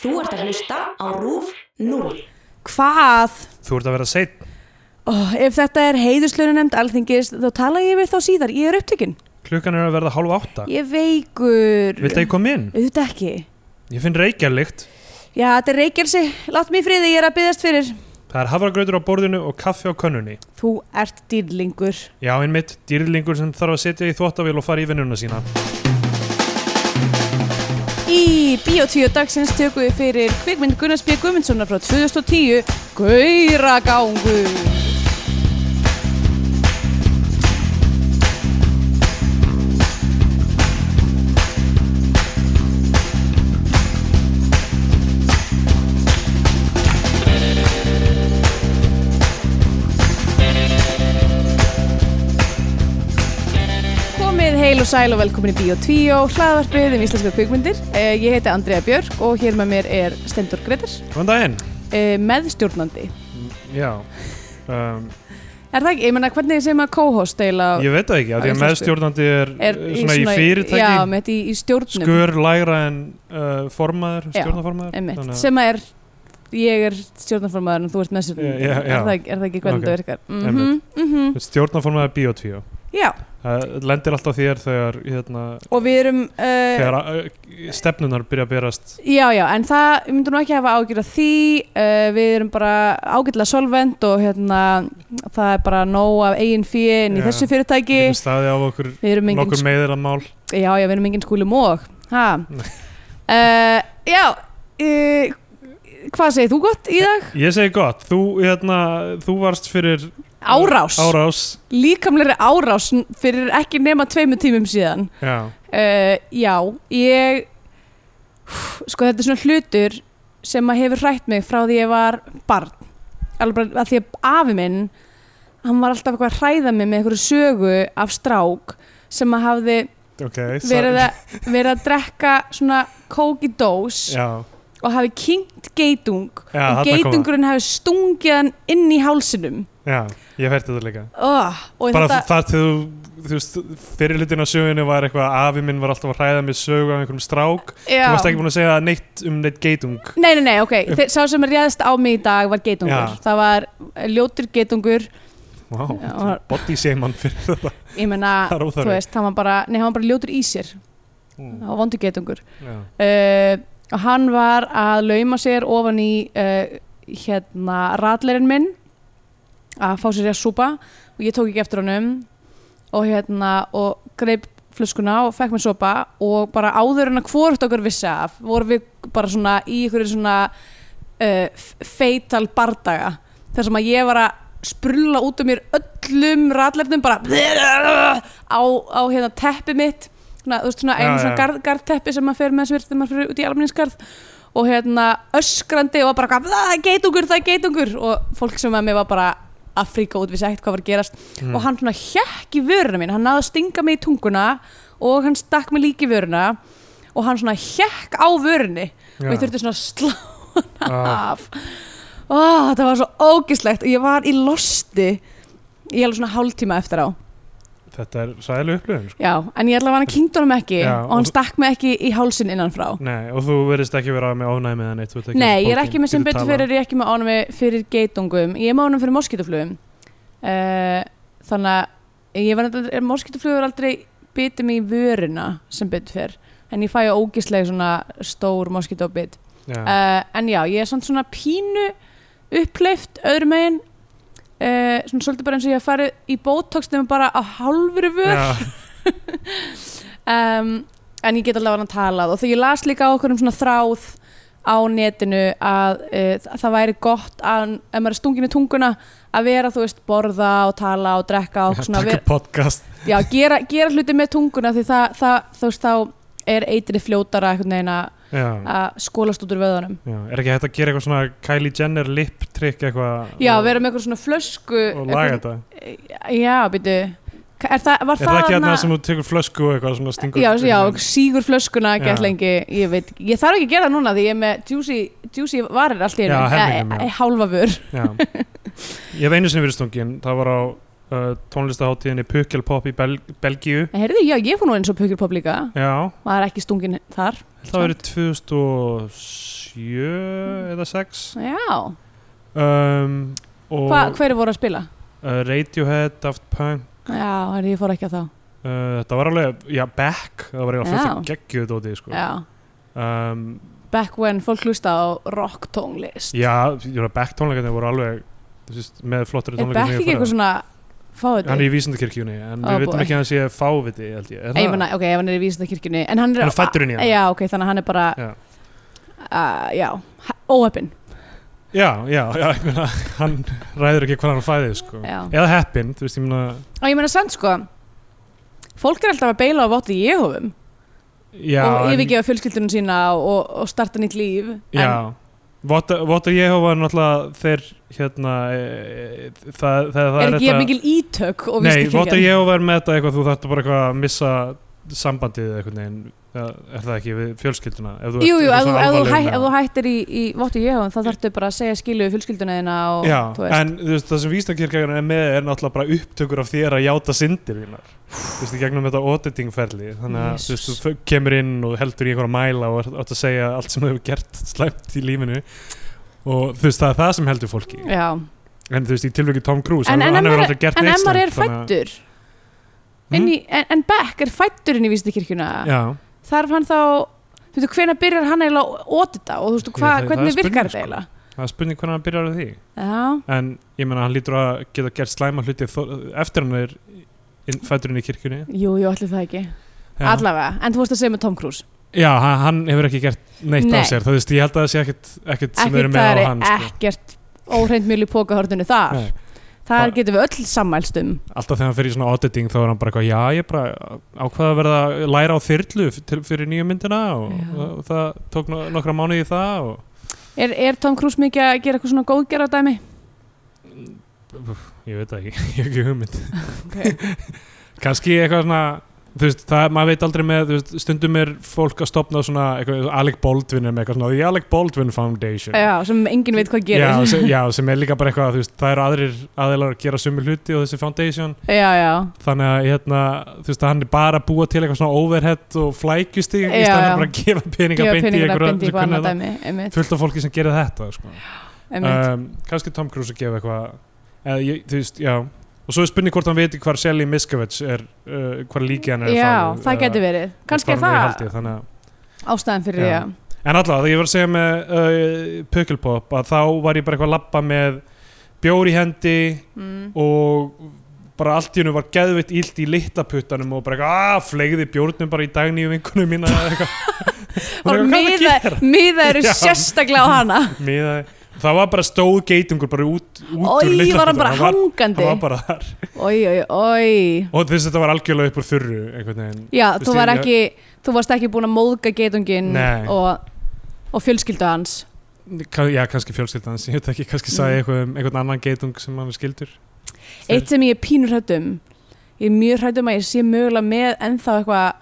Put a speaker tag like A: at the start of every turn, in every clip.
A: Þú ert að hlusta á RÚF 0.
B: Hvað?
C: Þú ert að vera seitt
B: Oh, ef þetta er heiðuslaunanemnd alþingis þá tala ég við þá síðar, ég er upptökin
C: Klukkan er að verða hálf átta
B: Ég er veikur
C: Viltu ekki koma inn?
B: Auðvitað ekki
C: Ég finn reykjarlykt
B: Já, þetta er reykjelsi, lát mig í friði, ég er að byggðast fyrir
C: Það er hafragrautur á borðinu og kaffi á könnunni
B: Þú ert dýrlingur
C: Já, einmitt, dýrlingur sem þarf að setja í þvóttavél og fara í vinnuna sína
B: Í Bíotíu dagsins tökum við fyrir kvikmynd Gunnars B. Guðmundssonar frá 2010 Gauragangur Komið heil og sæl og velkomin í Bíotvíó, hlaðvarpið um íslenska kvikmyndir. Eh, Ég heiti Andrea Björk og hér með mér er Stendur Gretar,
C: Góðan daginn
B: meðstjórnandi.
C: Já um,
B: Er það ekki, ég menna hvernig sem að co-host eila
C: Ég veit það ekki, af því
B: Á
C: að
B: íslensku.
C: meðstjórnandi er, er svona í, fyrirtæki
B: Já, með þetta í, í stjórnum.
C: Skör lægra en uh, formaður,
B: Já,
C: stjórnaformaður
B: Einmitt,
C: þannig að-
B: sem að er, ég er stjórnarformaður og þú ert meðstjórnandi.
C: Já, já, já.
B: Er það ekki, er það ekki hvernig
C: Ok.
B: þetta virkar? Mhm,
C: Einmitt.
B: mhm.
C: Stjórnaformaður er bíotvíó
B: Já,
C: Það lendir alltaf þér þegar, hérna,
B: og við erum... eh,
C: þegar uh, stefnunar byrja að berast
B: Já, já, en það myndur nú ekki hafa ágjörð af því, uh, við erum bara ágjörðlega solvent og hérna, það er bara nóg af eigin fyrir inn í
C: Já.
B: þessu fyrirtæki,
C: Getum staði á okkur
B: við erum engin,
C: nokkur meðir að mál
B: sk- já, já, við erum engin skúli móg, ha,
C: Nei.
B: uh, já, uh, hvað segir þú gott í dag?
C: Ég segi gott, þú, hérna, þú varst fyrir
B: Árás,
C: árás
B: líkamlegri árás n- fyrir ekki nema tveimur tímum síðan.
C: Já,
B: Uh, já, ég sko þetta er svona hlutur sem að hefur hrætt mig frá því ég var barn alveg bara að því að afi minn hann var alltaf eitthvað að hræða mig með einhverju sögu af strák sem að hafði
C: ok
B: verið að, verið að drekka svona kók í dós
C: Já,
B: og hafi kynkt geitung og
C: Já, þarna kom það.
B: geitungurinn hafi stungið hann inn í hálsinum
C: já, ég fært þetta líka
B: oh, og
C: Bara
B: þetta
C: þar til þú, þú veist, fyrir hlutin á sögunni var eitthvað að afi minn var alltaf að hræða mig sögu af einhverjum strák
B: já.
C: Þú varst ekki búin að segja neitt um neitt geitung
B: Nei, nei, nei, ok, Þeir, sá sem réðist á mig í dag var geitungur,
C: Já.
B: það var eh, ljótur geitungur,
C: Vá,
B: Já.
C: body shame hann fyrir þetta
B: ég
C: Það
B: meina,
C: er
B: þú
C: óþarfi
B: veist, hann var bara, nei, hann var bara ljótur í sér,
C: Mm,
B: hann var vondur geitungur.
C: já.
B: Uh, og hann var að lauma sér ofan í, uh, hérna, ratlerinn minn, að fá sér í að súpa og ég tók ekki eftir honum og hérna, og greip flöskuna og fekk mér sopa og bara áður en að hvort okkur vissi af vorum við bara svona í ykkur svona uh, f- fatal bardaga þar sem að ég var að sprulla út um mér öllum ratlefnum bara á, á hérna teppi mitt svona, þú veist svona
C: Já,
B: einu
C: já.
B: svona garð, garðteppi sem maður fer með sem er þegar maður fyrir út í alminnsgarð og hérna öskrandi og bara eitthvað, það er geitungur, það er geitungur og fólk sem að mig var bara að fríka út vissi ekkert hvað var að gerast
C: Mm.
B: og hann svona hjekk í vöruna mín, hann náði að stinga mig í tunguna og hann stakk mig líka í vöruna og hann svona hjekk á vörunni og ég
C: Já.
B: þurfti svona að slá
C: Ah,
B: af Ó, það var svo ógislegt og ég var í losti í alveg svona hálftíma eftir á
C: Þetta er sæðileg upplifun sko.
B: já, en ég allavega hann kynnt honum ekki
C: Já,
B: og hann
C: og-
B: stakk mig ekki í hálsin innanfrá
C: Nei, og þú verðist ekki vera með ónæmi eða neitt þú ert ekki
B: nei, ég er
C: bókin-
B: ekki með sem
C: getur
B: betur
C: talað.
B: fyrir ég er ekki með ánum fyrir geitungum ég er með ánum fyrir moskítuflugum uh, þannig að ég var nefnilega- moskítuflugur aldrei bitið mig í vörina sem betur fyrir en ég fæ ógislega svona stór moskítóbit
C: Já.
B: uh, en já, ég er samt svona pínu uppleift öðrum megin uh, svona svolítið bara eins og ég að fara í botox nema bara á hálfri vör
C: Já,
B: um, en ég get allavega hann talað og þegar ég las líka á okkur um svona þráð á netinu að uh, það væri gott að ef maður er stungin í tunguna að vera þú veist borða og tala og drekka og svona
C: taka
B: vera,
C: podcast
B: já, gera, gera hluti með tunguna því það, það þú veist þá er eitrið fljótara einhvern veginn að-
C: já,
B: að skólast út úr vöðunum
C: já. Er ekki hægt að gera eitthvað svona Kylie Jenner lip trick eitthvað
B: Já,
C: og-
B: vera með eitthvað svona flösku
C: og laga þetta
B: eitthvað- Já, býtu Er það, var
C: Er það ekki
B: þarna-
C: þarna sem þú tekur flösku og eitthvað svona stingur
B: Já, já, sígur flöskuna
C: Já.
B: gett lengi, ég veit ekki Ég þarf ekki að gera það núna því ég er með juicy, juicy varir allt í einu
C: Já, helmingnum,
B: Eh,
C: já.
B: eh, Hálfa vör
C: Já. Ég hef einu sinni verið stungin það var á uh, tónlistaháttíðinni Pukkelpop í Bel Belgíu
B: Herðu, Eh, já, ég fór nú eins og pukirpop líka
C: Já,
B: Maður er ekki stungin þar
C: það verið 2007 sjö eða sex
B: Já,
C: um, og
B: Hva, hverju voru að spila?
C: uh, Radiohead, Daft Punk
B: Já, heyrðu, ég fór ekki að þá
C: uh, þetta var alveg, já, Beck það var eiginlega fullt
B: Já.
C: að geggju þetta óti sko.
B: Já,
C: um,
B: back when fólk hlusta á rock tónlist
C: já, ég var að Beck tónleikarnir voru alveg þú veist, með flottari
B: Er
C: tónleikarnir
B: back ekki eitthvað svona fáið
C: hann er í vísindakirkjunni en
B: Ó,
C: við veitum
B: boy.
C: ekki að hann sé fáviti held ég,
B: Ég
C: er það?
B: meina, ok, ef hann er í vísindakirkjunni En hann er,
C: Hann er fæddur inn í hana.
B: Já, ok, þannig að hann er bara
C: Já.
B: Uh, Já, óöppin
C: já, já, já ég meina, hann ræður ekki hvað hann fæði sko.
B: Já.
C: eða heppin, þú veist, ég meina
B: Og ég meina samt sko Fólk er alltaf að beila á votti Jehovum
C: já,
B: og
C: en-
B: yfirgefa fjölskyldunum sína og, og starta nýtt líf en,
C: Já, Votta Votta Jehova er náttúrulega þeir hérna e, það, það, það
B: er ekki jafn
C: þetta-
B: mikil ítök og
C: Nei, Votta
B: vísindakirkjan
C: Jehova er með þetta eitthvað þú þarft bara eitthvað að missa sambandið eða einhvern veginn Ja, er það ekki við fjölskylduna ef þú ert
B: Jú, jú,
C: eitthvað
B: ef þú,
C: svona
B: ef, þú
C: alvarleg
B: hæ,
C: með
B: ef þú
C: það.
B: hættir í, í Votti Jehofum þá þarftu bara að segja skilu við fjölskylduna þina og
C: Já,
B: þú veist
C: en þú veist, það sem vísnakirkjagan er með er náttúrulega bara upptökur af þér að játa syndir þínar Þú veist, í gegnum þetta auditingferli Þannig að þú veist,
B: Jesus.
C: þú f- kemur inn og heldur í einhverja mæla og ert- átt að segja allt sem þú hefur gert slæmt í lífinu og þú veist, það er það sem heldur fólki
B: Já,
C: En þú veist, í tilvöki Tom Cruise,
B: En-
C: hann,
B: en
C: hann
B: ef
C: hefur
B: maður-
C: aldrei gert
B: en
C: neitt
B: Emmar er
C: slæmt, þannig
B: fættur
C: að-
B: en, í, en, en Beck er fættur inn í vísindakirkjuna
C: Mhm, Já,
B: þarf hann þá þú veist, hvenær byrjar hann eiginlega að ótita og þú veist,
C: Ég,
B: hva,
C: það- það er
B: hvernig
C: spurning,
B: virkar
C: sko.
B: þetta eiginlega
C: það er spurning hvernig hann byrjar á því
B: Já,
C: En ég meina, hann lítur að geta gert slæma hluti þó- eftir hann er inn, fætturinn í kirkjunni
B: jú, jú, allir það ekki
C: Já.
B: Allavega, en þú veist að segja með Tom Cruise
C: Já, hann, hann hefur ekki gert neitt
B: Nei.
C: af sér Það veist, ég held að það sé ekkert, ekkert sem
B: Ekkert
C: verið með
B: það
C: á
B: er
C: hann sko.
B: ekkert óhreint mjöl í pókahörðinu þar
C: Nei.
B: Þar
C: Bara-
B: getum við öll sammælst um
C: Alltaf þegar hann fer í svona auditing þá er hann bara eitthvað Já, ég bara ákvaða að verða að læra á þyrlu f- til, fyrir nýju myndina og,
B: Já.
C: og það tók no nokkra mánuði í það og
B: Er, er Tom Cruise mikið að gera eitthvað svona góðgerða dæmi?
C: ég veit það ekki, ég hef ekki hugmynd
B: Okay.
C: kannski eitthvað svona þú veist, það, maður veit aldrei með, þú veist, stundum er fólk að stopna svona, eitthvað, eins og Alec Baldwin er með eitthvað svona, The Alec Baldwin Foundation
B: Já, sem enginn veit hvað gerir
C: já, sem, já, sem er líka bara eitthvað, þú veist, það eru aðrir aðeinar að gera sumi hluti og þessi foundation
B: já, já.
C: þannig að, hérna, þú veist, að hann er bara að búa til eitthvað svona overhead og flækjustig í
B: Já, já.
C: stæðan fyrir bara að gefa peninga
B: Gefa
C: beint í
B: peningur að
C: einhverja-
B: bindi eitthvað
C: kunna
B: annað
C: það.
B: dæmi einmitt,
C: fullt af fólki sem gerir þetta sko.
B: einmitt.
C: um, kannski Tom Cruise að gefa eitthvað eða, ég, þú veist, já og svo er spurning hvort hann veit hvar Sally Miskovits er, uh, hvar líki hann er
B: Já,
C: falið,
B: það
C: eða-
B: getur verið Kannski er
C: hvar
B: það
C: hann í haldi, þannig að-
B: ástæðan fyrir því
C: Já.
B: að-
C: en alltaf, þegar ég var að segja með uh, Pökkelpop að þá var ég bara eitthvað að labba með bjór í hendi
B: mm.
C: og bara allt í hennu var geðveitt illt í litla puttanum og bara eitthvað, að flegiði bjórnum bara í dagni í vinkunum mína eða eitthvað Og
B: Bara
C: eitthvað, hvað er að
B: miða,
C: gera?
B: miða eru
C: Já.
B: sérstaklega á hana
C: Miðaði- það var bara stóð geitungur bara út, út úr
B: Ói,
C: litla
B: var hann
C: puttanum.
B: bara
C: Hann var-
B: hangandi
C: hann var bara þar
B: Ói, ói, ói
C: og þess að þetta var algjörlega upp úr þurru einhvern veginn
B: Já,
C: Þú
B: þú,
C: veist,
B: var
C: ég-
B: ekki, þú varst ekki búin að móðga geitungin
C: Nei.
B: og, og fjölskyldu hans
C: Ka- já, kannski fjölskyldan hans, ég veit ekki, kannski sagði
B: Mm.
C: ég eitthvað um einhvern annan geitung sem hann er skildur
B: Eitt sem ég er pínur hrættum Ég er mjög hrættum að ég sé mögulega með ennþá eitthvað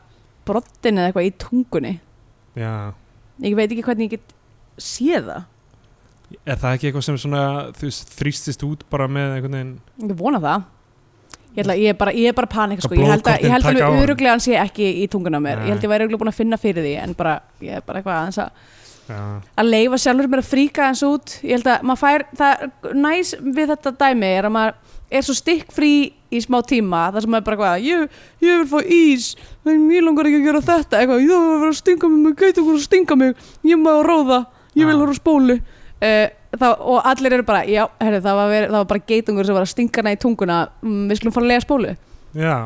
B: brottin eða eitthvað í tungunni
C: já,
B: Ég veit ekki hvernig ég get séð það
C: er það ekki eitthvað sem svona þú veist, þrýstist út bara með einhvern veginn
B: Ég vona það Ég, ætla, ég, er bara, ég er bara panika sko.
C: Eitthvað
B: Ég held að, ég held
C: blóðkornin taka á
B: alveg
C: hann.
B: öruglega hans ég ekki í tunguna á mér
C: Nei.
B: Ég held ég væri öruglega búin að finna fyrir því En bara, ég er bara eitthvað aðeins að
C: já,
B: að leifa sjálfur mér að fríka hans út ég held að maður fær, það næs við þetta dæmi er að maður er svo stikkfrí í smá tíma þar sem maður er bara hvað, ég, ég vil fá ís en ég langar ekki að gera þetta eitthvað, ég vil vera að stinga mig, maður gæti okkur að stinga mig ég maður ráða, ég vil
C: Já.
B: horfa á spólu uh, þá, og allir eru bara já, herri, það, var veri, það var bara geitungur sem var að stinga hana í tunguna, mm, við skulum fara að lega spólu
C: já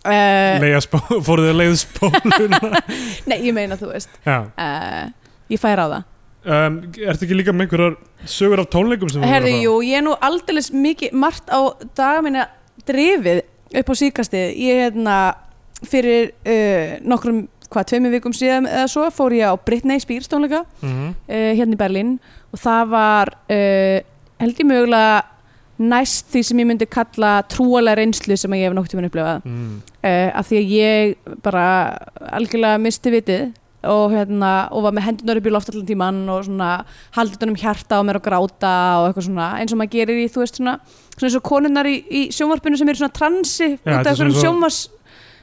B: uh,
C: leiða spó, fóruðu að leiða spóluna
B: nei, ég meina þú veist
C: já,
B: uh, ég fær á það
C: um, ertu ekki líka með einhverjar sögur af tónleikum sem þú hefur
B: Herði,
C: farið á?
B: jú, ég er nú aldeilis mikið margt á daga minna drifið upp á síkastið. Ég hérna fyrir uh, nokkrum, hvað, tveimur vikum síðan eða svo fór ég á Britney Spears tónleika uh,
C: Mhm.
B: hérna í Berlín og það var, uh, held ég mögulega, næst því sem ég myndi kalla trúalega reynslu sem ég hef nokkuð tímann upplifað
C: mm.
B: uh, af því að ég bara algjörlega misti vitið og, hérna, og var með hendunar upp í loft allan tíman og svona haldið honum hjarta á mér og gráta og eitthvað svona eins og maður gerir í, þú veist, svona, svona eins og konunnar í, í sjónvarpinu sem eru svona transi út af
C: þetta er
B: einhverjum
C: svona svo-
B: sjónvars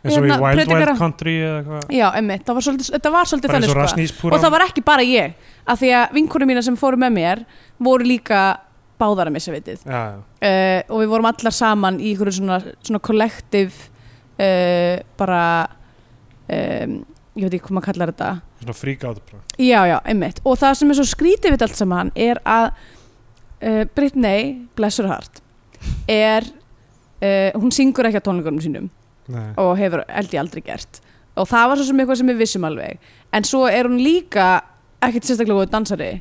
C: eins og í
B: Hérna,
C: Wild Wild
B: predikara.
C: Country eða eitthvað
B: Já, emmitt, það var svolítið, þetta var svolítið
C: bara eins og
B: þannig sko.
C: Rasnís
B: og það var ekki bara ég af því að vinkunum mína sem fóru með mér voru líka báðar að missa vitið
C: já,
B: uh, og við vorum allar saman í einhverju svona, svona kollektiv uh, bara um, ég veit ekki hvað maður kallar þetta
C: svona freak out bara.
B: Já, já, einmitt. Og það sem er svo skrítið við allt saman er að uh, Britney, bless her heart, er, uh, hún syngur ekki á tónleikunum sínum
C: Nei.
B: og hefur held ég aldrei gert. Og það var svo sem eitthvað sem við vissum alveg. En svo er hún líka ekkert sérstaklega góð dansari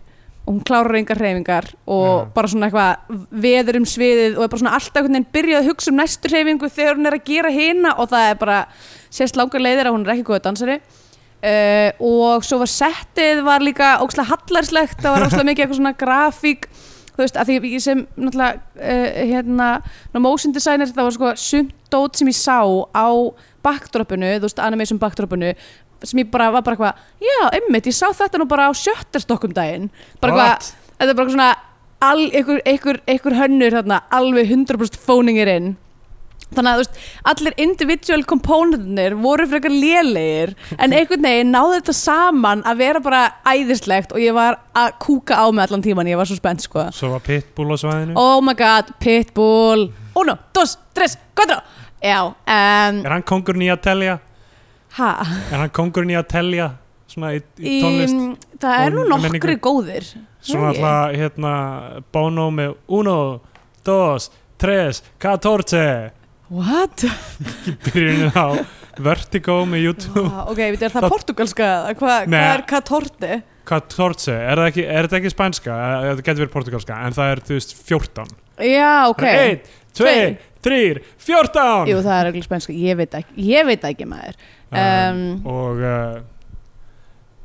B: og hún klárar engar hreyfingar og
C: Já.
B: bara svona eitthvað veður um sviðið og er bara svona alltaf einhvern veginn byrjað að hugsa um næstu hreyfingu þegar hún er að gera hina og það er bara sérst langar leiðir að hún er ekki góð dansari uh, og svo var settið var líka ókslega hallarslegt það var ókslega mikið eitthvað svona grafík þú veist, að því ég sem náttúrulega uh, hérna, ná motion designer það var sko sumt dót sem ég sá á backdropinu, þú veist, animation backdropinu sem ég bara var bara eitthvað já, einmitt, ég sá þetta nú bara á sjötterstokkum daginn bara eitthvað,
C: What?
B: þetta er bara eitthvað svona al, einhver, einhver, einhver hönnur þarna, alveg 100% fóningir inn þannig að þú veist, allir individual componentinir voru frekar lélegir en einhvern veginn náði þetta saman að vera bara æðislegt og ég var að kúka á mig allan tíman, ég var svo spennt sko
C: svo var pitbull á svæðinu
B: oh my god, pitbull uno, dos, tres, cuatro já, um,
C: er hann kongurinn í að telja
B: ha
C: er hann kongurinn í að telja svona í, í tónlist
B: Í- það er nú
C: Og menningu.
B: nokkri góðir Nei.
C: svona alltaf hérna Bono með uno, dos, tres, catorce
B: what?
C: byrjunin á Vertigo með YouTube
B: Ah, ok, við er það portugalska eða hvað hva
C: Nei.
B: er katorti?
C: Catorce, er það ekki, er þetta ekki spænska? Eh, Þetta getur verið portugalska, en það er, þú veist, 14.
B: já, ok
C: Það er 1, 2, 3, 14!
B: Jú, það er ekki spænska, ég veit ekki, ég veit ekki maður um,
C: Eh, og... Uh,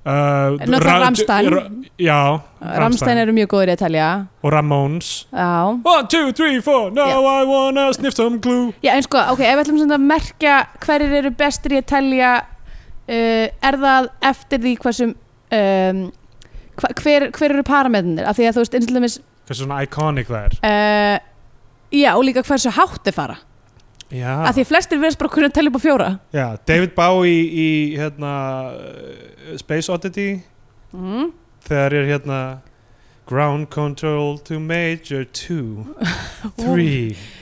C: uh,
B: Náttúrulega
C: Ra-
B: Rammstein.
C: Ra- Já,
B: Ramstein eru mjög góðir í að telja
C: Og Ramones.
B: Já
C: 1, 2, 3, 4, now I wanna sniff some glue.
B: Já, en sko, ok, ef við ætlum svona að merkja hverjir eru bestir í að telja uh, er það eftir því hversum um, hva, hver, hver eru parametinir af því að þú veist, eins og dæmis
C: Hversu svona iconic það er.
B: uh, Já, og líka hversu hátt þeir fara
C: Já,
B: af því að flestir verðast bara að kunna að telja upp á fjóra
C: já David Bowie í, hérna, eh, Space Oddity.
B: mm.
C: þegar er hérna ground control to major 2 3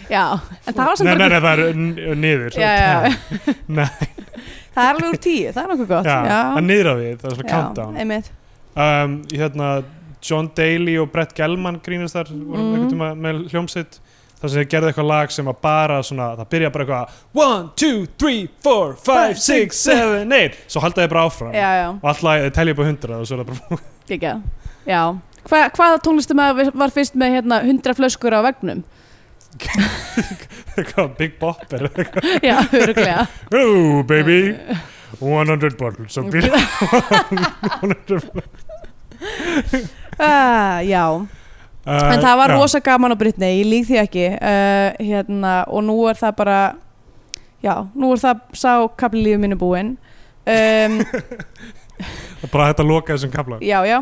B: Já, en það var sem
C: nei,
B: bara
C: nei, nei, það er n- uh, niður
B: Já, já, já.
C: Nei.
B: Það er alveg úr tíu, það er nokkuð gott
C: Já, það er
B: já.
C: niður á við, það er svona countdown
B: einmitt
C: um, hérna, John Daly og Brett Gelman grínast þar vorum
B: Mhm.
C: einhvern tíma með hljómsitt þar sem þeir gerðu eitthvað lag sem var bara svona, það byrja bara eitthvað 1, 2, 3, 4, 5, 6, 7, 8 svo halda þeir bara áfram
B: Já, já
C: og alltaf þeir telja upp á 100 og svo er það bara
B: Gekja, já Hva, Hvaða tónlistum var fyrst með hérna, 100 flöskur á vegnum?
C: eitthvað Big Bopper
B: Já, öruglega
C: Hello baby 100 bottles of beer 100
B: uh, Já, en
C: Eh,
B: það var rosa gaman á Britney, ég lík því ekki uh, hérna, og nú er það bara já, nú er það sá kapli lífið mínu búinn um,
C: Það er bara hægt að loka þessum kapla
B: Já, já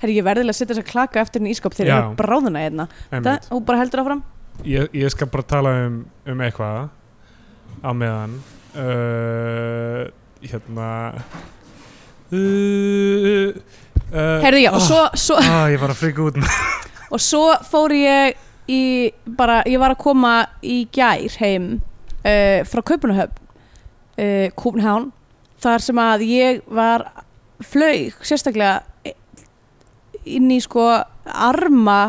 B: Herri, ég verðilega að setja þess að klaka eftir henni í ískap þegar
C: Já.
B: ég er bráðuna hérna það,
C: Einmitt.
B: Hún bara heldur áfram
C: ég, ég skal bara tala um, um eitthvað á meðan uh, hérna uh, uh, uh,
B: Herri, já, og
C: ah,
B: svo, svo,
C: ah, Ég var að frika út
B: og svo fór ég í, bara, ég var að koma í gær heim uh, frá Kaupunahöfn uh, Kúpenhán þar sem að ég var flaug sérstaklega eh, inn í sko arma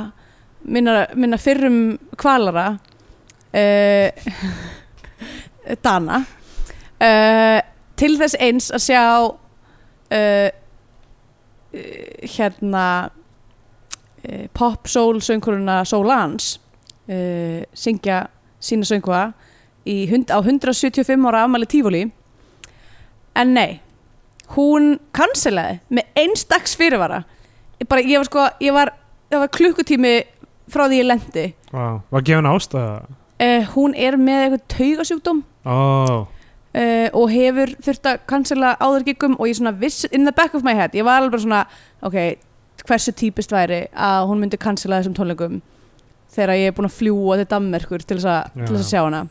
B: minna, minna fyrrum kvalara uh, Dana uh, til þess eins að sjá uh, hérna eh, pop soul sönguruna Solans uh, syngja sína söngva í, hund- á 175 ára afmæli tífóli en nei hún kanselaði með einstaks fyrirvara Ég bara, ég var sko, ég var, það var klukkutími frá því ég lendi
C: wow. Var gefin ástæða
B: uh, hún er með eitthvað taugasjúkdóm uh,
C: oh.
B: og hefur þurft að cancela áður giggum og ég svona viss in the back of my head ég var alveg bara svona, ok hversu típist væri að hún myndi cancela þessum tónleikum þegar ég er búin að fljúa til Danmerkur til þess að, til þess að sjá hana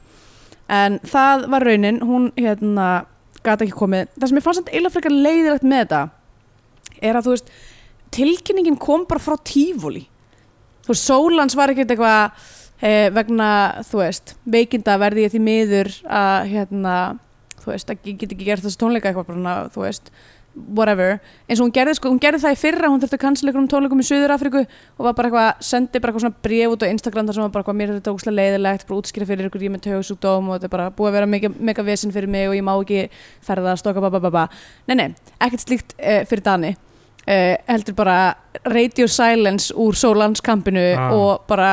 B: en það var raunin, hún hérna gata ekki komið, það sem ég fannst eitthvað eiginlega frekar leiðilegt með þetta er að þú veist tilkynningin kom bara frá tífúli þú veist, Sólans var ekkert eitthvað eh, vegna, þú veist veikinda verði ég því miður að hérna, þú veist, að ég get ekki gert þessi tónleika eitthvað bara, svona, þú veist whatever, eins og hún gerði sko, hún gerði það í fyrra hún þurfti að cancela ykkur um tónleikum í Suður Afríku og var bara eitthvað, sendi bara eitthvað svona bréf út á Instagram þar sem var bara eitthvað, mér er þetta óslega leiðilegt bara útskýra fyrir ykkur, ég er með taugasjúkdóm og þetta er bara búið að vera mega, mega vesinn fyrir mig og ég má ekki ferðast og eitthvað, babababa nei, nei, ekkert slíkt uh, fyrir Dani uh, heldur bara radio silence úr sólandskampinu
C: Ah.
B: og bara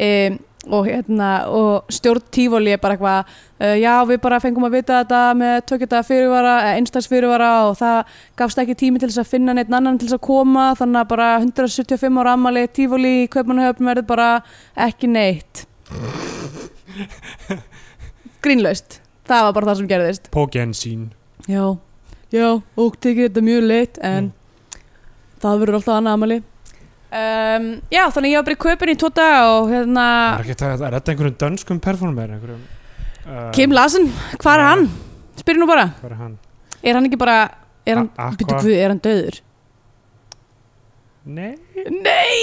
B: um, og, hérna, og stjórn tífóli er bara eitthvað uh, já, við bara fengum að vita þetta með tökjata fyrirvara, einstags fyrirvara og það gafst ekki tími til þess að finna neitt annan til þess að koma, þannig að bara 175 ára ammali tífóli í Kaupmannahöfn verður bara ekki neitt grínlaust það var bara það sem gerðist
C: Pogensín
B: Já, já, og tekið þetta mjög leitt en það verður alltaf annað amali um, Já, þannig ég var bara í kaupin í tvo daga og hérna
C: Er ekki það- er þetta einhverjum dönskum performer? Einhverjum, uh,
B: Kim Larsen, hvað er hann? Spyrir nú bara,
C: Hvað er hann?
B: er hann ekki bara er hann,
C: A- Aqua.
B: byrju hvað, er hann döður?
C: Nei
B: Nei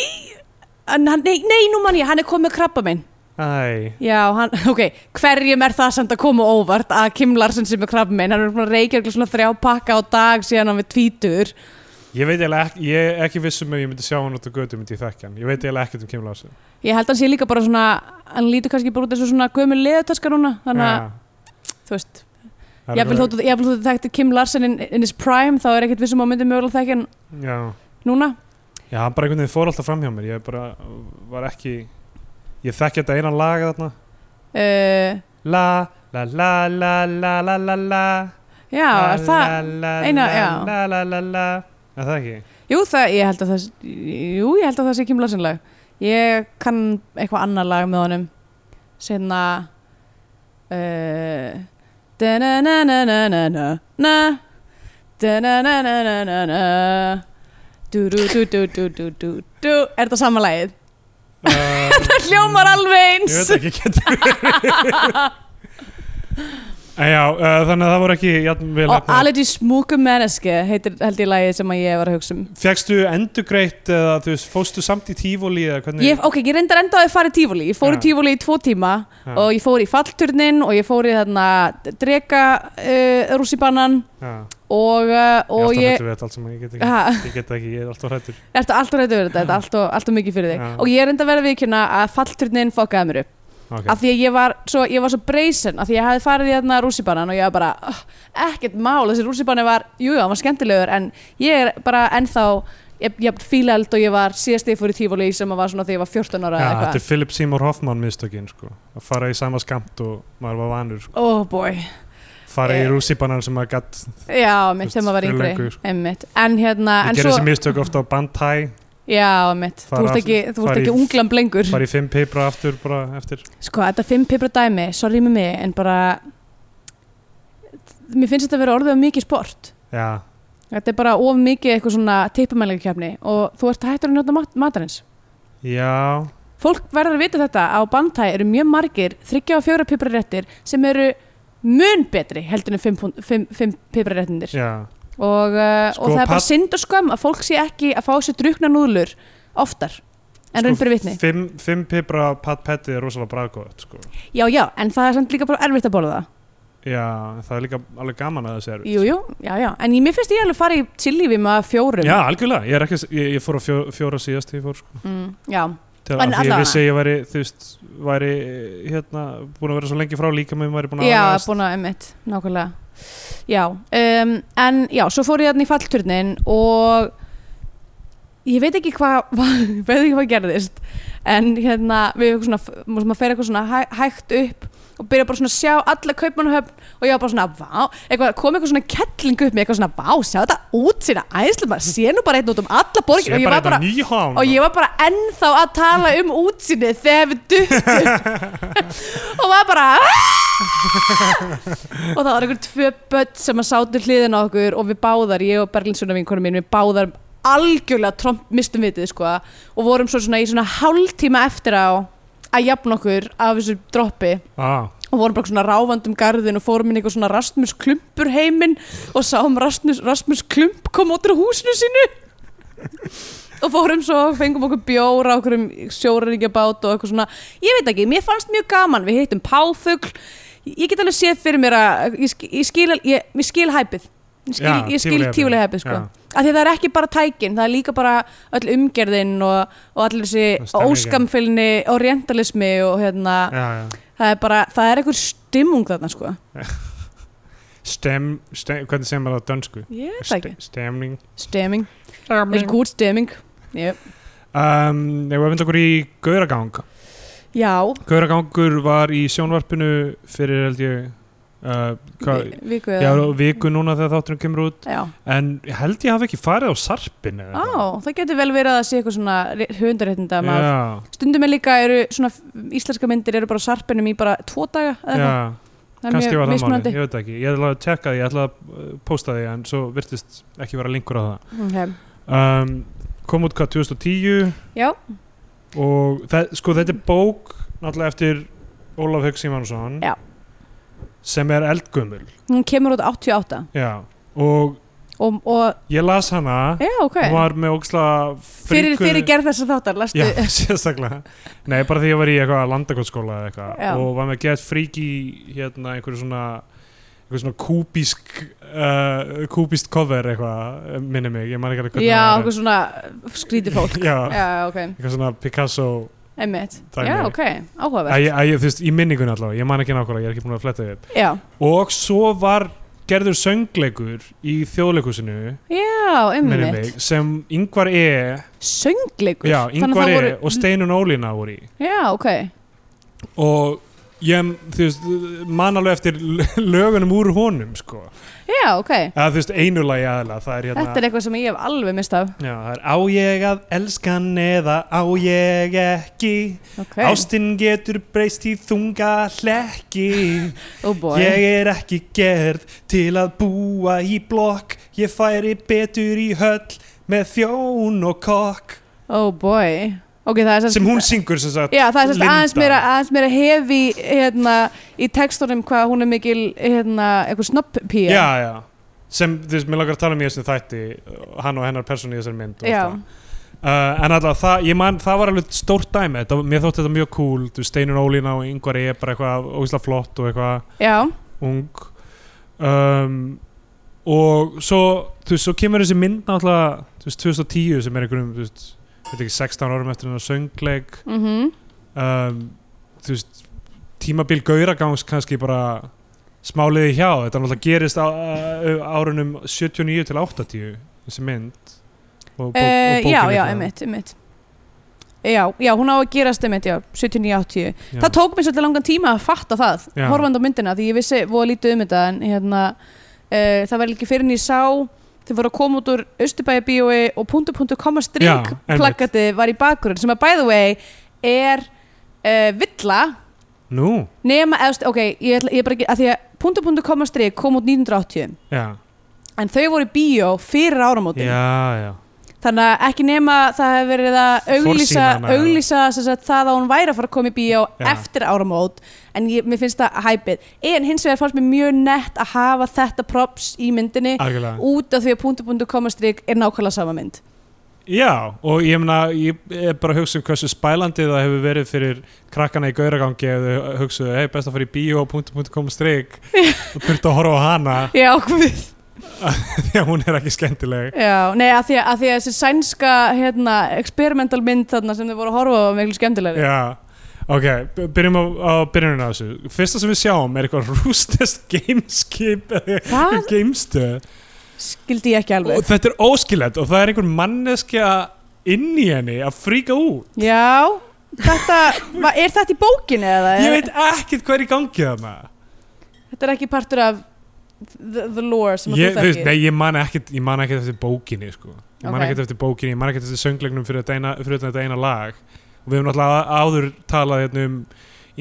B: En hann, nei, nei, nú mann ég, hann er komið krabba minn
C: Æ
B: Já, hann, ok, hverjum er það samt að koma óvart að Kim Larsen sem er krabba minn hann er búin að reykja örugglega svona þrjá pakka á dag síðan hann við tvítur
C: Ég veit eiginlega ekki, ég er ekki vissum að ég myndi sjá hann út á götu myndi ég þekki hann. Ég veit eiginlega ekkert um Kim Larsen.
B: Ég held að hann sé líka bara svona, hann lítur kannski bara út eins og svona gömur leðutaska núna, þannig að, þú veist,
C: að,
B: jafnvel þótt að- jafnvel þótt þú þekkti Kim Larsen in, in his prime, þá er ekkert vissum að myndi mögulega þekki hann
C: Já,
B: núna.
C: já, hann bara einhvern veginn fór alltaf fram hjá mér. Ég bara var ekki, ég þekki þetta einan lag þarna.
B: Uh,
C: La, la, la, la, la, la, la, la.
B: já,
C: La,
B: er það,
C: La, la,
B: eina-
C: la,
B: já.
C: La, la, la, la. Er það ekki?
B: jú það, ég held að það, jú ég held að það sé Kim Larsen lag. Ég kann eitthvað annað lag með honum, sérna, uh, da-na-na-na-na-na-na, na, da-na-na-na-na-na-na, du-du-du-du-du-du-du-du, er þetta sama lagið?
C: Uh,
B: Það hljómar alveg
C: ég
B: eins
C: veit ekki, getur verið. En já, uh, þannig að það voru ekki jafnvel
B: Og Aledi Smúku Menneske heitir held ég lagið sem að ég var að hugsa um
C: Fegstu endugreitt eða þú veist, fóstu samt í tífóli eða hvernig?
B: ég, Ok, ég reyndar enda á að fara í tífúli Ég fór í
C: Ja.
B: tífúli í tvo tíma
C: Já.
B: og ég fór í fallturnin og ég fór í þarna drega uh, rússibannan
C: Já.
B: og, uh, og ég
C: ég er alltaf hrættur við þetta allt saman, ég get ekki,
B: Ha,
C: ég get ekki, ég er alltaf hrættur.
B: Ertu alltaf reyndið verið þetta, þetta er alltaf, alltaf mikið fyrir þig
C: Já.
B: Og ég er enda verið að viðkynna að fallturnin fokkaði mér upp
C: Okay.
B: af því að ég var svo, ég var svo breysin af því að ég hafði farið í þarna rússibanan og ég var bara, oh, ekkert mál, þessi rússibanan var jú, jú, hann var skemmtilegur en ég er bara ennþá ég, ég fíleld og ég var síðast þegar ég fór í tífóli sem að var svona þegar ég var 14 ára
C: Já,
B: eða
C: þetta er
B: eitthvað,
C: Philip Seymour Hoffman mistökin, sko. Að fara í sama skamt og maður var vanur, sko.
B: oh boy
C: Fara
B: Eh.
C: í rússibanan sem maður gatt.
B: já, mitt, þegar maður var
C: Fyrir
B: yngri
C: löngu, sko.
B: einmitt, en hérna,
C: Ég
B: en
C: gerði
B: svo
C: þessi mistök ofta á bandhæ,
B: já, mitt, þú
C: Fara
B: ert ekki,
C: aftur-
B: þú ert
C: fara í-
B: ekki unglam blengur
C: fara í fimm pipra aftur bara eftir.
B: Sko, þetta fimm pipra dæmi, sorry með mig en bara mér finnst þetta að vera orðið um mikið sport
C: Já,
B: Þetta er bara of mikið eitthvað svona tippumælingakefni og þú ert hættur að njóta mat matarins.
C: já,
B: Fólk verður að vita þetta á bandhæ eru mjög margir þryggja og fjóra pipraréttir sem eru mun betri heldur en fimm, pund- fimm, fimm pipraréttindir
C: já.
B: og, uh,
C: Sko,
B: og það er bara
C: pall-
B: synd og skömm að fólk sé ekki að fá sér drukna núðlur oftar en raun fyrir vitni.
C: Sko, Fimm, fimm pipra pat petti er rosalega braðgóðt, sko.
B: Já, já, en það er samt líka bara erfitt að borða það.
C: Já, það er líka alveg gaman að þessi er.
B: Jú, jú, já, já, en ég, mér finnst ég alveg fara í chili við maður fjórum.
C: Já, algjörlega. Ég, er ekki, ég, ég fór á fjó, fjóra síðast þegar ég fór, sko.
B: Mm, já,
C: til
B: En
C: að því ég
B: allavega.
C: vissi að ég væri þú veist, væri hérna búin að vera svo lengi frá líka með væri búin að
B: Já,
C: aðlagast.
B: búin að emitt, nákvæmlega Já, um, en já, svo fór ég þarna í fallturnin og ég veit ekki hvað hva, ég veit ekki hvað gerðist en hérna, við erum svona sem að fer eitthvað svona hæ, hægt upp og byrja bara svona að sjá alla kaupmannahöfn og ég var bara svona, vá, eitthvað, kom eitthvað svona kettling upp með eitthvað svona, vá, sjá þetta út sína æslu, maður sé nú bara einn út um alla borgin
C: Sé
B: og ég
C: bara
B: var bara,
C: eitthvað nýhán
B: og ég var bara ennþá að tala um útsinnið þegar við duttum og var bara "Ah!" og það var einhver tvö börn sem að sátu hliðin á okkur og við báðar, ég og Berglinsuna vinkonu mín við báðar algjörlega tromp mistum vitið sko og vorum svo svona í svona hálftíma eftir á að jafna okkur af þessu droppi
C: ah,
B: og vorum bara svona ráfandi um garðin og fórum inn í eitthvað svona Rasmus Klumpur heiminn og sáum Rasmus, Rasmus Klump kom út úr húsinu sínu og fórum svo og fengum okkur bjóra okkur um sjóraríkjabát og eitthvað svona ég veit ekki, mér fannst mjög gaman, við hittum páfugl ég get alveg séð fyrir mér að ég, sk- ég, skil, ég, ég skil hæpið ég skil,
C: Já,
B: ég skil
C: tífulega hæpið.
B: tífulega hæpið sko.
C: Já.
B: af því að það er ekki bara tækin, það er líka bara öll umgerðin og, og allir
C: Og
B: þessi
C: stemningin.
B: óskamfylni orientalismi og hérna
C: já, já.
B: það er bara, það er einhver stimmung þarna sko
C: Stem, stem, hvernig segir maður það á dönsku?
B: ég veit það
C: Ste-
B: ekki,
C: Stemning
B: stemming er gúr stemming yep.
C: um, Ég var að vinda okkur í Gauragang
B: já,
C: Gauragangur var í sjónvarpinu fyrir held ég uh, hva,
B: vi- viku
C: já,
B: eða
C: viku núna þegar þátturinn kemur út
B: já,
C: en ég held ég hafi ekki farið á sarpin
B: á, það getur vel verið að það sé eitthvað svona höfundaréttinda yeah.
C: já,
B: stundum er líka, eru svona íslenska myndir eru bara á sarpinum í bara tvo daga eða
C: já,
B: eitthvað. það er
C: kannski
B: mjög
C: var það máli,
B: mismunandi
C: ég veit það ekki ég ætlaði að tjekka því, ég ætlaði að uh, pósta því en svo virtist ekki vera linkur á það
B: okay.
C: um, kom út hvað 2010
B: já,
C: og það, sko þetta er bók náttúrulega eftir Ólaf Haug Simonsson
B: Já.
C: sem er eldgumul
B: hún kemur út 88
C: já. og
B: og, og
C: ég las hana
B: já, ok
C: hún var með óksla
B: fyrir, fyrir gerð þessar þáttar, lastu
C: Já, sérstaklega. Nei, bara því ég var í eitthvað landakotsskóla
B: Já.
C: eða eitthvað og var með gett frík í hérna einhverju svona einhverju svona kúbísk uh, kúbískt cover eitthvað minni mig, ég man ekki alveg
B: já,
C: hvernig
B: okkur svona skrítið fólk
C: Já,
B: já, ok,
C: eitthvað svona Picasso
B: einmitt
C: Dæmi.
B: já, ok,
C: Æ,
B: áhugavert
C: ég- æ, ég- þú veist, í minningunni allavega, ég man ekki nákvæmlega, ég er ekki búin að fletta því upp
B: já,
C: og svo var gerður söngleikur í þjóðleikusinu
B: já,
C: minnir
B: einmitt
C: mig, sem Yngvar E,
B: söngleikur
C: já,
B: Þannig að
C: Yngvar
B: það
C: E
B: voru-
C: og Steinun Ólína voru í
B: já, ok,
C: og ég þú veist, man alveg eftir l- lögunum úr honum sko.
B: já, ok
C: eða þú veist einu lagi aðla það er hérna
B: þetta er eitthvað sem ég hef alveg mist af
C: Já, það er á ég að elskan eða á ég ekki
B: ok,
C: Ástinn getur breyst í þunga hlekki
B: oh boy
C: Ég er ekki gerð til að búa í blokk Ég færi betur í höll með þjón og kokk
B: oh boy, ok, það er sem,
C: Sem hún syngur sem sagt
B: já, það er sem
C: Linda.
B: aðeins meira, aðeins meira hefi hérna, í textunum hvað hún er mikil hérna, eitthvað snopp-pía
C: já, já. sem, þú veist, mér langar að tala um í þessum þætti uh, hann og hennar person í þessari mynd og
B: Já.
C: allt það. uh, en alltaf, það, ég man, það var alveg stórt dæmi, þetta, var- mér þótti þetta mjög cool þú veist, Steinun Ólína og yngvar ég er bara eitthvað ógislega flott og eitthvað
B: já,
C: ung um, og svo þú veist, svo kemur þessi mynd náttúrulega þú veist, 2010 sem er einhverjum þú veist, veit ekki, 16 árum eftir hennar söngleik
B: mhm
C: um, þú veist tímabil gauragangs kannski bara smáliði hjá, þetta náttúrulega gerist á, á árunum 79 til 80 þessi mynd og,
B: Uh,
C: bók, og bókin
B: já,
C: er
B: já,
C: það.
B: einmitt, einmitt Já, já, hún á að gerast einmitt, já, 79-80
C: Já.
B: Það tók mér svolítið langan tíma að fatta það
C: Já.
B: horfandi á myndina, því ég vissi voða lítið um þetta en hérna, uh, það var ekki fyrir en ég sá þau voru að koma út úr Östubæjabíói og punktu punktu koma
C: Já,
B: string
C: einmitt.
B: plakatið var í bakgrunn sem að by the way er uh, villa
C: nú,
B: nema, eðst, ok, ég, ætla, ég bara ekki að því að punktu punktu koma string kom út 1980
C: já,
B: en þau voru í bíó fyrir áramótin
C: já, já
B: þannig að ekki nema það hefur verið að auglýsa,
C: Forsýna hana,
B: auglýsa sem sagt, það að hún væri að fara að koma í bíó
C: Já.
B: eftir áramót en ég, mér finnst það hæpið en hins vegar fannst mér mjög nett að hafa þetta props í myndinni
C: Ah, algjörlega
B: út af því að punktu punktu komastrik er nákvæmlega sama mynd
C: já, og ég meina, ég er bara að hugsa um hversu spælandi það hefur verið fyrir krakkana í gauragangi ef þau hugsaðu, hei, best að fara í bíó, punktu, punktu, kom strik og þurftu að horfa á hana
B: já, guð.
C: því að hún er ekki skemmtileg
B: já, nei, að því að, að því að þessi sænska hérna, experimental mynd þarna sem þau voru að horfa á var miklu skemmtilegri
C: Já, ok, b- byrjum á, á byrjunum af þessu. Fyrsta sem við sjáum er eitthvað rústest gameskip eða
B: það
C: eitthvað gamestöð
B: skildi ég ekki
C: og
B: alveg
C: þetta er óskilett og það er einhver manneskja inn í henni að fríka út.
B: já, þetta, va- er þetta í bókinu eða?
C: Ég veit ekkert hvað er í gangi þarna.
B: Þetta er ekki partur af the, the lore sem að
C: Ég,
B: þú
C: þú veist,
B: þekkir?
C: nei, ég man ekkert, ég man ekkert eftir bókinni, sko. Ég man
B: Ok.
C: ekkert eftir bókinni, ég man ekkert eftir sönglegnum fyrir þetta eina, fyrir þetta eina lag. Og við hefum náttúrulega áður talað hérna um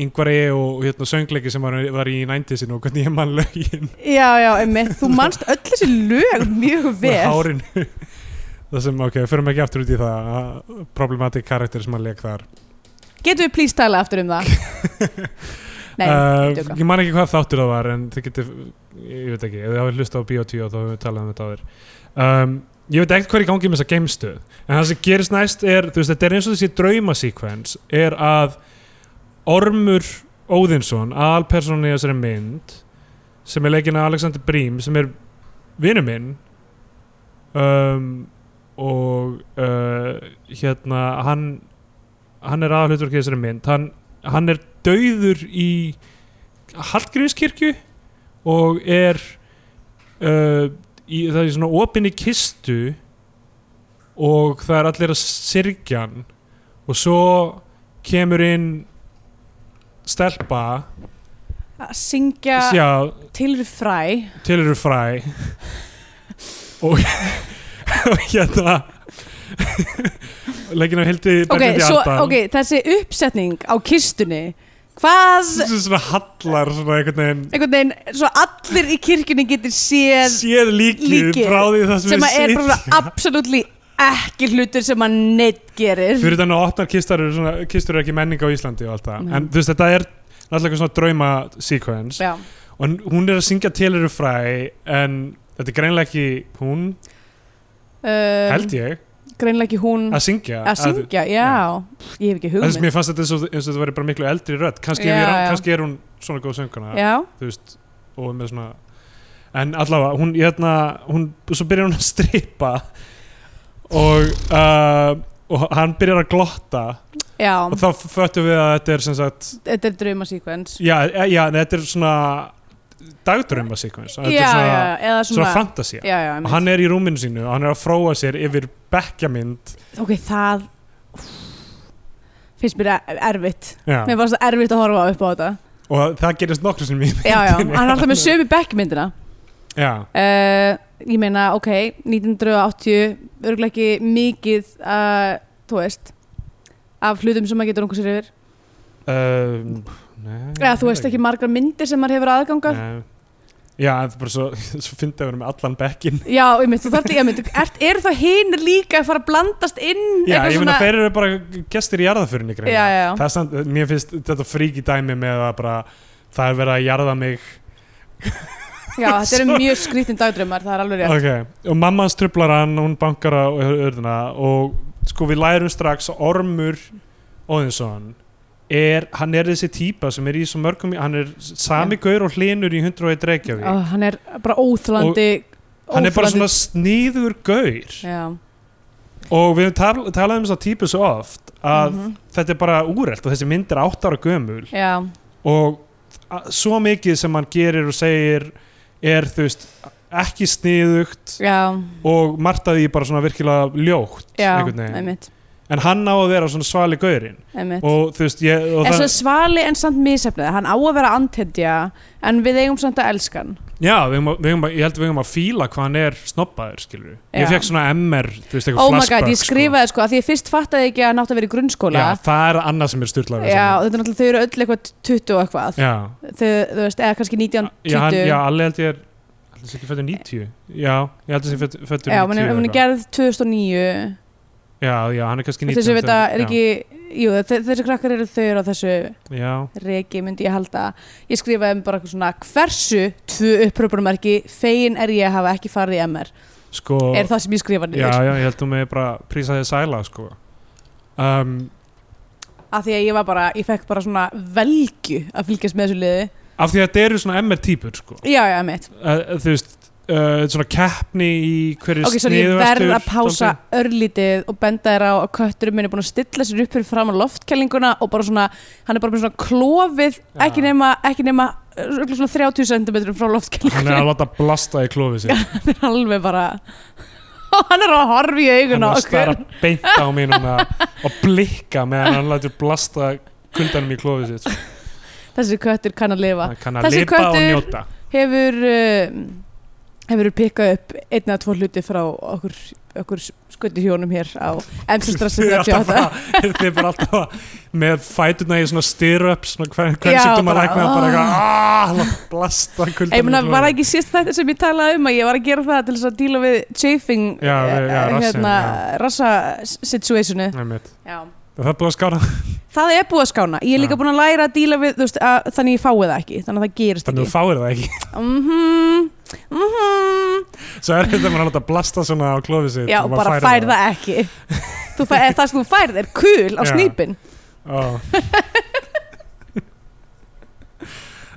C: yngvari og hérna söngleiki sem var, var í næntisinn og hvernig ég man lögin.
B: Já, já, emmitt, þú manst öll þessi lög mjög
C: með
B: vel
C: hárinu það sem, ok, förum ekki aftur út í það að problematic karakter sem hann leik þar
B: Getum við please tala aftur um það? Nei,
C: uh,
B: djóka.
C: ég man ekki hvað þáttur það var en þið getur, ég veit ekki, ef þið hafið hlust á Bíotvíó þá höfum við talað um þetta áður um, ég veit ekkert hvað er í gangi með þessa geimstöð en það sem gerist næst er, þú veist, þetta er eins og þessi draumasíkvens er að Ormur Óðinsson aðalpersónan í þessari mynd sem er leikinn af Alexander Brím sem er vinnu minn um, og uh, hérna hann, hann er aðalhutverk í þessari mynd hann, hann er dauður í Hallgrímskirkju og er uh, í, það er svona opinni kistu og það er allir að syrgja hann og svo kemur inn stelpa
B: að syngja
C: ja. sjá,
B: til fræ
C: til eru fræ og, og hérna leggin á hildi
B: ok, svo, ok, þessi uppsetning á kistunni hvað
C: svona hallar svona einhvern veginn
B: einhvern veginn, svo allir í kirkjunni getur séð
C: séð líkið
B: líkið
C: frá því það
B: sem
C: sem,
B: að er
C: við
B: bara svona absolutt ekki hlutur sem að neitt gerir
C: fyrir þannig að opnar kistar eru svona, kistur eru ekki menning á Íslandi og allt það
B: Nei.
C: en þú veist þetta er náttúrulega eitthvað svona drauma sequence
B: já,
C: og hann- hún er að syngja til eru fræ en þetta er greinlega ekki hún
B: um,
C: held ég
B: greinlega ekki hún
C: að syngja
B: að syngja, já, ég hef ekki
C: þess að
B: hugmynd
C: mér fannst þetta eins og, eins og þetta væri bara miklu eldri rödd kannski,
B: Já,
C: er, hún-
B: já.
C: kannski er hún svona góð sönguna
B: já,
C: þú veist og með svona en allavega hún hérna hún, svo byrjar hún að strippa og uh, og hann byrjar að glotta
B: já,
C: og þá föttum við að þetta er sem sagt
B: þetta er draumasíkvens
C: já, e- já en þetta er svona dagdrauma sequence
B: já, já, eða
C: svona
B: svona,
C: fantasía
B: já, já,
C: og
B: einmitt.
C: hann er í rúminu sínu og hann er að fróa sér yfir bekkjamynd
B: ok, það finnst mér e- erfitt
C: já.
B: mér var svo erfitt að horfa upp á þetta
C: og það gerist nokkru sinni mjög
B: já, já, hann er alltaf með sömu bekkmyndina
C: já,
B: uh, ég meina, ok 1980, örgulega ekki mikið uh, þú veist af hlutum sem maður getur ungu sér yfir
C: um, nei,
B: eða þú veist ekki margar myndir sem maður hefur aðganga
C: Nei. Já, það er bara svo, svo fyndið að vera með allan bekkin
B: já, ég mynd, þú þarf ég mynd, er, eru þá hinir líka að fara að blandast inn
C: Já,
B: eitthvað
C: ég meina þeir hérna. eru bara gestir í jarðaförinni
B: já, já, já,
C: Það er samt, mér finnst þetta fríki dæmi með að bara það er verið að jarða mig
B: já, þetta eru mjög skrítin dagdrömmar, það er alveg rétt
C: okay. og mamma hans trublar hann, hún bankar á örðina og sko við lærum strax að Ormur Óðinsson er, hann er þessi típa sem er í svo mörgum, hann er sami gaur og hlinur í 101 Reykjavík
B: Ó, Ah, hann er bara óþlandi
C: hann er bara svona sníður gaur
B: já,
C: og við höfum tal- talað um þess að típu svo oft að
B: mhm,
C: þetta er bara úrelt og þessi mynd er 8 ára gömul
B: já,
C: og a- svo mikið sem hann gerir og segir er þú veist ekki sniðugt
B: já,
C: og margt af því bara svona virkilega ljótt
B: já
C: einhvern veginn.
B: einmitt,
C: en hann á að vera svona svali gaurinn
B: einmitt
C: og þú veist ég, og
B: er
C: það,
B: svo svali en samt misefnið hann á að vera antendja en við eigum samt að elska hann
C: já, við um, við um, ég held við um að fíla hvað hann er snobbaður skilur
B: Já.
C: ég fekk svona MR þú veist, eitthvað
B: oh my
C: flashback
B: god, ég skrifaði sko að því ég fyrst fattaði ekki að hann átt að vera í
C: sko.
B: grunnskóla
C: já, það er annað sem er styrlað
B: já, og þetta er náttúrulega þau eru öll eitthvað 20 og eitthvað
C: já,
B: þau, þú veist, eða kannski 19,
C: já, hann,
B: 20
C: já allir held ég er allir sem ekki fættur 90 já, ég held sem fættur 90
B: já menn hún
C: um eitthvað.
B: er gerð 2009
C: Já, já, hann er kannski 19
B: þess að þetta er
C: já.
B: ekki jú, þe- þessi krakkar eru þau eru á þessu
C: Já,
B: reiki myndi ég halda ég skrifaði um bara eitthvað svona hversu tvö uppröpunarmerki fegin er ég að hafa ekki farið í MR
C: sko
B: er það sem ég skrifa
C: Já,
B: niður
C: já, ég held þú með bara prísaði sæla, sko um,
B: af því að ég var bara, ég fekk bara svona velgju að fylgjast með þessu liði
C: Af því að þetta eru svona MR-típur, sko
B: já, já, mitt,
C: uh, Þú veist, uh, svona keppni í hverju
B: ok, svo ég verð að pása örlítið og benda þér á að kötturinn minn er búin að stilla sér upp fyrir fram á loftkælinguna og bara svona, hann er bara með svona klofið,
C: Já.
B: ekki nema ekki nema, uh, örugglega svona 30 cm frá
C: Hann er
B: loftkælingunni,
C: að láta blasta í klófið sér
B: hann er alveg bara og hann er að horfa í
C: Hann
B: augun á
C: er að
B: okkur
C: stara beint á mín núna og blikka meðan hann lætur blasta kundanum í klófið sér sko.
B: þessi köttur kann að lifa
C: Hann kann að
B: Þessi
C: lipa og
B: köttur-
C: njóta
B: hefur uh, hefur pikkað upp einn eða tvo hluti frá okkur, okkur skutti hjónum hér á
C: Þið
B: Emsilstrassi
C: er
B: 38
C: alltaf bara- þið er bara alltaf að- með fætuna í svona stirrup svona hvern
B: Já,
C: sjúkdum að
B: bara,
C: lækna bara eitthvað "Ah, lá- blasta
B: Ég meina,
C: kuldanum í
B: var það
C: blóðið."
B: ekki síst þetta sem ég talaði um að ég var að gera það til þess að díla við chafing
C: Já, við-
B: eh,
C: já, rassinn,
B: hérna,
C: já.
B: rassa situationu
C: Einmitt.
B: já.
C: það er búin að skára
B: Það er búið að skána, ég er líka
C: Já.
B: búin að læra að díla við þú veist, að, þannig ég fái það ekki, þannig að það gerist
C: þannig að þú
B: ekki
C: fáir það ekki
B: Mhm, mhm
C: svo er þetta maður að láta blasta svona á klófið sitt
B: Já, bara fær það ekki þú fær, Það sem þú færð er kul á
C: Já.
B: snýpin
C: Ó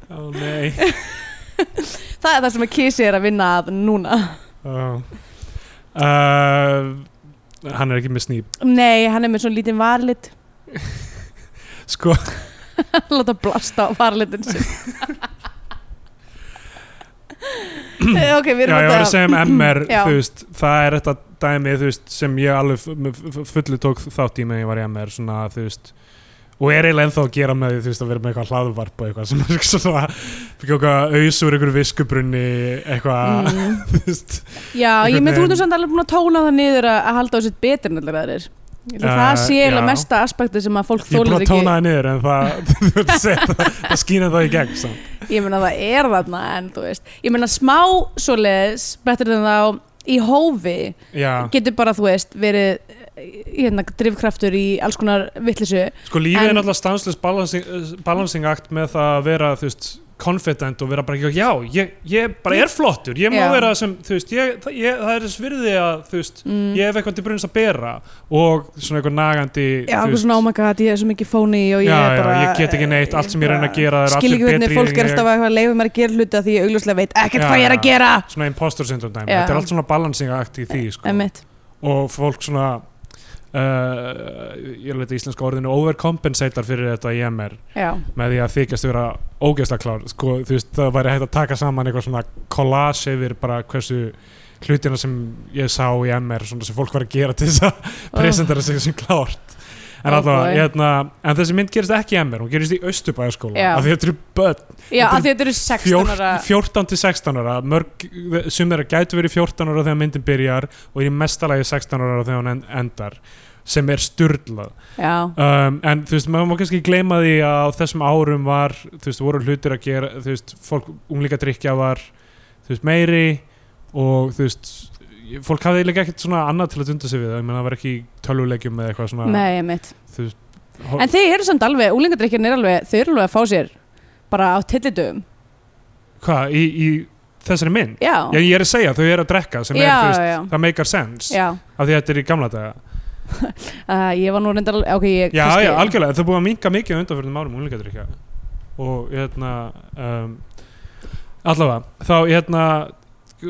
C: Ó nei
B: Það er það sem að kísi er að vinna að núna
C: Ó. uh, Hann er ekki með snýp
B: Nei, hann er með svona lítinn varlit
C: Sko,
B: Láta blasta á varlitin sin Eh, Ok, við
C: já,
B: erum
C: ég var að segja um MR
B: Já.
C: þú veist, það er þetta dæmi þú veist, sem ég alveg f- m- f- fullu tók þátt í með ég var í MR svona, þú veist, og er eiginlega ennþá að gera með því þú veist, að vera með eitthvað hlaðvarp og eitthvað sem er svona, fyrir eitthvað aus úr einhverju viskubrunni eitthvað,
B: mm.
C: þú veist
B: Já, ég
C: Einhvern
B: með þú
C: veginn.
B: ert nú samt alveg búin að tóna það niður að, að halda á sitt betur en allir aðrir Ég held að
C: Eh,
B: Það sé eiginlega
C: já.
B: mesta aspekti sem að fólk
C: Ég er búin
B: þólir
C: að
B: ekki
C: tóna það niður en það, þú veist að segja það, það skýna það í gegn samt.
B: Ég meina það er þarna en þú veist Ég meina smá svoleiðis betur en þá í hófi
C: Já,
B: getur bara þú veist verið eh, hérna, drifkraftur í alls konar vittlisu
C: sko lífið er
B: En-
C: náttúrulega stanslust balancing, eh, balancing act með það að vera, þú veist, confident og vera bara ekki, já, ég, ég bara er flottur, ég má
B: Já.
C: vera sem, þú veist, ég, það, ég, það er þess virði að, þú veist,
B: mm.
C: ég hef eitthvað til brunns að bera og svona eitthvað nagandi,
B: Já,
C: þú
B: okkur svona, oh my god, ég er svo mikið fóni og ég
C: Já,
B: er
C: já,
B: bara
C: ég get ekki neitt, allt sem ég reyni að gera er
B: Skil
C: allir
B: ekki hvernig
C: betri
B: fólk er
C: en ég.
B: alltaf að leifa mér að gera hluti af því ég augljóslega veit ekkert
C: Já,
B: hvað ég er að
C: já.
B: gera
C: svona impostor syndrome dæmi,
B: Já.
C: þetta er allt svona balancing act í því, sko.
B: Emmitt,
C: og fólk svona uh, ég leita íslenska orðinu overcompensatar fyrir þetta í MR
B: já
C: með því að þykjast vera ógeðslega klár sko, þú veist, það væri hægt að taka saman eitthvað svona collage yfir bara hversu hlutina sem ég sá í MR svona sem fólk var að gera til þess að presentera sig sem klárt en,
B: Oh
C: oh
B: boy.
C: hérna, en þessi mynd gerist ekki í MR hún gerist í Östubæðaskóla
B: Já.
C: af því að þetta eru börn
B: Já,
C: Þetta
B: af því þetta eru 16 ára
C: 14 til 16 ára mörg, sum þeirra gætu verið 14 ára þegar myndin byrjar og er í mestalagi 16 ára þegar hún en- endar sem er styrlað
B: Já,
C: um, en þú veist, maður má kannski gleyma því að á þessum árum var, þú veist, voru hlutir að gera þú veist, fólk, unglíka drikja var þú veist, meiri og þú veist, ég- fólk hafði eiginlega ekkert svona annað til að dunda sig við, það. ég meina það var ekki í tölvuleikjum eða eitthvað svona
B: nei, emmitt
C: þú veist,
B: En þeir eru samt alveg, úlingadrykkjarn er alveg Þau eru alveg að fá sér bara á tillitum
C: hvað, í, í þessari mynd
B: Já,
C: Já, ég er að segja, þau eru að drekka sem er,
B: já,
C: þú veist,
B: já,
C: það make sense
B: já.
C: af því að þetta er í gamla daga
B: Uh, Ég var nú reyndar alveg, ok, ég
C: já,
B: kannski-
C: já, algjörlega, það er búið að minka mikið á undanförnum árum úlingadrykja og hérna um, allavega, þá hérna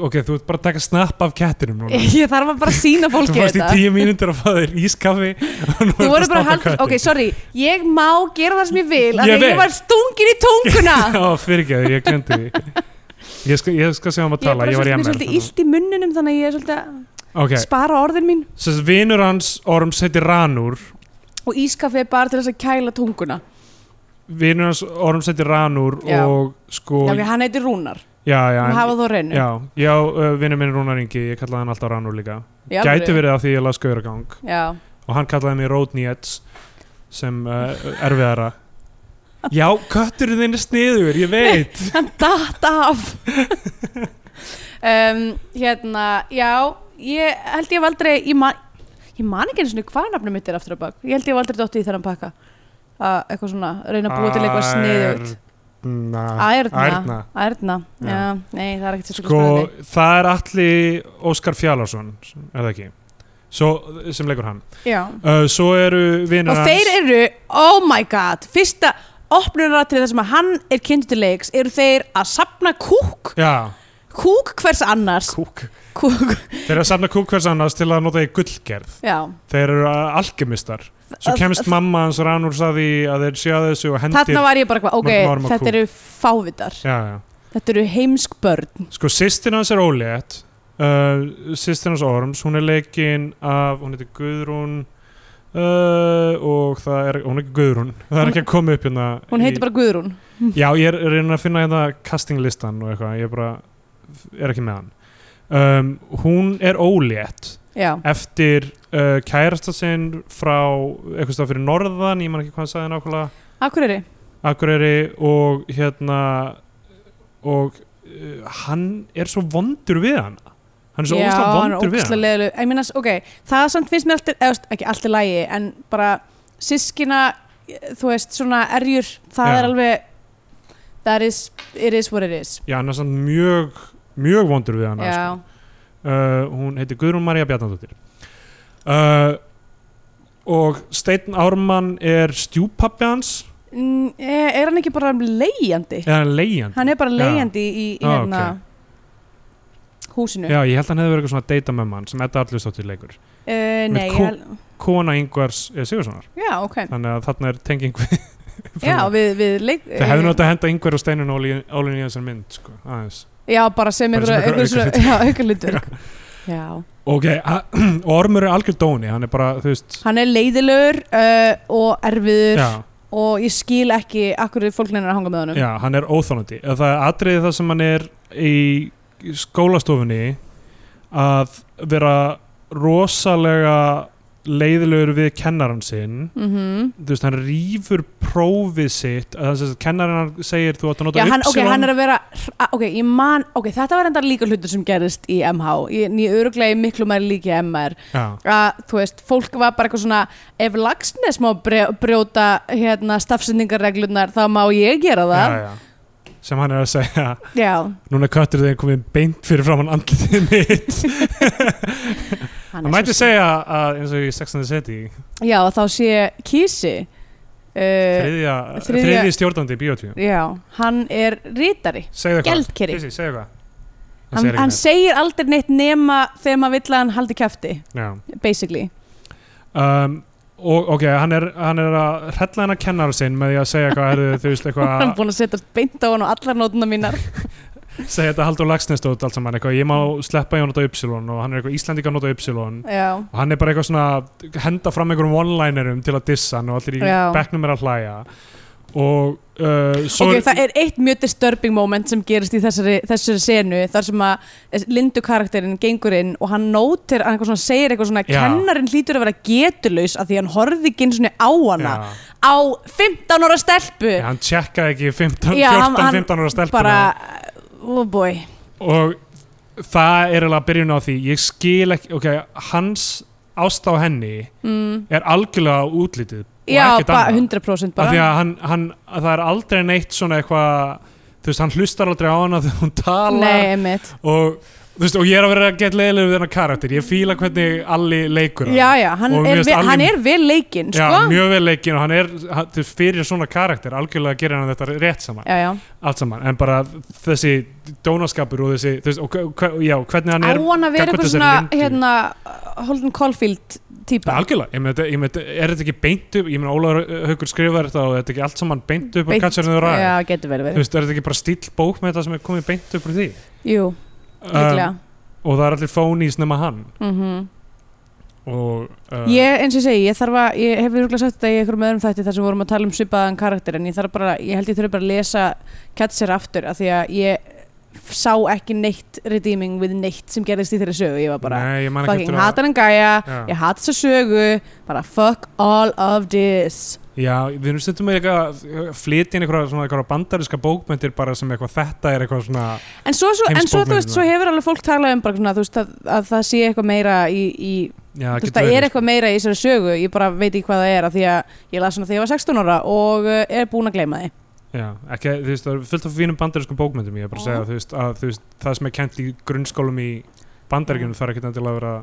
C: ok, þú ert bara að taka snapp af kettinum núna
B: Ég þarf að bara sína
C: þú
B: fólki
C: fannst í
B: þetta
C: tíu mínútur að fá þér ískaffi og nú
B: Þú
C: ertu
B: voru
C: að
B: bara
C: snappa
B: hald,
C: köttinn.
B: ok, sorry, ég má gera það sem ég vil af
C: Ég
B: því að
C: veit.
B: ég var stungin í tunguna
C: já, fyrirgeðu, ég glemdi því ég skal, ég skal segja um
B: Ég
C: að
B: er
C: tala,
B: bara
C: ég var í
B: svolítið- mér
C: MR
B: svolítið illt í munnunum þannig að ég er svolítið að
C: ok,
B: spara orðin mín
C: þess að vinur hans Orms heitir Ranur
B: og ískaffi er bara til þess að kæla tunguna
C: vinur hans Orms heitir Ranur
B: Já.
C: og sko
B: Já, ok, hann heitir Rúnar,
C: já, já,
B: hann
C: en-
B: hafa þó reynu
C: já, já uh, vinur minn Rúnar Ingi, ég kallaði hann alltaf Ranur líka gæti verið af því ég las Gauragang
B: Já,
C: og hann kallaði mig Rodney Edds sem uh, erfiðara Já, kötturinn þinn er sniður, ég veit
B: hann datt af um, Hérna, já, ég held ég hef aldrei, ég man, ég man ekki einu sinni hvað nafnum mitt er aftur á bak Ég held ég hef aldrei dottið í þennan pakka að eitthvað svona, reyna að búa til eitthvað sniðugt
C: Ærna
B: Ærna,
C: Ærna.
B: Ærna. Já.
C: Já.
B: nei, það er ekkert
C: Sko,
B: sérstaklega
C: það er allir Óskar Fjallarsson, er það ekki Svo, sem leikur hann
B: spennandi Já
C: uh, Svo eru vinur
B: og þeir eru, oh my god fyrsta opnunaratrið þar sem að hann er kynntu til leiks eru þeir að sapna kúk
C: Já,
B: kúk hvers annars
C: kúk
B: kúk,
C: Þeir eru að safna kúk hvers annars til að nota í gullgerð
B: já
C: Þeir eru uh, alkemistar Svo
B: Að-
C: kemst mamma hans Ranur saði að þeir séu að þessu og hendir
B: þarna var ég bara, eitthvað,
C: mörgum
B: ok,
C: árum á
B: þetta
C: kúk.
B: eru fávitar
C: Já, já
B: þetta eru heimsk börn
C: Sko, sýstin hans er ólétt uh, Sýstin hans Orms, hún er leikin af, hún heitir Guðrún uh, og það er hún er ekki Guðrún, það er
B: Hún-
C: ekki að koma upp hérna
B: hún heitir bara Guðrún
C: Já, ég er reyna að finna hérna castinglistan og eitthvað, ég er bara er ekki með hann um, Hún er ólétt
B: já,
C: eftir uh, kærasta sinn frá eitthvað stað fyrir norðan ég man ekki hvað hann sagði nákvæmlega
B: Akureyri
C: Akureyri og hérna og uh, hann er svo vondur við hann hann er svo
B: já,
C: óslega
B: hann er
C: vondur við hann
B: ógæslega leðileg ég meina, ok, það samt finnst mér alltaf eða, ekki alltaf lægi, en bara sískina, þú veist, svona erjur, það
C: Já.
B: er alveg that is, it is what it is
C: já, hann er samt mjög mjög vondur við hann
B: já,
C: sko. uh, hún heitir Guðrún María Bjarnadóttir uh, og Steinn Ármann er stjúpappi hans
B: Mm, Er er hann ekki bara leigjandi?
C: eða leigjandi
B: Hann er bara leigjandi í, í
C: Ah,
B: hérna húsinu.
C: já, ég held að hann hefði verið eitthvað svona data með mann sem Edda Allustóttir leikur
B: Uh,
C: Með
B: nei, ég
C: kú-
B: hel...
C: kona Ingvars eh, Sigurðssonar
B: já, ok.
C: þannig að þarna er tenging við
B: Já, við, við leik...
C: það hefði nátt að henda Ingvar og Steinun Ólin í þessar mynd sko, aðeins
B: Já, bara sem
C: Bara sem
B: einhver, einhver,
C: einhver
B: svona, já, einhver hlutverk. Já,
C: ok, a- og Ormur er algjör dóni hann er bara, þú veist
B: hann er leiðilegur uh, og erfiður
C: já,
B: og ég skil ekki akkur fólk neina að hanga með honum.
C: já, hann er óþólandi það er atriði það sem hann er í skólastofunni að vera rosalega leiðilegur við kennaran sinn
B: Mm
C: þú veist, hann rýfur prófið sitt að þess að kennaran segir þú átt að nota
B: Já, hann, ok,
C: ypsilon."
B: hann er að vera hr- a- ok, ég man, ok, þetta var enda líka hlutur sem gerist í MH, ég, en ég öruglega í miklu mæri líka í MR
C: já,
B: að þú veist, fólk var bara eitthvað svona ef lagsnes má brjó- brjóta hérna, stafsendingarreglunar þá má ég gera það
C: já, já. sem hann er að segja
B: já.
C: núna köttur þegar komið beint fyrir framann andlitið mitt
B: hann
C: hann
B: er
C: mætti
B: svo-
C: segja að eins og í Sex and the City
B: já, þá sé kísi uh,
C: þriðja,
B: þriðja-
C: þriðja, stjórnandi í bíotvíum
B: já, hann er rítari
C: segðu eitthvað,
B: Gjaldkeri.
C: Krissi, segðu eitthvað
B: hann,
C: segir ekki
B: hann
C: neitt.
B: segir aldrei neitt nema þegar maður vill að hann haldi kæfti
C: Já.
B: basically
C: um, og ok, hann er, hann er að hrella hennar kennara sinn með því að segja eitthvað herðu, þú
B: hann
C: veist
B: er
C: eitthvað,
B: búin að setja beint á hann og allar nótuna mínar
C: segja þetta Haldur Lagsnest og allt saman eitthvað, ég má sleppa ég að nota Ypsilon og hann er eitthvað Íslandika að nota Ypsilon
B: já,
C: og hann er bara eitthvað svona henda fram einhverjum one-linerum til að dissa hann og allir í
B: Já.
C: bekknum er að hlæja og uh, svo
B: ok, það er eitt mjög disturbing moment sem gerist í þessari, þessari senu þar sem að Lindu karakterinn gengur inn og hann nótir, hann eitthvað svona, segir eitthvað svona
C: Já.
B: kennarinn hlýtur að vera getulaus af því hann horfði ekki eins og á hana
C: Já.
B: á 15 ára stelpu
C: Já, hann tjekkaði ekki 15,
B: Já, hann-
C: 14,
B: hann
C: 15 ára stelpuna
B: bara, oh boy
C: og það er alveg að byrjun á því ég skil ekki, ok, hans ást á henni
B: mm.
C: er algjörlega á útlitið og
B: já,
C: ekkert
B: bara
C: annað.
B: 100%
C: Af því
B: bara
C: að hann, hann, að það er aldrei neitt svona eitthvað þú veist, hann hlustar aldrei á hana þegar hún talar
B: nei, emitt
C: og þú veist, og ég er að vera að geta leiðilegur við þennan karakter, ég fíla hvernig Alli leikur hann.
B: já, já, hann,
C: Og mér
B: er,
C: finnst
B: ve
C: alveg-
B: hann er vel leikinn
C: Já,
B: sko?
C: mjög vel leikinn og hann er, hann, þú veist, fyrir svona karakter algjörlega gerir hann þetta rétt saman
B: já, já.
C: allt saman, en bara þessi dónaskapur og þessi, þú veist, og, hve- hve- já, hvernig hann
B: á
C: er
B: hann að vera eitthvað
C: gagnvart þessari
B: svona
C: Lindu.
B: hérna, Holden Caulfield
C: Það
B: típa
C: er algjörlega, ég meina, þetta- ég meina, þetta- er þetta ekki beint upp, ég meina Ólaður Haukur skrifar þetta og þetta er ekki allt saman beint upp á
B: Beint-
C: katsarinu og ræði,
B: já, getur verið
C: þú
B: verið
C: veist, er þetta ekki bara stíl bók með þetta sem er komið beint upp úr því Um,
B: jú, líklega
C: og það er allir fónís nema hann
B: mm
C: og uh,
B: Ég, eins og ég segi, ég þarf að, ég hef virkulega sagt þetta í einhverjum öðrum þætti þar sem vorum að tala um svipaðan karakter en ég þarf bara, ég held ég þurfi bara að lesa Catcher aftur af því að ég f- sá ekki neitt redeeming við neitt sem gerðist í þeirri sögu, ég var bara
C: nei, ég man ekki
B: fucking
C: eftir að-
B: hatar hann gæja,
C: Já.
B: ég hata þessa sögu bara fuck all of this
C: Já, við erum stundum með eitthvað flytja inn eitthvað, svona, eitthvað bandariska bókmyndir bara sem eitthvað þetta er eitthvað svona
B: en svo, svo, en svo, þú veist,
C: Heimsbókmyndirnar.
B: svo hefur alveg fólk talað um bara svona, þú veist, að, að það sé eitthvað meira í, í
C: já,
B: þú veist,
C: getur
B: það er
C: verið, sko.
B: eitthvað meira í þessari sögu ég bara veit ekki hvað það er af því að ég las hana þegar ég var 16 ára og uh, er búin að gleyma því
C: Já, ekki, þú veist, það er fullt af fínum bandarískum bókmyndum ég er bara að segja, þú veist, að þú veist, það sem er kent í grunnskólum í bandaríkjunum þarf ekki endilega að vera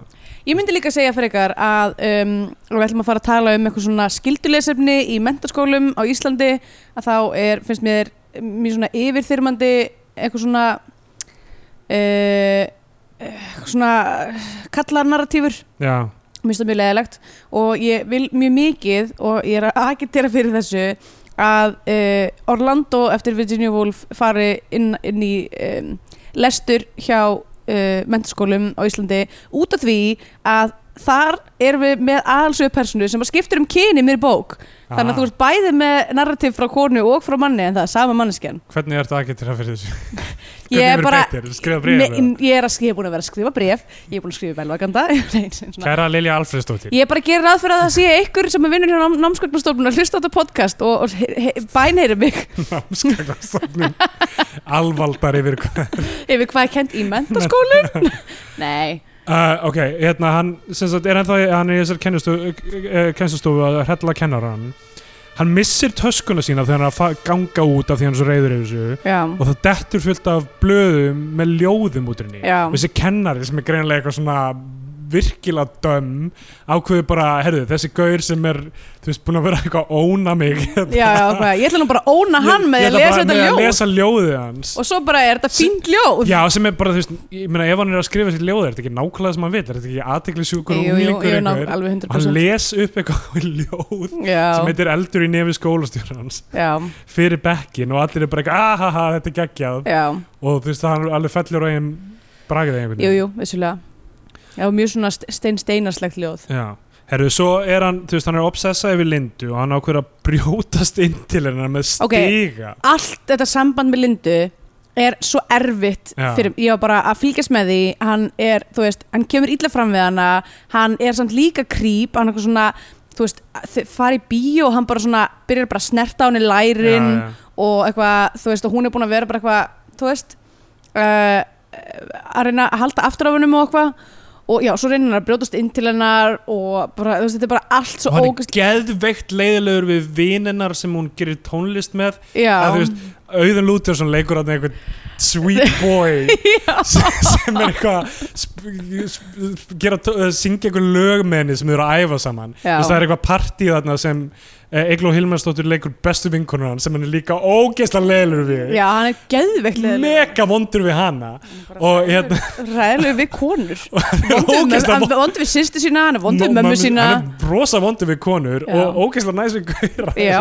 B: ég myndi líka segja fyrir ykkar að um, og við ætlum að fara að tala um eitthvað svona skildulesefni í mentaskólum á Íslandi að þá er, finnst mér mjög svona yfirþyrmandi eitthvað svona uh, eitthvað svona eh, kallarnarratífur
C: Já,
B: Mér finnst það mjög leðilegt og ég vil mjög mikið og ég er að agitera fyrir þessu að uh, Orlando eftir Virginia Woolf fari inn, inn í um, lestur hjá uh, mentaskólum á Íslandi út af því að þar erum við með aðalsöðpersonu sem að skiptir um kyni mér bók þannig að þú ert bæði með narrativ frá konu og frá manni en það er sama manneskjan
C: hvernig er þetta að geta fyrir þessu?
B: Ég er bara
C: skrifa
B: Me,
C: bregðar
B: ég er að skrifa, búin að vera að skrifa bref ég er búin að skrifa velvakanda Nei, svona-
C: Kæra Lilja Alfreðsdóttir
B: Ég er bara að gera ráð fyrir að það sé einhver sem er vinnur hjá nám, námsköpunarstofnun að hlusta á þetta podcast og, og he- he- bænheyri mig
C: námskagnastofnun alvaldar yfir hvað
B: yfir hvað ég kent í mentaskólum. Nei,
C: Uh, ok, eh, hérna hann sem sagt er ennþá hann er í þessar kennustofu, uh, kennustofu að hrella kennaran hann missir töskuna sína þegar hann er að fa- ganga út af því hann er svo reyður yfir þessu
B: já,
C: og það dettur fullt af blöðum með ljóðum út úr henni
B: Já.
C: og þessi kennari sem er greinlega eitthvað svona virkilega döm ákveður bara, herðu, þessi gaur sem er þú veist, búin að vera eitthvað að óna mig
B: já, já, hvað, ég ætla nú bara að óna hann með því að lesa þetta
C: að
B: ljóð
C: lesa ljóðið hans
B: og svo bara er þetta fínt ljóð
C: Já, sem er bara, þú veist, ég meina ef hann er að skrifa sér ljóð er þetta ekki nákvæmlega sem hann vil, er þetta ekki aðteglisjúkur
B: Jú, jú,
C: unglingur
B: jú, ná,
C: einhver
B: alveg
C: og hann
B: 100%
C: les upp eitthvað ljóð sem
B: já,
C: heitir eldur í nefi skólastjórans
B: já,
C: fyrir bekkin og allir er bara eitthvað ahaha þetta er geggjað
B: já,
C: og þú veist það hann alveg fellur á einn bragðið einhvern
B: jú, jú, vissulega já, mjög svona stein steinarslegt ljóð
C: Já. Herru, svo er hann, þú veist, hann er obsessað yfir Lindu og hann ákveður að brjótast inn til hennar með stiga
B: Ok. allt þetta samband með Lindu er svo erfitt
C: Já.
B: fyrir, ég var bara að fylgjast með því hann er, þú veist, hann kemur illa fram við hana hann er samt líka krýp hann er eitthvað svona, þú veist þau fara í bíó og hann bara svona byrjar bara að snerta á henni lærin
C: Já, já.
B: og eitthvað, þú veist, og hún er búin að vera bara eitthvað þú veist uh, að reyna að halda aftur af hennum og eitthvað og já, svo reynir hann að brjótast inn til hennar og bara, þú veist, þetta er bara allt
C: og
B: svo
C: hann
B: ógust
C: er geðveikt leiðilegur við vinennar sem hún gerir tónlist með að þú
B: já,
C: veist, Auðun Lútersson leikur hann einhvern sweet boy sem sem er eitthvað sp- sp- gera, t- eh, syngja einhver lög með henni sem þau eru að æfa saman Þú
B: Já.
C: veist, það er eitthvað partíð þarna sem eh, Egil og Hilmarsdóttir leikur bestu vinkonur hann sem hann er líka ógeðslega leilur við
B: já, hann er geðveiklega
C: mega vondur við hana og hérna
B: ræðilega við konur
C: ógeðslega vond-
B: vondið við sýstu sína, hann er vondið við
C: Nó,
B: mömmu
C: mamma-
B: sína
C: hann er rosa vondur við konur
B: Já.
C: og ógeðslega næs við gauðra
B: Já.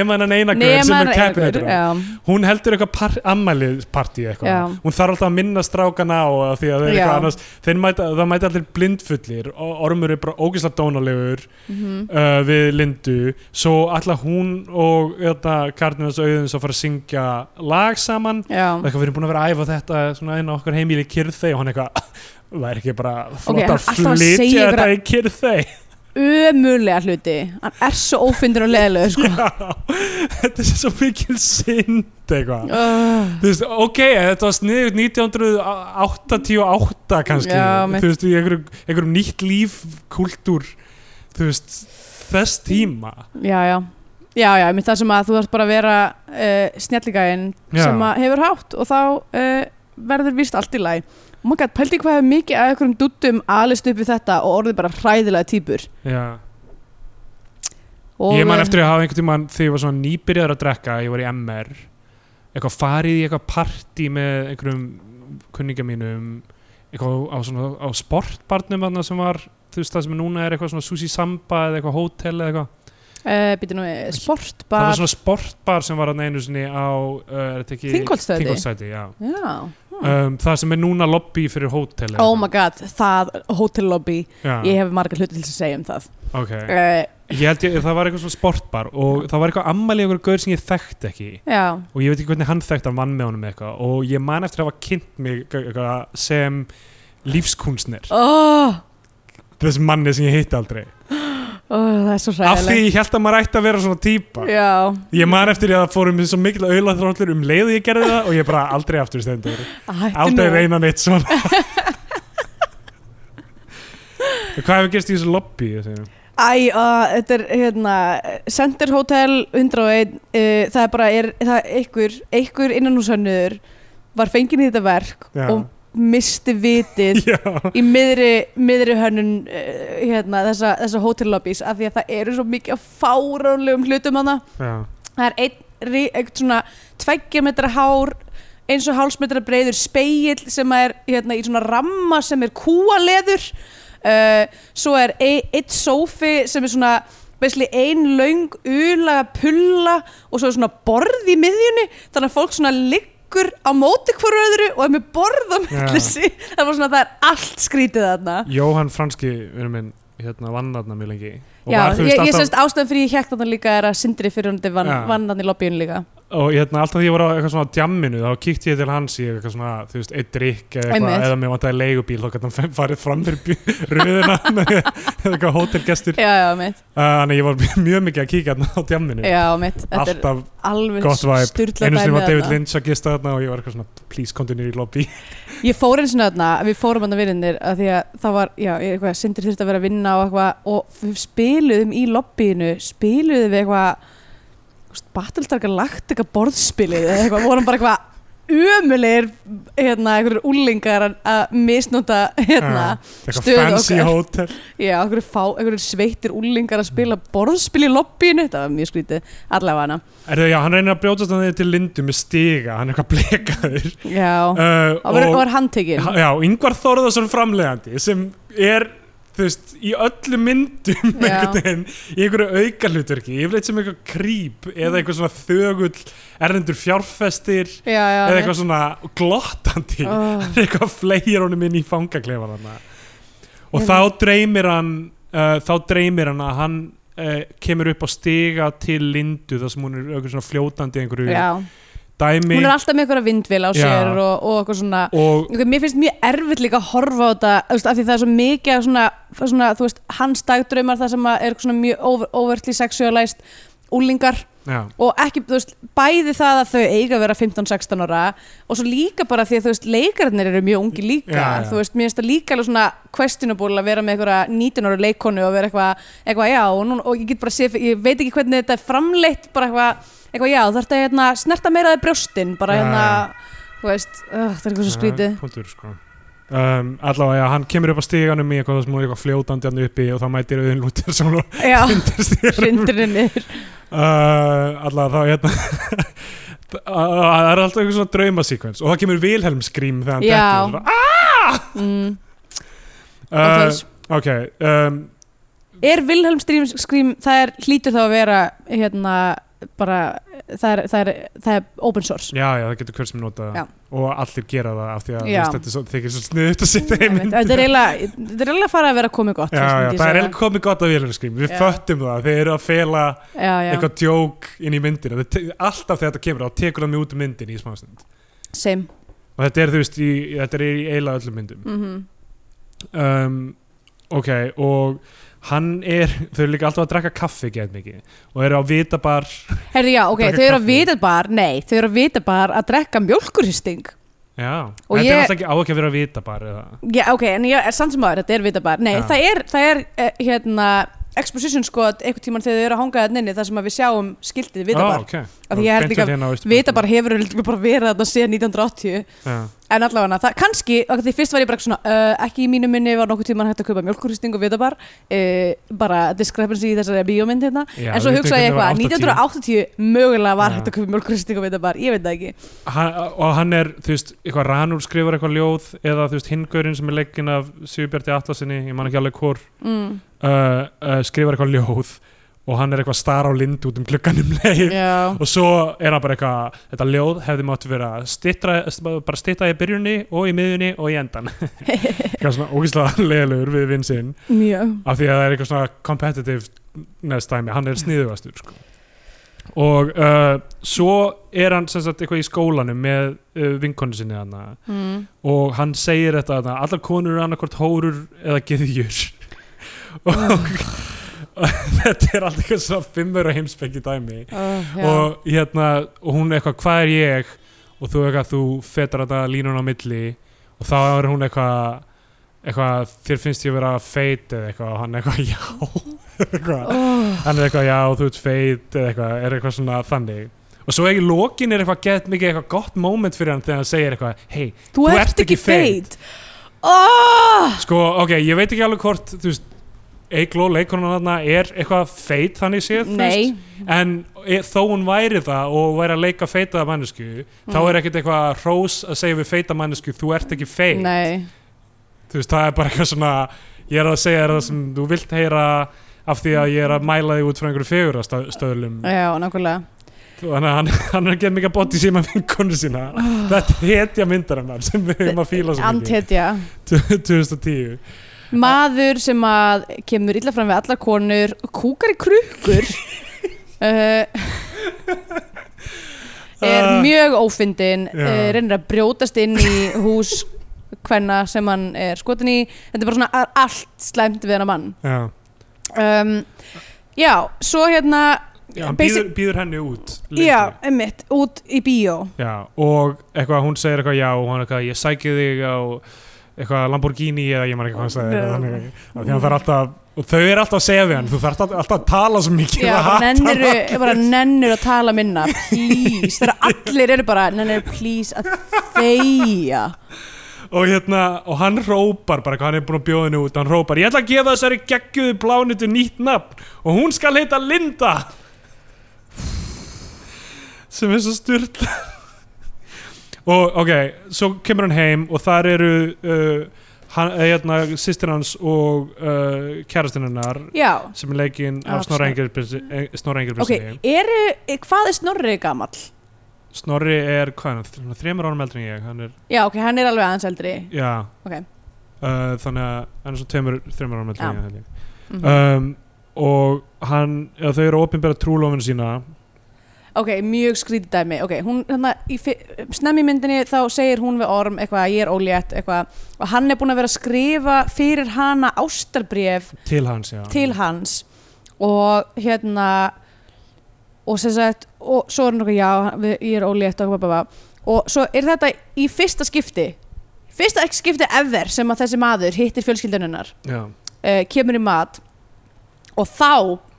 C: nema hennan eina gauð sem er keppinættur á
B: já,
C: hún heldur eitthvað par, ammæliðpartí
B: Já.
C: eitthvað, hún þarf alltaf að minna strákana á af því að
B: Já.
C: þeir eitthvað annars þeir mæta, það mæta allir blindfullir og Ormur er bara ógeðslega dónalegur
B: Mhm.
C: uh, við Lindu svo alltaf hún og þetta Karnins auðins að fara að syngja lag saman,
B: já.
C: eitthvað við erum búin að vera að æfa þetta svona inn á okkar heimíli kyrþei og hann eitthvað, það er ekki bara flott
B: hann er
C: að
B: alltaf að segja
C: flytja
B: ykkur
C: þetta í kyrþei
B: ömurlega hluti hann er svo ófindur og leðilega sko.
C: Já, þetta er svo mikil synd eitthvað
B: uh,
C: þú veist, ok, þetta var sniðugt 1988 kannski
B: Já, mitt.
C: þú veist, í einhverjum, einhverjum nýtt líf kultúr, þú veist þess tíma
B: já, já já, já, ég mynd það sem að þú þarf bara að vera uh, snjalligæinn
C: Já.
B: sem að hefur hátt og þá uh, verður vist allt í Oh læg og maður gæti pældi hvað hefur mikið að einhverjum duttum alist upp í þetta og orðið bara hræðilega týpur
C: Já.
B: og
C: ég man eftir að hafa einhvern tímann þegar ég var svona nýbyrjaður að drekka, ég var í MR eitthvað farið í eitthvað partí með einhverjum kunningja mínum eitthvað á, svona, á sportbarnum þarna sem var þú veist það sem núna er eitthvað svona sushi samba eða eitthvað hótel eða eitthvað
B: uh, býtum nú, eh,
C: það var
B: sportbar
C: svona sportbar sem var hann einu sinni á uh, er þetta ekki-
B: Þingholtsstræti?
C: Þingholtsstræti, já
B: já
C: um, það sem er núna lobby fyrir hótel
B: Oh my god, það, hotel lobby
C: já,
B: Ég hef margar hluti til að segja um það
C: ok
B: uh,
C: ég held ég, það var eitthvað svona sportbar og það var eitthvað ammæli einhver gaur sem ég þekkt ekki
B: Já,
C: og ég veit ekki hvernig hann þekkt hann vann með honum eitthvað og ég man eftir að hafa kynnt mig eitthvað, sem lífskúnsnir
B: oh,
C: þess manni sem ég hitti aldrei
B: oh, það er svo
C: af því
B: hræðilegt
C: ég held að maður ætti að vera svona típa
B: Já,
C: ég man eftir að það fórum svo mikil auðla þróllur um leiðu ég gerði það og ég bara aldrei aftur stendur
B: hættu
C: aldrei
B: nú
C: reyna neitt svona hvað hefur gerst í þessu lobby ég segi?
B: Æ, uh, þetta er hérna Center Hotel 101 uh, Það er bara, er, það er einhver einhver innan hús hannur var fengin í þetta verk
C: Já.
B: og misti vitið
C: já
B: í miðri, miðri hönnun uh, hérna, þessa, þessa hotel lobbies af því að það eru svo mikið af fáránlegum hlutum hana
C: Já,
B: það er einn, ri- einn svona tveggja metra hár eins og hálsmetra breiður speill sem er hérna, í svona ramma sem er kúaleður uh, svo er e- einn sófi sem er svona basically ein löng ulaga pulla og svo er svona borð í miðjunni þannig að fólk svona liggur á móti hverju öðru og er með borð á
C: Já.
B: milli sín það var svona það er allt skrítið þarna
C: Jóhann Franski vinur minn, hérna, vann þarna mjög lengi og,
B: Já,
C: var, þú
B: ég,
C: veist,
B: ég
C: alltaf,
B: semst ástæðan fyrir ég hekk þarna líka er að sindri fyrir hundi vann,
C: Já.
B: vann hann í lobbyun líka
C: og hérna, alltaf því ég var á eitthvað svona djamminu þá kíkti ég til hans í eitthvað svona þú veist, eitt drikk eða
B: Einmitt.
C: eitthvað eða mér vantaði leigubíl þá gæti hann fe- farið fram fyrir bí- röðina með eða eitthvað hótelgestur
B: Já, já, mitt,
C: Uh, þannig að ég var mjög mikið að kíkja hérna á djamminu
B: já, mitt. Þetta er-
C: alltaf
B: alveg
C: gott væp
B: styrla
C: einu sinni
B: dæmi
C: var David
B: þarna.
C: Lynch að gista þarna og ég var eitthvað svona please continue í lobby
B: ég fór eins og þarna, við fórum hann að vinninir að því að það var, já, ég- eitthvað, Sindri þurfti að vera að vinna og eitthvað og við spiluðum í lobbyinu spiluðum við eitthvað Battlestar Galactica borðspilið eða eitthvað, vorum bara eitthvað ömulegir hérna, einhverjir úlingar að misnota hérna,
C: eitthvað
B: stöðu
C: fancy
B: okkar.
C: hótel
B: Já, einhverjir, fá, einhverjir sveittir úlingar að spila borðspil í lobbyinu, þetta var mjög skrítið allavega hana.
C: er það já, hann reynir að brjótast hann til lindu með stiga, hann er eitthvað blekaður
B: Já,
C: uh,
B: það var, var handtekinn.
C: já, Ingvar Þórðarsson framlegandi sem er þú veist, í öllu myndum
B: Já.
C: einhvern veginn, í einhverju aukalutverki yfirleitt sem eitthvað krýp eða eitthvað svona þögull erlendur fjárfestir
B: Já, já,
C: eða
B: nei.
C: eitthvað svona glottandi
B: Ó.
C: hann er eitthvað fleir honum inn í fangaklefan hann og þá dreymir hann uh, þá dreymir hann að hann uh, kemur upp á stiga til Lindu þar sem hún er eitthvað svona fljótandi í einhverju
B: já.
C: dæmi
B: Hún er alltaf með einhverja vindvil á
C: Já.
B: sér og, og eitthvað svona
C: og
B: Ok, Mér finnst mjög erfitt líka að horfa á þetta þú veist, af því það er svo mikið af svona, svona þú veist, hans dagdraumar það sem að er svona mjög over, overtly sexualized úlingar
C: já,
B: og ekki, þú veist, bæði það að þau eiga að vera 15-16 ára og svo líka bara því að þú veist, leikarnir eru mjög ungi líka,
C: Já, já.
B: þú veist, mér finnst það líka alveg svona questionable að vera með einhverja 19 ára leikonu og vera eitthvað, eitthvað já og, nú, og ég get bara séð, ég veit ekki hvernig þetta er framleitt, bara eitthvað, eitthvað já þarf þetta hérna, snerta meira að brjóstin bara
C: Já,
B: hérna,
C: já.
B: þú veist, uh, það er eitthvað svo skrítið
C: Kontur, sko. um, allavega, já, hann kemur upp á stiganum í eitthvað það sem hún er eitthvað fljótandi hann uppi og þá mætir auðin lútir sem hún
B: Já,
C: hundir stiganum
B: hrindirinn niður
C: uh, allavega þá hérna það það er alltaf eitthvað svona draumasíkvens og það kemur Vilhelm skrím þegar hann
B: Já.
C: dettur, svona,
B: mm. ókei.
C: "Ah!" uh, ok, um,
B: Er Wilhelm Strím skrím, það er hlýtur þá að vera hérna bara, það er, það er, það er open source
C: já, já, það getur hver sem nota
B: Já.
C: það og allir gera það af því að þú
B: Já.
C: veist, þetta er svo, þykir svo sniðut að sitta
B: Einmitt.
C: heiminn
B: Þetta er eiginlega þetta er eiginlega að fara að vera komið gott
C: Já,
B: þú veist,
C: já,
B: myndi ég
C: það er
B: segja.
C: eiginlega komið gott af Vilhelm skrím við
B: Já.
C: föttum það, þeir eru að fela
B: já, já.
C: eitthvað djók inn í myndina Þetta te- alltaf þegar þetta kemur á tekur það mjög út um myndin í smástund
B: same
C: og þetta er þú veist í, þetta er í eila öllum myndum
B: mm
C: um, ok og hann er, þau eru líka alltaf að drekka kaffi gett mikið og eru á vitabar
B: Herði, já, ok,
C: Drekka
B: þau eru að
C: kaffi.
B: vita bara nei, þau eru að vita bara að drekka mjólkurhysting
C: já,
B: Og
C: þetta
B: ég-
C: er alltaf ekki á ekki að vera á vitabar eða
B: Já, ok, en ég er samt sem aður, þetta er vita bara Nei,
C: Já.
B: það er, það er eh, hérna exposition skot, einhvern tímann þegar þau eru að hanga þarna inni, þar sem að við sjáum skiltið vita bara
C: ah, okay.
B: Af því ég held
C: Beint
B: líka-
C: við hérna á Austurbrú.
B: vita bara hefur örugglega bara verið þarna síðan 1980
C: já,
B: en allavega það kannski, ok, því fyrst var ég bara svona uh, ekki í mínu minni var nokkuð tíma hægt að kaupa mjölkurhysting og vita bara uh, bara discrepancy í þessari bíómynd hérna
C: Já,
B: en svo
C: við
B: hugsaði ég
C: veitum
B: eitthvað,
C: hvernig það var
B: 1980 mögulega var
C: Já.
B: hægt að kaupa mjölkurhysting og vita bara, ég veit það ekki
C: hann, og hann er, þú veist, eitthvað Ranur skrifar eitthvað ljóð eða þú veist hingurinn sem er leggin af Sigurbjarti Atlasinni, ég man ekki alveg hvort
B: mm.
C: uh, uh, skrifar eitthvað ljóð og hann er eitthvað star á lind út um klukkanum leið
B: já,
C: og svo er hann bara eitthvað þetta ljóð hefði mátt vera stittra, bara stitta í byrjunni og í miðjunni og í endan eitthvað svona ógislega leiðilegur við vinsinn
B: mjög
C: af því að það er eitthvað svona competitive neðst dæmi, hann er sniðugastur sko. og uh, svo er hann sem sagt eitthvað í skólanum með uh, vinkonu sinni hann
B: mm.
C: og hann segir þetta þarna, allar konur eru annarkvort hórur eða geðjur og þetta er alltaf eitthvað svona fimmur að heimspekki dæmi
B: oh,
C: og, hérna, og hún er eitthvað, hvað er ég og þú eitthvað, þú fetar þetta línun á milli og þá er hún eitthvað eitthvað, þér finnst ég vera feit eða eitthvað, og hann eitthvað, já eitthvað, hann er eitthvað, já, þú ert feit eða eitthvað, er eitthvað svona þannig og svo ekki lokin er eitthvað gett mikið eitthvað gott moment fyrir hann þegar hann segir eitthvað hei,
B: þú ert ekki feit oh,
C: Sko, ok, ég veit ekki alveg hvort, þú veist, Eigló leikonan þarna er eitthvað feit þannig séð, þú
B: nei,
C: veist, en e, þó hún væri það og væri að leika feitaða mannesku, þá
B: Mm.
C: er ekkert eitthvað hrós að segja við feita mannesku, þú ert ekki feit,
B: nei
C: þú veist, það er bara eitthvað svona, ég er að segja þér það sem þú vilt heyra af því að ég er að mæla þig út frá einhverju fegurastöðlum,
B: já, nákvæmlega
C: þannig að hann, hann er að gera mikið bótt í síma vinkonu sína,
B: Ah.
C: þetta hetja myndarinnar sem við höfum að fíla svo mikið,
B: antetja
C: 2010.
B: maður sem að kemur illa fram við allar konur kúkar í krukkur uh, er mjög ófindin
C: Ah. Já.
B: uh, reynir að brjótast inn í hús hvenna sem hann er skotin í þetta er bara svona a- allt slæmt við hennar mann
C: Já.
B: um, já, svo hérna
C: Já, hann
B: Basic-
C: býður, býður henni út lengi.
B: já, einmitt, út í bíó
C: Já, og eitthvað hún segir eitthvað já og hann eitthvað ég sæki þig á eitthvað Lamborghini eða ég maður ekki hvað hann sagði
B: Já.
C: þannig að því hann þarf alltaf og þau eru alltaf að segja við hann, þú þarf alltaf að tala svo mikið um
B: Já,
C: og hata
B: nenniru,
C: hann.
B: bara nennir að tala um minna Please, þegar allir eru bara Nennir, please, að þegja
C: og hérna, og hann rópar bara hvað hann er búin að bjóða henni út, hann rópar ég ætla að gefa þessari geggjuðu plánutu nýtt nafn og hún skal heita Linda sem er svo styrla og ok, svo kemur hann heim og þar eru uh, hann, eh, hérna, sýstir hans og uh, kærastinn hennar
B: Já,
C: sem er leikinn af
B: Af Snorra.
C: Snorra eh, Engilbjörnsinni
B: ok, eru, eh, hvað er Snorri gamall?
C: Snorri er, hvað er hann, Þr- hann er þremur árum eldri en ég hann er,
B: Já, ok, hann er alveg aðeins eldri
C: já
B: Ok.
C: uh, þannig að hann er svo tveimur, þremur árum eldri en ég held ég.
B: Mhm.
C: um, og hann, eða þau eru opinbera trúlófinu sína
B: Ok, mjög skrítið dæmi Ok, hún, hérna, í fi- snemma í myndinni þá segir hún við Orm eitthvað, ég er ólétt eitthvað og hann er búin að vera að skrifa fyrir hana ástarbréf
C: til hans, já
B: til hans og hérna og sem sagt, og svo er hann okkur já, við, ég er ólétt og bababa og svo er þetta í fyrsta skipti fyrsta ekki skipti ever sem að þessi maður hittir fjölskylduninnar
C: já.
B: uh, kemur í mat og þá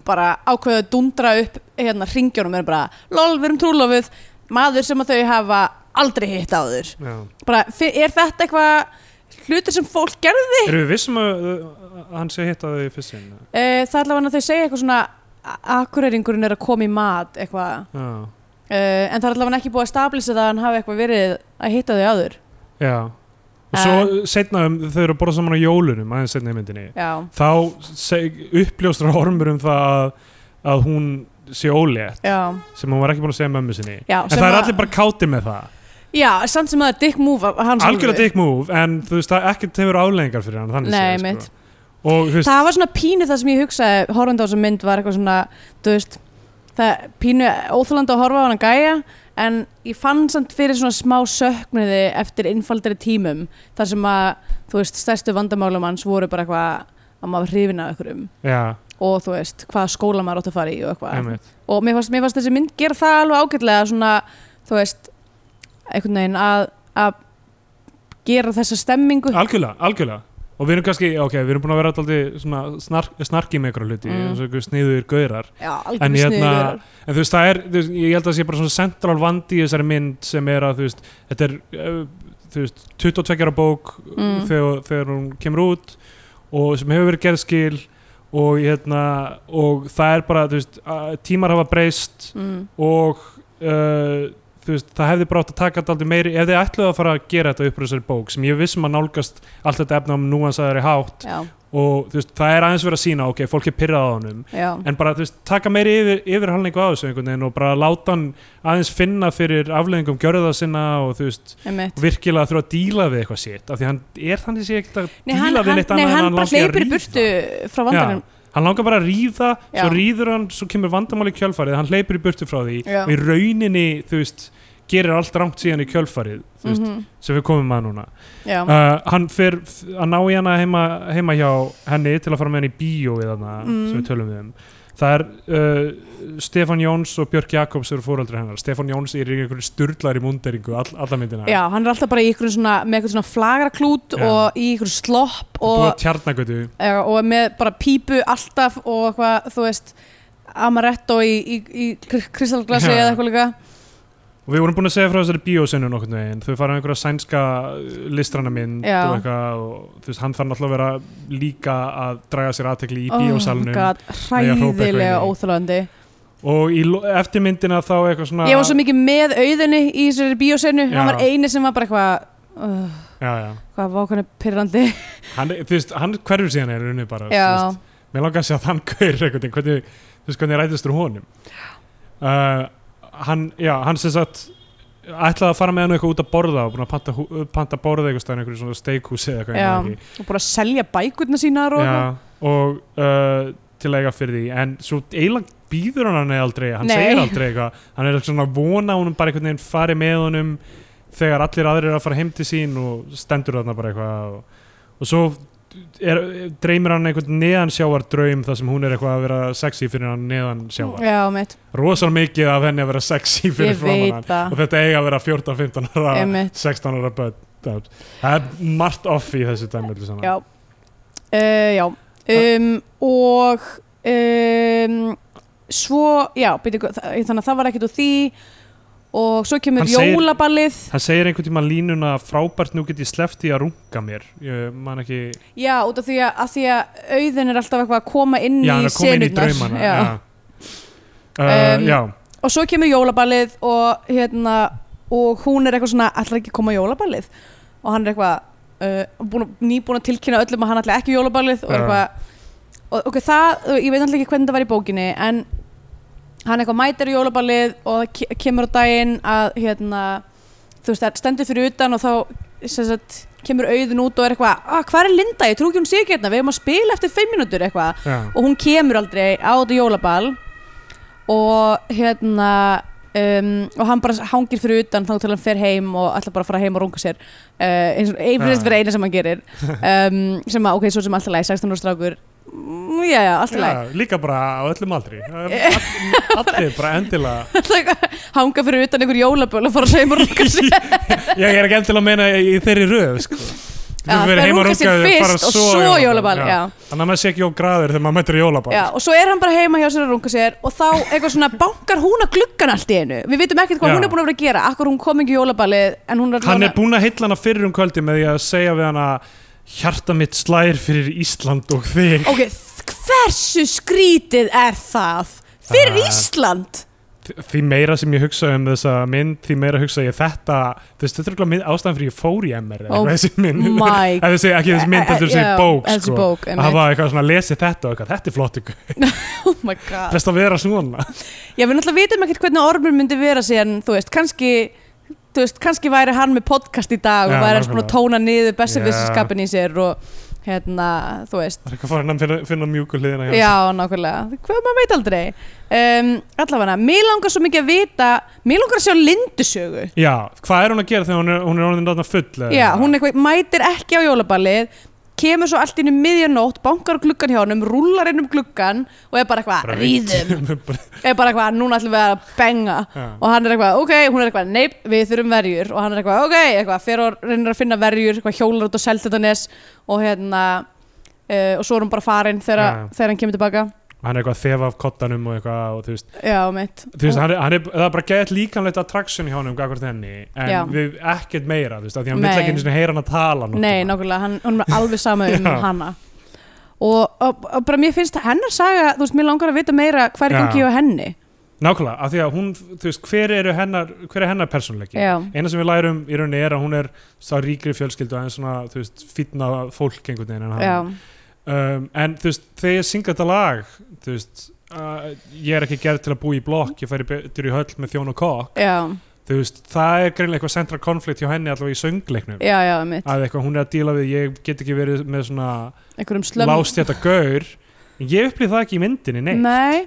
B: bara ákveðu að dundra upp hérna ringjónum er bara lol, við erum trúlofuð maður sem að þau hafa aldrei hitt áður
C: Já.
B: bara, fi- er þetta eitthvað hlutur sem fólk gerði
C: erum við vissum að, að hann sé hitt að þau í fyrst sinn
B: Uh, það er allavega að þau segja eitthvað svona akureyringurinn er að koma í mat eitthvað,
C: já,
B: uh, en það er allavega ekki búið að stablisa það að hann hafi eitthvað verið að hitta þau áður
C: já og svo setna um, þau eru að borða saman á jólunum aðeins setna í myndinni
B: Já,
C: þá seg- uppljóstrar Ormur um það að, að hún sé ólétt
B: já,
C: sem hún var ekki búin að segja mömmu sinni
B: já
C: en
B: sem
C: það er
B: að-
C: allir bara káti með það
B: Já, samt sem að það er dick move af- af hans
C: algjörlega dick move en þú veist það ekkert hefur afleggingar fyrir hann þannig
B: Nei,
C: séð,
B: mitt.
C: sko. og þú veist
B: Það var svona pínu það sem ég hugsaði horfandi á þessa mynd var eitthvað svona, þú veist það pínu óþólandi að horfa á hann að gæja en ég fann samt fyrir svona smá söknuði eftir innfaldari tímum þar sem að, þú veist, stærstu vandamálum hans voru bara eitthvað að maður hrifin af ykkur um
C: já,
B: og þú veist, hvaða skóla maður átt að fara í og eitthvað.
C: einmitt.
B: Og mér fannst, mér fannst þessi mynd gera það alveg ágætlega svona, þú veist, einhvern veginn að, að gera þessa stemmingu.
C: algjörlega, algjörlega og við erum kannski, ok, við erum búin að vera alltaf svona snark, snarki með ykkur hluti
B: Mm.
C: eins og ykkur sniður gaurar
B: Já,
C: En
B: algjörn
C: hérna-
B: sniður.
C: en þú veist það er, þú veist, ég held að það sé bara svona central vandi í þessari mynd sem er að þú veist, þetta er eh, þú veist, 22 ára bók
B: Mm.
C: þegar, þegar hún kemur út og sem hefur verið gerð skil og, hérna, og það er bara þú veist, að tímar hafa breyst
B: Mm,
C: og uh, þú veist, það hefði bara átt að taka þetta aldrei meiri ef þið ætluðu að fara að gera þetta upp úr þessari bók sem ég er viss um að nálgast allt þetta efna um núansaðari hátt
B: já,
C: og þú veist, það er aðeins verið að sína, ok, fólk er pyrrað á honum
B: já,
C: en bara þú veist, taka meiri yfir, yfirhalningu á þessu einhvern veginn og bara láta hann aðeins finna fyrir afleðingum gjörða sinna og þú veist,
B: einmitt.
C: virkilega þurfa að díla við eitthvað sitt, af því hann er þannig sé ekkert að
B: Nei,
C: díla
B: hann,
C: við
B: hann,
C: neitt
B: nei,
C: annað
B: hann
C: en hann
B: bara
C: langar í að
B: hleypur í
C: ríða.
B: burtu frá vandarinn.
C: sko. Já, hann langar bara að ríða, svo
B: Já.
C: ríður hann svo kemur vandamál í kjölfarið, hann hleypur í burtu frá því
B: Já.
C: og í rauninni, þú veist gerir allt rangt síðan í kjölfarið þú veist,
B: Mhm,
C: sem við komum að núna
B: Já,
C: uh, hann fer f- að ná í hana heima, heima hjá henni til að fara með henni í bíó við hana,
B: Mm.
C: sem við tölum við um það er uh, Stefán Jóns og Björk Jakobs eru fóröldri hennar Stefán Jóns er í einhverju sturlari munderingu all, alla myndina
B: já, hann er alltaf bara í ykkur svona, með ykkur svona flagraklút
C: Já.
B: og í ykkur slopp
C: búið
B: og
C: að tjarnagötu
B: Já, og með bara pípu alltaf og eitthvað, þú veist amaretto í, í, í kr- kristalglasi
C: Já.
B: eða eitthvað líka
C: og við vorum búin að segja frá þessari bíósinu nokkurn veginn þau fara á einhverja sænska uh, listrana mynd
B: Já.
C: og eitthvað og þú veist, hann þarf náttúrulega að vera líka að draga sér aðtekli í
B: Oh my
C: bíósalnum
B: god,
C: Nei, að hrópa eitthvað inn í.
B: hræðilega óþálandi
C: og í lo- eftirmyndina þá eitthvað svona
B: ég var svo mikið með auðinni í þessari bíósenu
C: Ah. Já.
B: hann var eini sem var bara eitthvað uh,
C: já, já.
B: hvað var hvernig pyrrandi
C: Hann, er- þú veist, hann hverfur síðan er unni bara þú veist.
B: já,
C: Mér langar að sjá að hann gaur einhvern veginn, hvernig, þú veist hvernig rætist úr honum. Uh, hann, já, hann sem sagt ætlaði að fara með hann eitthvað út að borða og búin að panta, hú- panta borða eitthvað stæðan einhverju svona steikhúsi eða
B: Já.
C: eitthvað.
B: og bara að selja bækurna sínar og
C: Já, og uh, til að eiga fyrir því. En svo eiginlega býður hann hann aldrei, hann
B: Nei.
C: segir aldrei eitthvað. Hann er svona að vona að honum bara einhvern veginn fari með honum þegar allir aðrir eru að fara heim til sín og stendur þarna bara eitthvað. Og, og svo er, dreymir hann einhvern neðansjávar draum þar sem hún er eitthvað að vera sexy fyrir hann neðansjávar
B: já mitt,
C: rosal mikið af henni að vera sexy fyrir
B: Mm. ég
C: framan hann
B: veit það
C: og þetta eiga að vera 14, 15 ára
B: Einmitt.
C: 16 ára börn Doubt. Það er margt off í þessu dæmi öllu saman.
B: Já, uh, já. Um, og um, svo, já, byrju, þannig að það var ekkert úr því og svo kemur
C: Hann segir-
B: jólaballið
C: Hann segir einhvern tíma línuna frábært nú get ég sleft í að runga mér ég man ekki,
B: já, út af því að, að því að auðin er alltaf eitthvað að koma inn
C: já hann
B: í
C: er komin í
B: senurnar
C: draumana
B: já.
C: Uh,
B: Um,
C: já,
B: og svo kemur jólaballið og hérna og hún er eitthvað svona, ætlar ekki að koma á jólaballið og hann er eitthvað uh, búin, að- nýbúin að tilkynna öllum að hann ætlar ekki í jólaballið og
C: Já.
B: eitthvað og ok, það, ég veit alltaf ekki hvernig það var í bókinni en hann eitthvað mætir í jólaballið og það ke- kemur á daginn að hérna, þú veist, það stendur fyrir utan og þá sem sagt, kemur auðin út og er eitthvað, ah, hvað er Linda, ég trú ekki hún sé ekki hérna við erum að spila eftir fimm mínútur eitthvað
C: já,
B: og hún kemur aldrei á þetta jólaball og hérna um, og hann bara hangir fyrir utan þá til hann fer heim og ætlar bara að fara heim og runga sér uh, eins og einfyrst
C: Já.
B: vera eina sem hann gerir um, sem að, ok, svo sem alltaf læg 16 ára strákur, mm, já, já, alltaf
C: já,
B: læg
C: líka bara á öllum aldri All- allir bara endilega
B: hanga fyrir utan einhver jólaball og fara heim og runga sér
C: já, ég er ekki endilega að meina í þeirri röð sko.
B: Já,
C: Þú fyrir
B: það
C: heim að
B: runga sér
C: runga, fara
B: fyrst og svo jólaball já.
C: þannig að maður sé ekki á graður þegar maður mættir í jólaball
B: Já, og svo er hann bara heima hjá sér að runga sér og þá eitthvað svona bankar hún að gluggan allt í einu við vitum ekkert hvað
C: Já.
B: hún er búin að vera að gera akkur hún kom ekki í jólaballið en hún er,
C: hann
B: allavega-
C: er búin að heilla hana fyrir um kvöldi með því að segja við hana hjarta mitt slær fyrir Ísland og þig
B: Ok, þ- hversu skrítið er það? Fyrir
C: Það-
B: Ísland?
C: því meira sem ég hugsa um þessa mynd því meira hugsa ég þetta þú veist, þetta er eitthvað ástæðan fyrir ég fór í MR eða
B: Oh
C: eitthvað, þessi mynd,
B: my-
C: Eða þessi, ekki þessi mynd, þetta er þessi
B: Já,
C: bók,
B: þessi
C: sko.
B: bók,
C: að
B: einmitt.
C: hafa eitthvað svona lesið þetta og eitthvað, þetta er flott ykkur
B: Oh my god
C: best að vera svona
B: Já, við náttúrulega vitum ekkert hvernig ormur myndi vera síðan, þú veist, kannski þú veist, kannski væri hann með podcast í dag
C: Já,
B: og væri hans búin að
C: nákvæmlega.
B: tóna niður bestur
C: Já.
B: vissinskapin í sér og hérna, þú veist
C: það er eitthvað farin að finna, finna mjúku hliðina hjá sér.
B: Já, nákvæmlega, hvað maður veit aldrei um, Allavega, mér langar svo mikið að vita mér langar að sjá lindusögu
C: já, hvað er hún að gera þegar hún er, hún er orðin þarna full eða?
B: Já, hún eitthvað mætir ekki á jólaballið kemur svo allt inn í miðjanótt bankar á gluggan hjá honum, rúlar inn um gluggan og er bara eitthvað,
C: Bara
B: rýðum
C: Bara-
B: er bara eitthvað, núna ætlum við að benga
C: Já.
B: og hann er eitthvað, ok, hún er eitthvað, neip við þurfum verjur og hann er eitthvað, ok, eitthvað fyrir og reynir að finna verjur, eitthvað hjólar út á Seltetanes og hérna uh, og svo er hún bara farin þegar,
C: Já.
B: þegar hann kemur tilbaka
C: hann er eitthvað að þefa af kottanum og eitthvað og þú veist,
B: já, mitt
C: þú veist, hann er, hann er, það er bara gett líkanlegt attraction hjá hann um gagvart henni en
B: Já.
C: við ekkert meira, þú veist, af því hann vill
B: Nei.
C: ekki einu sinni heyra hann að tala nokkuð.
B: Nei, nákvæmlega, hann, hann er alveg sama um
C: Já.
B: hana og, og, og bara mér finnst hennar saga, þú veist, mér langar að vita meira hvað er í
C: Já.
B: gangi á henni
C: Nákvæmlega, af því að hún, þú veist, hver, eru hennar, hver er hennar persónleiki?
B: Já.
C: Eina sem við lærum í rauninni er að hún er sá ríkri fjölskyldu aðeins svona, þú veist, fýtna fólk einhvern veginn en
B: Já,
C: hann. Um, en þú veist, þegar ég syng þetta lag, þú veist, uh, ég er ekki gerð til að búa í blokk, ég færi betur í höll með þjón og kokk,
B: já,
C: þú veist, það er greinlega eitthvað central konflikt hjá henni allavega í söngleiknum.
B: já, já, mitt
C: Að eitthvað hún er að díla við, ég get ekki verið með svona
B: einhverjum slömm
C: lást þetta gaur, En ég upplýð það ekki í myndinni, nei.
B: Nei,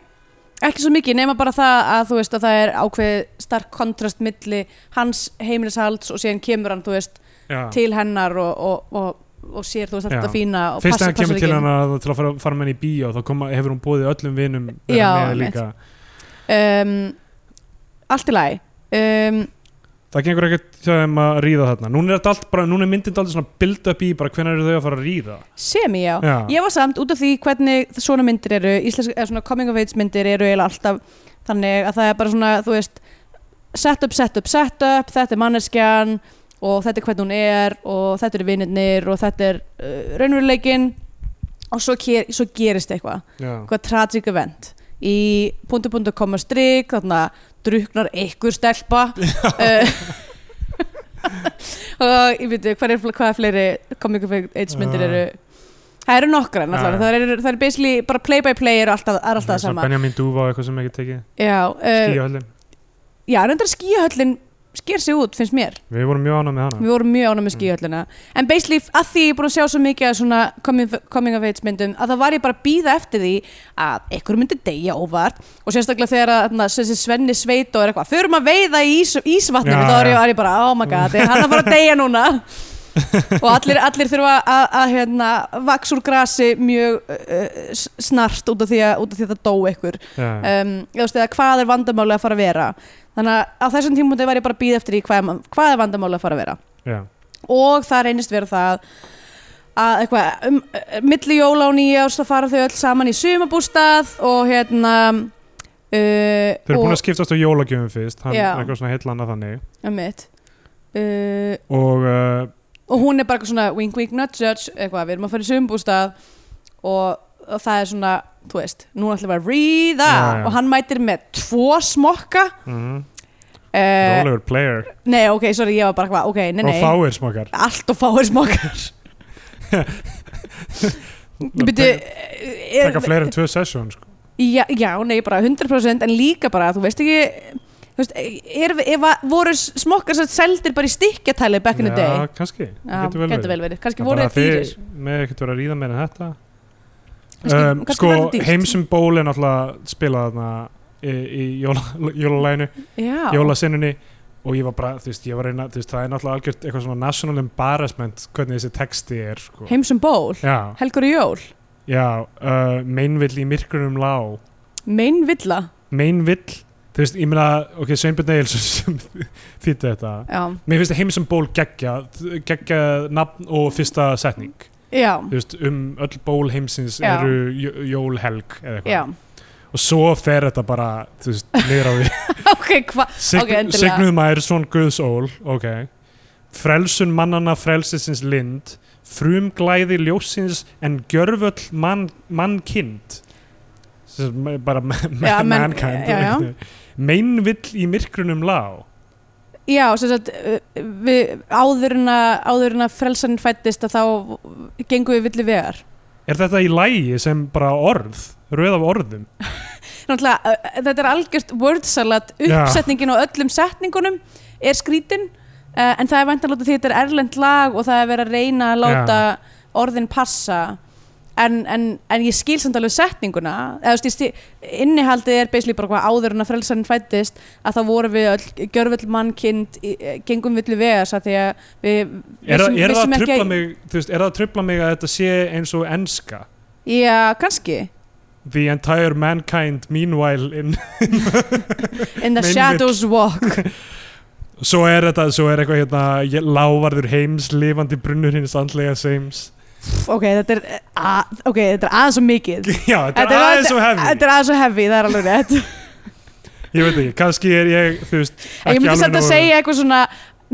B: ekki svo mikið nema bara það að þú veist að það er ákveð stark kontrast milli hans heimilishalds og síðan kemur hann, þú veist,
C: Já.
B: til hennar og, og, og, og sér, þú veist, allt
C: Já.
B: þetta fína og
C: Fyrst
B: passa-
C: þegar hann
B: passar
C: kemur til
B: ekki
C: hana til að fara, fara með henni í bíó þá koma, hefur hún búið öllum vinum vera
B: Já,
C: með
B: einmitt.
C: líka.
B: inn. um, Allt í lagi um,
C: Það gengur ekkert hjá þeim að ríða þarna Núna er, þetta allt bara, núna er myndin alltaf svona build up í bara hvenær eru þau að fara að ríða
B: Semi, já.
C: Já.
B: Ég var samt út af því hvernig svona myndir eru, íslensk, eða svona coming of age myndir eru eiginlega alltaf þannig að það er bara svona, þú veist set up, set up, set up, þetta er manneskjan og þetta er hvernig hún er og þetta eru vinnirnir og þetta er uh, raunveruleikin og svo, ker, svo gerist eitthvað,
C: Já,
B: eitthvað tragic event í punktu punktu koma strik þarna druknar einhver stelpa uh, og ég veit hvað er, hvað er fleiri comic of age myndir
C: Já.
B: eru það eru nokkra náttúrulega
C: Já, já.
B: það eru, það eru basically bara play by play eru alltaf, er alltaf það
C: Svona
B: sama
C: Benjamin Dúfa og eitthvað sem ekki tekið
B: já, uh,
C: Skíahöllin
B: já, reyndar skíahöllin sker sig út finnst mér,
C: Við vorum mjög ánað með hana
B: við vorum mjög ánum með skíahöllina en basically að því ég er búin að sjá svo mikið af svona coming, coming of age myndum að það var ég bara að býða eftir því að einhver myndi deyja óvart og sérstaklega þegar að þarna, þessi Svenni sveit og er eitthvað, förum að veiða í ís, ísvatninu
C: Já,
B: þá er
C: já.
B: ég, var ég bara, oh my god, er hann að fara að deyja núna og allir, allir þurfa að, að hérna, vaks úr grasi mjög uh, s- snart út af því að, út af því að það dó einhver
C: Já,
B: um, eða, þú veist, eða hvað er vandamáli að fara að vera þannig að á þessum tímundi var ég bara að býða eftir í hvað, er- hvað er vandamáli að fara að vera
C: já
B: og það reynist vera það að eitthvað um, milli jóla og nýjárs þá fara þau öll saman í sumabústað og hérna uh,
C: Þau eru búin að skiptast á jólagjöfum fyrst, hann
B: Já.
C: er eitthvað svona heilla annað þannig
B: skilja uh,
C: og uh,
B: og hún er bara eitthvað svona wink wink nut judge eitthvað, við erum að fara í sumbústað og, og það er svona þú veist, núna ætlum við að ríða
C: Já, já.
B: og hann mætir með tvo smokka
C: mm
B: uh,
C: rólegur player
B: nei ok, sorry, ég var bara eitthvað ok, nei, nei,
C: og fáir smakar
B: allt og fáir smokkar Byrju, er,
C: taka fleiri en tvö sessjón sko.
B: já, já, nei, bara 100% en líka bara, þú veist ekki þú veist, er, ef að voru smokkar sem seldir bara í stikkjatæli back in the day
C: Já, kannski, það getur vel
B: getur
C: verið
B: vel verið, kannski
C: Það
B: voru
C: bara
B: þeir dýrir
C: þið með ekkert verið að ríða meira en þetta
B: Kannski-
C: um,
B: kannski
C: sko,
B: verður dýrt.
C: heimsum ból er náttúrulega spilað þarna í, í jóla- jólalæginu
B: Já.
C: jólasinnunni og ég var bara, þú veist, ég var reyna, þú veist, það er náttúrulega algjört eitthvað svona national embarrassment hvernig þessi texti er, sko
B: heimsum ból,
C: já,
B: helgur í jól
C: já, uh, meinvill í myrkrunum lá
B: meinvilla
C: meinvill, þú veist, ég meina ok, Sveinbjörn Egilson sem þýtti þetta
B: já,
C: mér finnst heimsum ból geggja geggja nafn og fyrsta setning
B: já,
C: þú veist, um öll ból heimsins
B: Já.
C: eru jó- jólhelg eða
B: já.
C: eitthvað og svo fer þetta bara, þú veist, niður á við
B: ok, hvað Ok,
C: Sign,
B: endilega.
C: signuð maður svon guðsól ok frelsun mannana frelsisins lind frumglæði ljósins en gjörvöll mann, mannkind Sem er bara
B: Já,
C: ja,
B: men-
C: mannkind
B: já, já.
C: meinvill í myrkrunum lá
B: já, sem sagt uh, við, áður en að áður en að frelsan fættist að þá gengum við villi vegar
C: er þetta í lægi sem bara orð röð af orðum
B: Náttúrulega, uh, þetta er algjört wordsalat
C: Já.
B: uppsetningin á öllum setningunum er skrítin uh, en það er vantanlóta því að þetta er erlend lag og það er verið að reyna að láta orðin passa en, en, en ég skil samt alveg setninguna eða þú veist, ég skil- innihaldið er basically bara hvað áður en að frelsarinn fættist að þá vorum við öll gjörvöld mannkind í- eh, gengum villu vegas að því að við
C: er, það-
B: vissum-
C: er það
B: vissum
C: að
B: ekki
C: trubla mig þú veist, er það að trubla mig að þetta sé eins og enska
B: já, kannski
C: the entire mankind meanwhile in
B: in the
C: Meinvill.
B: shadows walk
C: Svo er þetta, svo er eitthvað hérna ég- Lávarður heims, lifandi brunnur hins andlega seims
B: ok, þetta er, eh, að, okay, þetta er aðeins og mikið
C: Já, þetta er aðeins og hefði
B: Þetta er aðeins og hefði, það er alveg rétt
C: Ég veit ekki, kannski er ég, þú veist
B: Ég
C: ekki
B: myndi
C: alveg
B: samt að
C: nógu-
B: segja eitthvað svona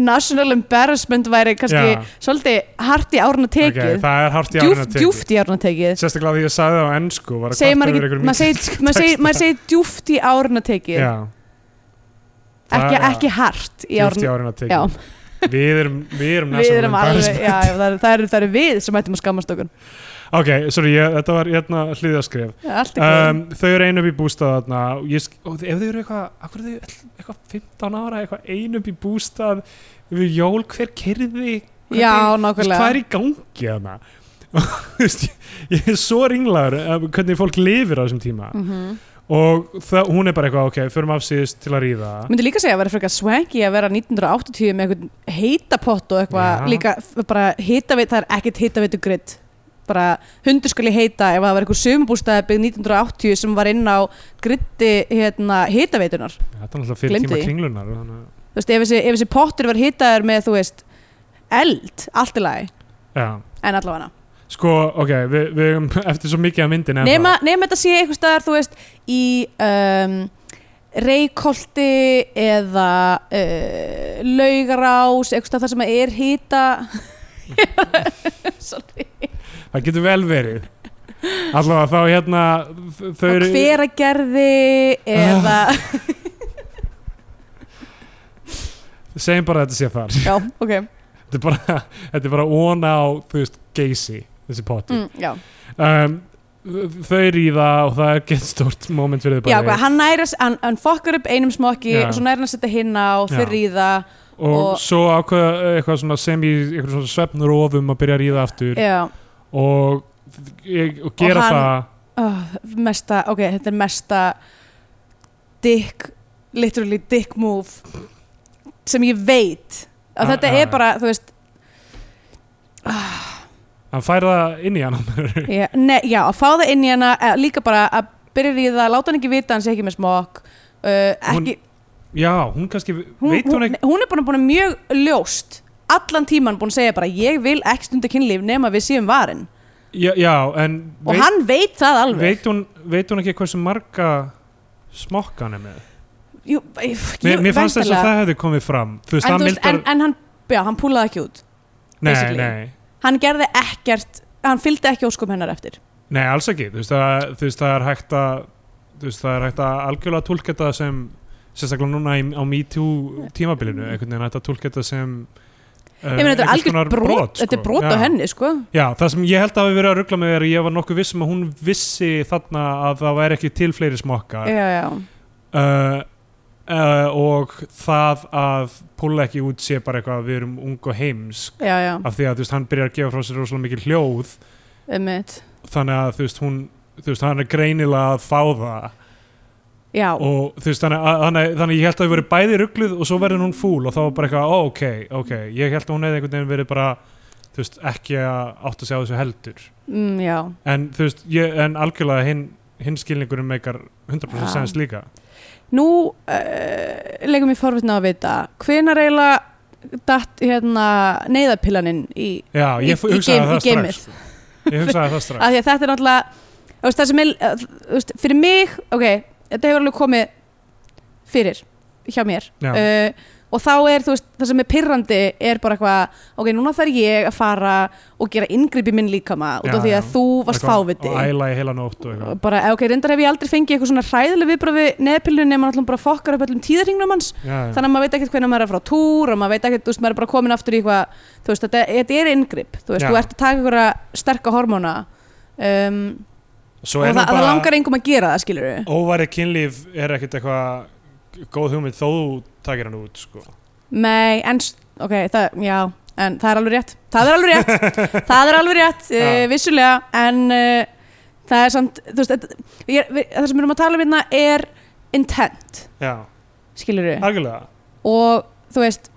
B: National embarrassment væri kannski
C: Já.
B: svolítið hart í árun að
C: Ok,
B: tekið
C: Það er hart í árun
B: Djúft, djúft í árun að tekið
C: Sérstaklega því ég sagði það á ennsku var að
B: Segir
C: kvarta
B: maður
C: yfir
B: ekki,
C: einhverjum
B: maður segir- maður segir- maður segir djúft í árun að
C: miklum-
B: tekið
C: Já,
B: ekki,
C: það er-
B: ekki hart í
C: djúft í
B: árun
C: árun að
B: Já,
C: tekið Við erum, við erum
B: við erum alveg,
C: embarrassment.
B: já, já, það eru er, það eru við sem ættum að skammast okkur
C: Ok, sorry, ég, þetta var hérna hliðaskrif
B: Já, Allt er góð
C: um, Þau eru einu upp í bústað þarna og, ég, sk- og ef þau eru eitthvað, akkur eru þau öll eitthvað 15 ára, eitthvað einu upp í bústað við jól, hver kyrði
B: Já,
C: Hvað er
B: nákvæmlega
C: í gangi þarna? Og, þú veist, ég- ég er svo ringlaður um, hvernig fólk lifir á þessum tíma
B: Mhm.
C: og það, hún er bara eitthvað, ok, förum af síðust til að ríða
B: Myndi líka segja að vera frekar swanky að vera 1980 með eitthvað heitapott og eitthvað
C: Já.
B: líka f- bara hitaveit, það er ekkert hitaveitu gritt bara hundur skuli heita ef það var eitthvað sömurbústæðabygg 1980 sem var inn á gritti hérna, hitaveitunar
C: Þetta er náttúrulega fyrir
B: Gleymdi
C: tíma
B: því.
C: kringlunar og þannig, að-
B: þú veist, ef þessi, ef þessi pottur var hitaður með þú veist, eld, allt í lagi
C: Já,
B: en allavega
C: sko, ok, við, við erum eftir svo mikið að myndin
B: nema, nema þetta sé einhver staðar þú veist í um, reykolti eða uh, laugarás einhver staðar þar sem er hýta sorry
C: það getur vel verið allavega þá hérna þ- þau
B: og
C: eru Ah.
B: hveragerði eða
C: segjum bara að þetta sé þar
B: já, ok
C: þetta er bara, þetta er bara óna á þú veist, geysi þessi potti
B: mm, já.
C: um, þau ríða og það er gett stórt moment fyrir þau
B: já,
C: bæði
B: hvað, hann nærast hann, hann fokkar upp einum smokki
C: Já.
B: og svo næra hann að setja hinn á
C: Já.
B: fyrir í það
C: og,
B: og-
C: svo ákveða eh, eitthvað svona sem í eitthvað svona svefnur ofum að byrja að ríða aftur
B: já,
C: og, og gera
B: hann-
C: það
B: oh, mesta ok, þetta er mesta dick, literally dick move sem ég veit
C: Ah,
B: og þetta
C: já,
B: er bara, þú veist
C: hann fær það inn í hann já,
B: já, ne, já, að fá það inn í hana eh, líka bara að byrja í það, láta hann ekki vita að hann sé ekki með smokk uh, ekki,
C: hún kannski,
B: hún,
C: veit hún
B: hún,
C: ekki
B: hún er bara búin að mjög ljóst allan tíman búin að segja bara ég vil ekki stunda kynlíf nema við séum varin
C: já, já en
B: og hann veit það alveg
C: veit, hún, veit hún ekki hversu marga smokka hann er með
B: Jú, ég-
C: mér, mér fannst þess að
B: væntanlega.
C: það hefði komið fram þú veist,
B: en,
C: það
B: þú veist,
C: mildar
B: en, en hann, já, hann púlaði ekki út
C: nei,
B: basically.
C: nei,
B: hann gerði ekkert, hann fylgdi ekki óskum hennar eftir
C: nei, alls ekki þú veist, það, þú veist, það er hægt að þú veist, það er hægt að algjörlega tólka þetta sem sérstaklega núna í, á MeToo tímabilinu, einhvern veginn hægt að tólka þetta sem Uh,
B: Mm. ég meina þetta er algjört brot, þetta er brot á henni sko
C: Já, það sem ég held að hafi verið að ruggla með er að ég var nokkuð vissum að hún vissi þarna að það væri ekki til fleiri smokkar
B: já, já,
C: uh, uh, og það að púla ekki út sé bara eitthvað að við erum ung og heimsk
B: já, já,
C: af því að þú veist, hann byrjar að gefa frá sér rosalega mikið hljóð
B: einmitt.
C: þannig að þú veist, hún, þú veist, hann er greinilega að fá það
B: já,
C: og þú veist, þannig að, þannig, þannig að ég held að þau verið bæði ruggluð og svo verður hún fúl og þá var bara eitthvað, ó, ok, ok ég held að hún hefði einhvern veginn verið bara þú veist, ekki að átta sig á þessu heldur
B: mm, já
C: en þú veist, ég, en algjörlega hinn hinn skilningurinn meikar 100%
B: Já.
C: sens líka
B: nú uh, legum ég forvitna að vita hvenar eiginlega datt hérna neyðarpillaninn í
C: Já,
B: Í-
C: ég f-
B: í
C: hugsaði
B: geim- í
C: það
B: geimið.
C: strax sko. Ég hugsaði það strax
B: af því að þetta er náttúrulega þú veist, það sem er, eh, þú veist, fyrir mig ok, þetta hefur alveg komið fyrir hjá mér
C: Já.
B: uh, og þá er þú veist, það sem er pirrandi er bara eitthvað, ok, núna þarf ég að fara og gera inngrip í minn líkama út af
C: Já,
B: því að
C: já.
B: þú varst fáviti
C: Og æla í heila nótt og eitthvað
B: bara, eh, ok, reyndar hef ég aldrei fengið eitthvað svona hræðileg viðbröð við neðpillu nema náttúrulega bara fokkar upp öllum tíðarhingnum hans
C: Já, já.
B: þannig að maður veit ekkert hvernig maður er að fara á túr og maður veit ekkert, þú veist, maður er bara komin aftur í eitthvað þú veist, þetta, þetta er inngrip, þú veist,
C: Já.
B: þú ert að taka einhverja sterka hormóna um,
C: Svo
B: og það,
C: er nú
B: það
C: bara
B: langar engum að gera það, skilur við
C: óværi kynlíf er ekkert eitthvað góð hugmynd þó þú takir hann út sko.
B: Nei, en, s- ok, það, já en það er alveg rétt, það er alveg rétt það er alveg rétt, uh,
C: Já.
B: vissulega en uh, það er samt þú veist, þetta- ég, við, það sem við erum að tala um hérna er intent,
C: Já,
B: skilur við
C: algjörlega
B: og þú veist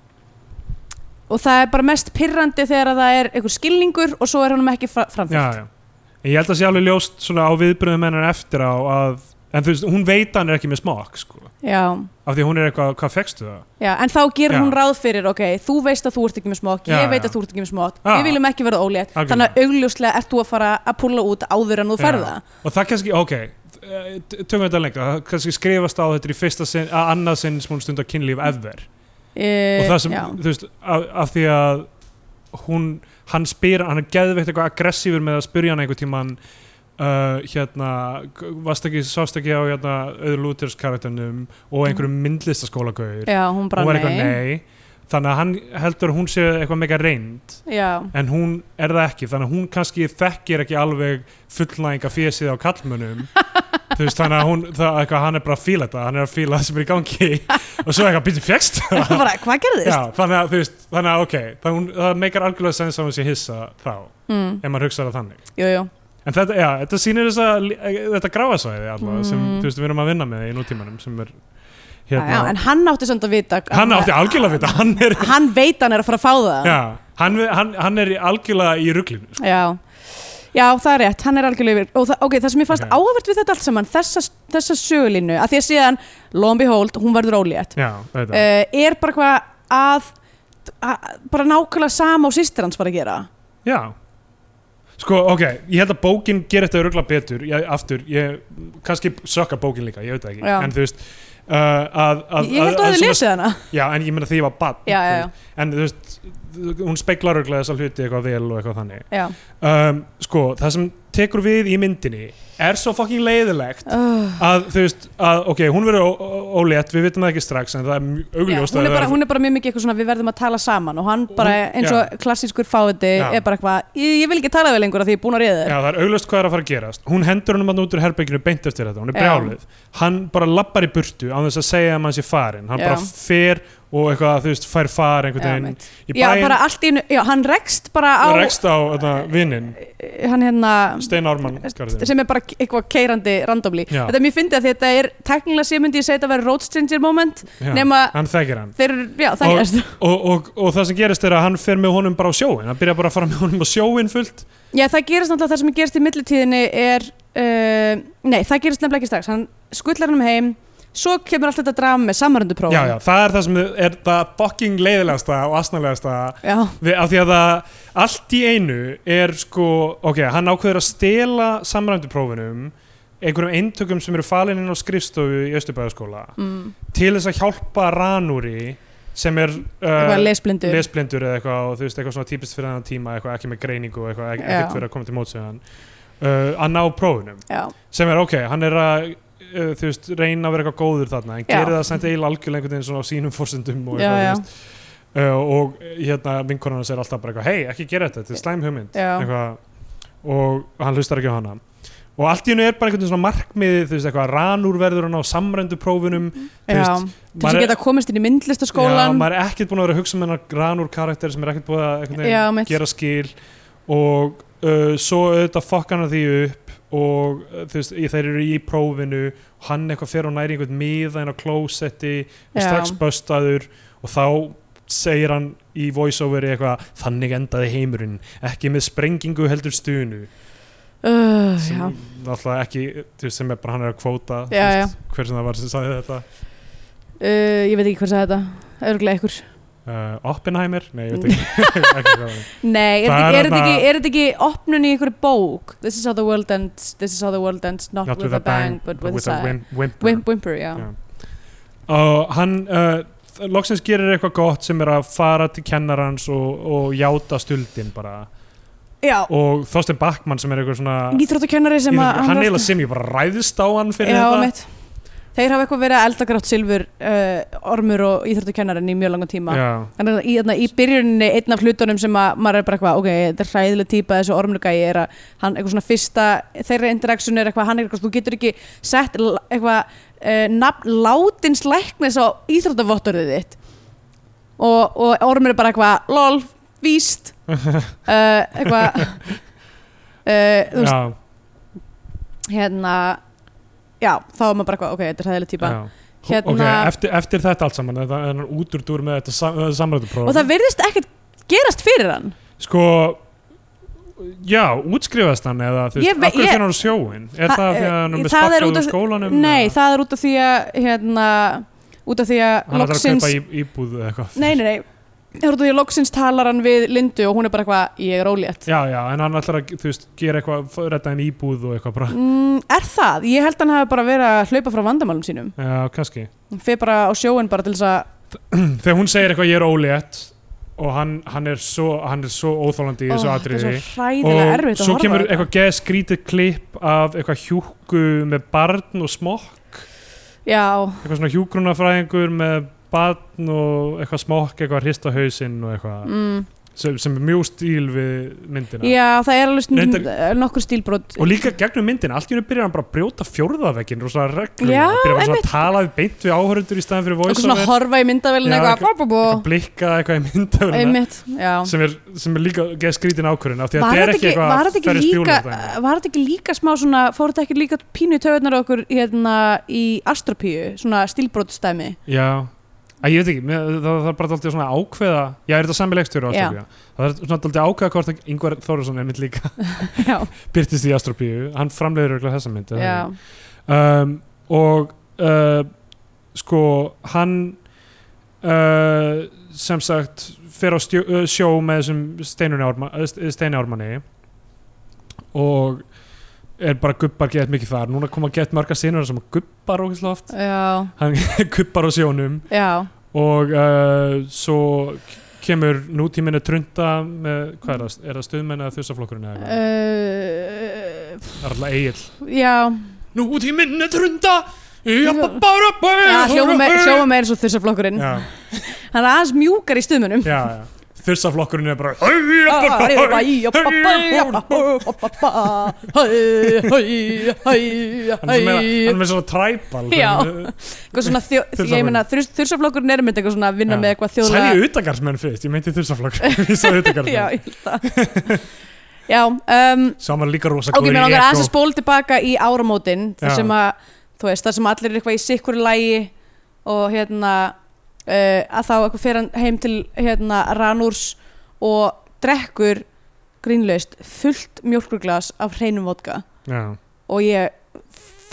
B: og það er bara mest pirrandi þegar að það er einhver skilningur og svo er honum ekki fra framfylgt
C: já, já. En ég held að sé alveg ljóst svona á viðbröðum hennar eftir á að en þú veist, hún veit að hann er ekki með smakk sko.
B: Já,
C: af því að hún er eitthvað, hvað fekstu það?
B: já, en þá gerir
C: Já.
B: hún ráð fyrir, ok, þú veist að þú ert ekki með smokk,
C: Já,
B: ég veit
C: já.
B: að þú ert ekki með smokk,
C: Já.
B: við viljum ekki verða ólétt,
C: Algjörlega.
B: þannig að augljóslega ert þú að fara að púla út áður en þú
C: Já.
B: ferða.
C: og það kannski, ok eh, t- tökum þetta lengra, það kannski skrifast á þetta í fyrsta sinn, að annað sinn sem hún stundar kynlíf ever,
B: E,
C: og það sem,
B: já.
C: þú veist af, af því að hún hann spyr, hann er geðveikt eitthvað aggressífur með að spyrja hann einhvern tímann uh, hérna, g- varst ekki sást ekki á hérna, öðru Lúters karakternum og einhverjum myndlistaskólagauður
B: já, hún Mm. Eh, bara
C: hún var eitthvað
B: nei.
C: nei þannig að hann heldur að hún sé eitthvað mega reynd
B: Já,
C: en hún er það ekki þannig að hún kannski þekkir ekki alveg fullnæðinga fésið á kallmönnum þú veist þannig að hún, það, eitthvað, hann er bara að fíla þetta hann er að fíla það sem er í gangi og svo eitthvað býtum fjekst
B: bara, hvað gerðist?
C: Já, þannig að þú veist, þannig að ok þannig að hún, það meikar algjörlega sens að hún sé hissa þá,
B: Mm,
C: ef maður hugsa það þannig
B: jú, jú.
C: en þetta, já, þetta sýnir þessa, e, þetta gráasvæði allavega sem,
B: Mm.
C: þú veist, við erum að vinna með í nútímanum sem er,
B: Já, já, en hann átti samt að vita. að-
C: Hérna. hann átti algjörlega við þetta, hann er
B: Hann veit hann er að fara að fá það.
C: já, hann, hann, hann er í- algjörlega í ruglinu sko.
B: Já, já það er rétt, hann er algjörlega yfir og það, okay, það sem ég fannst
C: Ok.
B: okay. áhverð við þetta allt saman þessa, þessa sögulínu, að því að síðan lo and behold, hún verður ólétt uh,
C: já, þetta
B: er bara hvað að, að bara nákvæmlega sama og sýstir hans var að gera
C: Já Sko, ok, ég held að bókin gerir þetta örugla betur, ég, aftur, ég kannski sökka bókin líka, ég veit það ekki
B: Já.
C: en þú veist uh, að, að,
B: Ég held að
C: að
B: það
C: svona-
B: lesið hana
C: Já, en ég meina því ég var bann
B: Já, já, já.
C: en þú veist, hún speiklar örugla þessa hluti eitthvað vel og eitthvað þannig
B: Já,
C: um, Sko, það sem tekur við í myndinni er svo fucking leiðilegt
B: uh,
C: að þú veist, að ok, hún verður ó- ó- ólétt, við vitum það ekki strax en það er mjög
B: já
C: augljóst
B: hún, er
C: að
B: bara,
C: það
B: hún er bara mjög mikið eitthvað svona við verðum að tala saman og hann bara
C: Hún-
B: eins og klassískur fáiði
C: Já.
B: er bara eitthvað, ég, ég vil ekki tala við lengur af því ég er búin að reyða
C: Já,
B: þér
C: það er auglöst hvað er að fara að gerast Hún hendur hann út úr herbygginu beint eftir þetta Hún er
B: Já.
C: brjálið Hann bara lappar í burtu á þess að segja að mann sé farin Hann
B: Já.
C: bara fer og eitthvað, þú veist, fær far einhvern veginn
B: mitt.
C: í
B: já,
C: bæinn
B: bara allt í einu, já, hann rekst bara á,
C: Rekst á þetta, vinnin
B: hann hérna
C: Stein Ármann Garðin.
B: sem er bara eitthvað keirandi randomly
C: Já.
B: þetta er mjög fyndið að þetta er teknilega sé myndi ég segja þetta að vera road stranger moment
C: Já,
B: nema-
C: Hann þekkir hann
B: þeir eru, já það er
C: og, og, og það sem gerist er að hann fer með honum bara á sjóin Hann byrjar bara að fara með honum á sjóin fullt
B: já það gerist náttúrulega það sem gerist í millitíðinni er uh, nei það gerist nefnilega ekki strax hann skullar hann heim svo kemur allt þetta drama með samarönduprófa
C: já, já, það er það sem er það fucking leiðilegasta og asnalegasta
B: já,
C: við, af því að það, allt í einu er sko, ok, hann ákveður að stela samræmduprófinum einhverjum eintökum sem eru falin inn á skrifstofu í Östubæðaskóla
B: mm,
C: til þess að hjálpa Ranúri sem er
B: eitthvað
C: uh,
B: lesblindu
C: lesblindur eða eitthvað og þú veist eitthvað svona típist fyrir þannig tíma eitthvað ekki með greiningu og eitthvað
B: Já.
C: ek- ekkert fyrir að koma til mótsöðan uh, að ná prófinum
B: já,
C: sem er ok, hann er að uh, þú veist, reyna að vera eitthvað góður þarna en
B: Já.
C: gerir það samt eiginlega algjörlega einhvern veginn svona á sínum forsendum og
B: já,
C: eitthvað,
B: já,
C: þú veist. uh, og hérna vinkonan hans er alltaf bara eitthvað, hei, ekki gera þetta, þetta er slæm hugmynd
B: Já.
C: eitthvað, og hann hlustar ekki á hana og allt í hennu er bara einhvern veginn svona markmiðið, þú veist, eitthvað, ranúr verður hann á samrændu prófunum
B: já.
C: veist,
B: til þess að geta komist inn í
C: Já,
B: myndlistaskólan
C: maður er ekkert búin að vera að hugsa um hennar ranúr karakter sem er ekkert búin að einhvern
B: Já,
C: veginn
B: mitt.
C: gera skil og uh, svo auðvitað fokk hann að því upp og uh, þú veist, í- þeir eru í prófinu hann eitthvað fer og næri einhvern miða inn á klósetti og
B: Já.
C: strax böstaður og þá segir hann í voiceoveri eitthvað þannig endaði heimurinn, ekki með sprengingu heldur stunu
B: uh,
C: sem
B: já.
C: náttúrulega ekki, þú veist, sem er bara hann er að kvóta þú
B: Já,
C: veist, hver sem það var sem sagði þetta
B: Uh, ég veit ekki hvað það er þetta örglega ykkur
C: uh, Oppenheimer? Nei, ég veit ekki, ekki hvað það var.
B: Nei, er þetta ekki- er
C: Það er
B: þetta
C: þarna-
B: ekki, er þetta ekki opnun í einhverju bók This is how the world ends, this is how the world ends Not,
C: Not
B: with a bang, but with, a sigh
C: whim- whimper.
B: Wimp, Whimper, já,
C: Já. Og hann uh, loksins gerir eitthvað gott sem er að fara til kennarans og, og játa stuldin bara
B: já.
C: og Þorstein Backmann sem er eitthvað svona
B: uh, Íþróttakennari sem að
C: hann eiginlega sem ég bara ræðist á hann fyrir
B: já,
C: þetta
B: mitt. Þeir hafa eitthvað verið að elda grátt silfur uh, ormur og íþróttakennarinn í mjög langan tíma
C: já,
B: Þannig að í, þarna, í byrjuninni einn af hlutunum sem að maður er bara eitthvað, ok, þetta er hræðileg típa þessu ormurgæi er að hann eitthvað svona fyrsta þeirra interaction er eitthvað, hann er eitthvað þú getur ekki sett l- eitthvað uh, nafn látins læknis á íþróttavottorðið þitt og, og ormur er bara eitthvað lol, víst uh, eitthvað uh, þú veist,
C: já,
B: hérna já, þá er maður bara eitthvað, ok, þetta er hræðileg típa
C: já.
B: Hérna-
C: ok, eftir, eftir þetta allt saman þetta er hann út úr dúr með þetta sam, samræðupróf
B: og það virðist ekkert gerast fyrir hann
C: sko já, útskrifast hann eða þú
B: Ég
C: veist,
B: ve-
C: af hverju
B: ég-
C: fyrir hann á sjóin er
B: Það-
C: það af því að hann er
B: eh, það
C: með
B: er
C: sparkað
B: út
C: úr
B: af-
C: skólanum
B: nei,
C: eða?
B: það er út af því að hérna, út af því að
C: hann er að
B: loksins
C: kaupa í, íbúð eða eitthvað
B: nei, nei, nei, það er út af því að loksins talar hann við Lindu og hún er bara eitthvað, ég er ólétt
C: Já, já, en hann ætlar að, þú veist, gera eitthvað, f- redda henni íbúð og eitthvað bara.
B: mm, er það? Ég held hann hafi bara verið að hlaupa frá vandamálum sínum
C: Já, kannski.
B: hann fer bara á sjóin bara til þess að
C: Þegar hún segir eitthvað, ég er ólétt og hann, hann er svo, hann er svo óþólandi í þessu
B: Ó, þetta
C: atriði.
B: er svo hræðilega erfitt að
C: svo
B: horfa á
C: kemur e-
B: þetta.
C: eitthvað geð skrítið klipp af eitthvað hjúku með barn og smokk,
B: já,
C: eitthvað svona hjúgrunafræðingur með barn og eitthvað smokk, eitthvað að hrista hausinn og eitthvað,
B: mm,
C: sem, sem er mjög stíl við myndina.
B: já, það er alveg stundum, nokkur stílbrot
C: Og líka gegnum myndina, allt í henni byrjar hann bara að brjóta fjórðaveggin, rosalega reglum,
B: Já,
C: byrjar bara svona að tala við beint við áhörundur í staðan fyrir
B: eitthvað svona
C: voice-over.
B: horfa í myndavélina
C: Já,
B: eitthvað, bú, bú,
C: eitthvað blikkað eitthvað í myndavöruna
B: einmitt, já
C: sem, er- sem er líka geð skrítin ákvörðin af því að
B: Var
C: þetta er
B: þetta
C: ekki
B: ekki,
C: eitthvað
B: var þetta ekki,
C: Ferris
B: líka,
C: Bueller dæmi.
B: var þetta ekki líka smá svona, fór þetta ekki líka pínu í taugarnar á okkur hérna í astropíu, svona stílbrotstæmi
C: já, að ég veit ekki mér, það, það er bara dálítið svona ákveða já, er þetta sami leikstjóri á
B: Já.
C: Astropíu það er svona dálítið ákveða hvort að Ingvar Þórisson er mynd líka
B: Já,
C: byrtist í Astropíu, hann framleiður örugglega þessa mynd er það
B: já,
C: ekki? um, og uh, sko hann uh, sem sagt fer á stjó, uh, sjó með þessum Steinunni Árma- eh, Ste- Steini Ármanni og er bara gubbar gett mikið þar núna koma gett marga sinur sem gubbar ógeðslega oft
B: já,
C: hann gubbar á sjónum
B: já
C: og uh, svo kemur nútíminni trunda með, hvað er það, er það stuðmenn eða þursaflokkurinn eða
B: Eh.
C: eitthvað,
B: uh,
C: það er alltaf eigil
B: Já,
C: Nútíminn er trunda
B: já
C: Já,
B: hljóma meir, hljóma meir svo þursaflokkurinn
C: Já,
B: Hann er aðeins mjúkar í stuðmunum
C: já, já Þursaflokkurinn er bara Hann er meira- hann er
B: Eitthvað
C: með svona træbal
B: Já. svona þjó, ég meina þursaflokkurinn er með eitthvað svona að vinna með eitthvað þjóðlega
C: Sæði utagarsmenn fyrst, ég meinti þursaflokkurinn Ég sagði
B: Já,
C: utagarsmenn
B: ég held það Já, um,
C: Sá hann var líka rosa
B: ok, mér
C: góður í
B: langar aðeins að
C: ekko
B: spóla tilbaka í áramótin þar
C: Já.
B: sem að, þú veist, þar sem allir er eitthvað í sikkur lægi og hérna uh, að þá eitthvað fer hann heim til hérna Ranúrs og drekkur grínlaust fullt mjólkurglas af hreinum vodka
C: Já,
B: og ég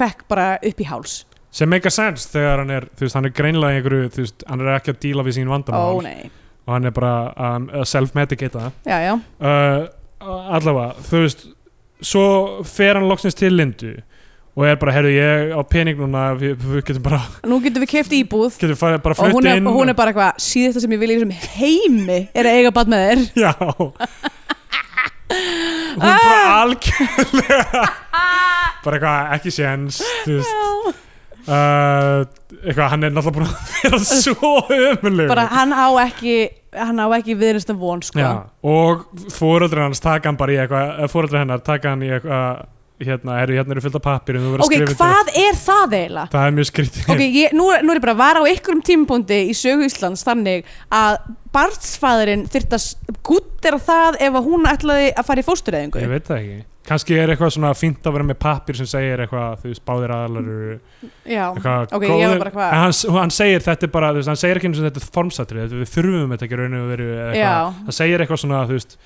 B: fekk bara upp í háls
C: sem make a sense þegar hann er, þú veist, hann er greinlega í einhverju, þú veist, hann er ekki að díla við sín vandamál
B: Ó nei,
C: og hann er bara um, að self-medicata
B: já já
C: uh, allavega, þú veist svo fer hann loksins til Lindu og er bara, heyrðu, ég á pening núna við, við getum bara,
B: Nú getum við keft íbúð
C: getum farið bara
B: og
C: flutt
B: hún er,
C: inn
B: og hún er bara eitthvað síðasta sem ég vil í þessum heimi er að eiga barn með þér
C: Já Hún bara
B: Ah!
C: algjörlega Bara eitthvað ekki séns Þú veist uh, Eitthvað hann er náttúrulega búin að vera svo ömuleg
B: bara hann á ekki hann á ekki viðnist von sko
C: Já Og fóröldri hans taka hann bara í eitthvað Fóröldri hennar taka hann í eitthvað Hérna eru, hérna eru fyllt af pappir
B: ok, hvað er það eiginlega?
C: Það er mjög skrítið
B: Ok, ég, nú, er- nú er ég bara að vara á einhverjum tímpúndi í sögu Íslands þannig að barnsfæðurinn þyrft að guttera það ef að hún ætlaði að fara í fóstureyðingu
C: Ég veit það ekki Kanski er eitthvað svona fínt að vera með pappir sem segir eitthvað, þú veist, báðir aðlar eru
B: Já,
C: eitthvað
B: Ok, ég
C: góður,
B: var bara eitthvað-
C: en hann, hann segir þetta er bara, þú veist, hann segir ekki eins og þetta er formsatrið, þetta við þurfum þetta ekki í raun og veru eða eitthvað,
B: Já.
C: hann segir eitthvað svona, þú veist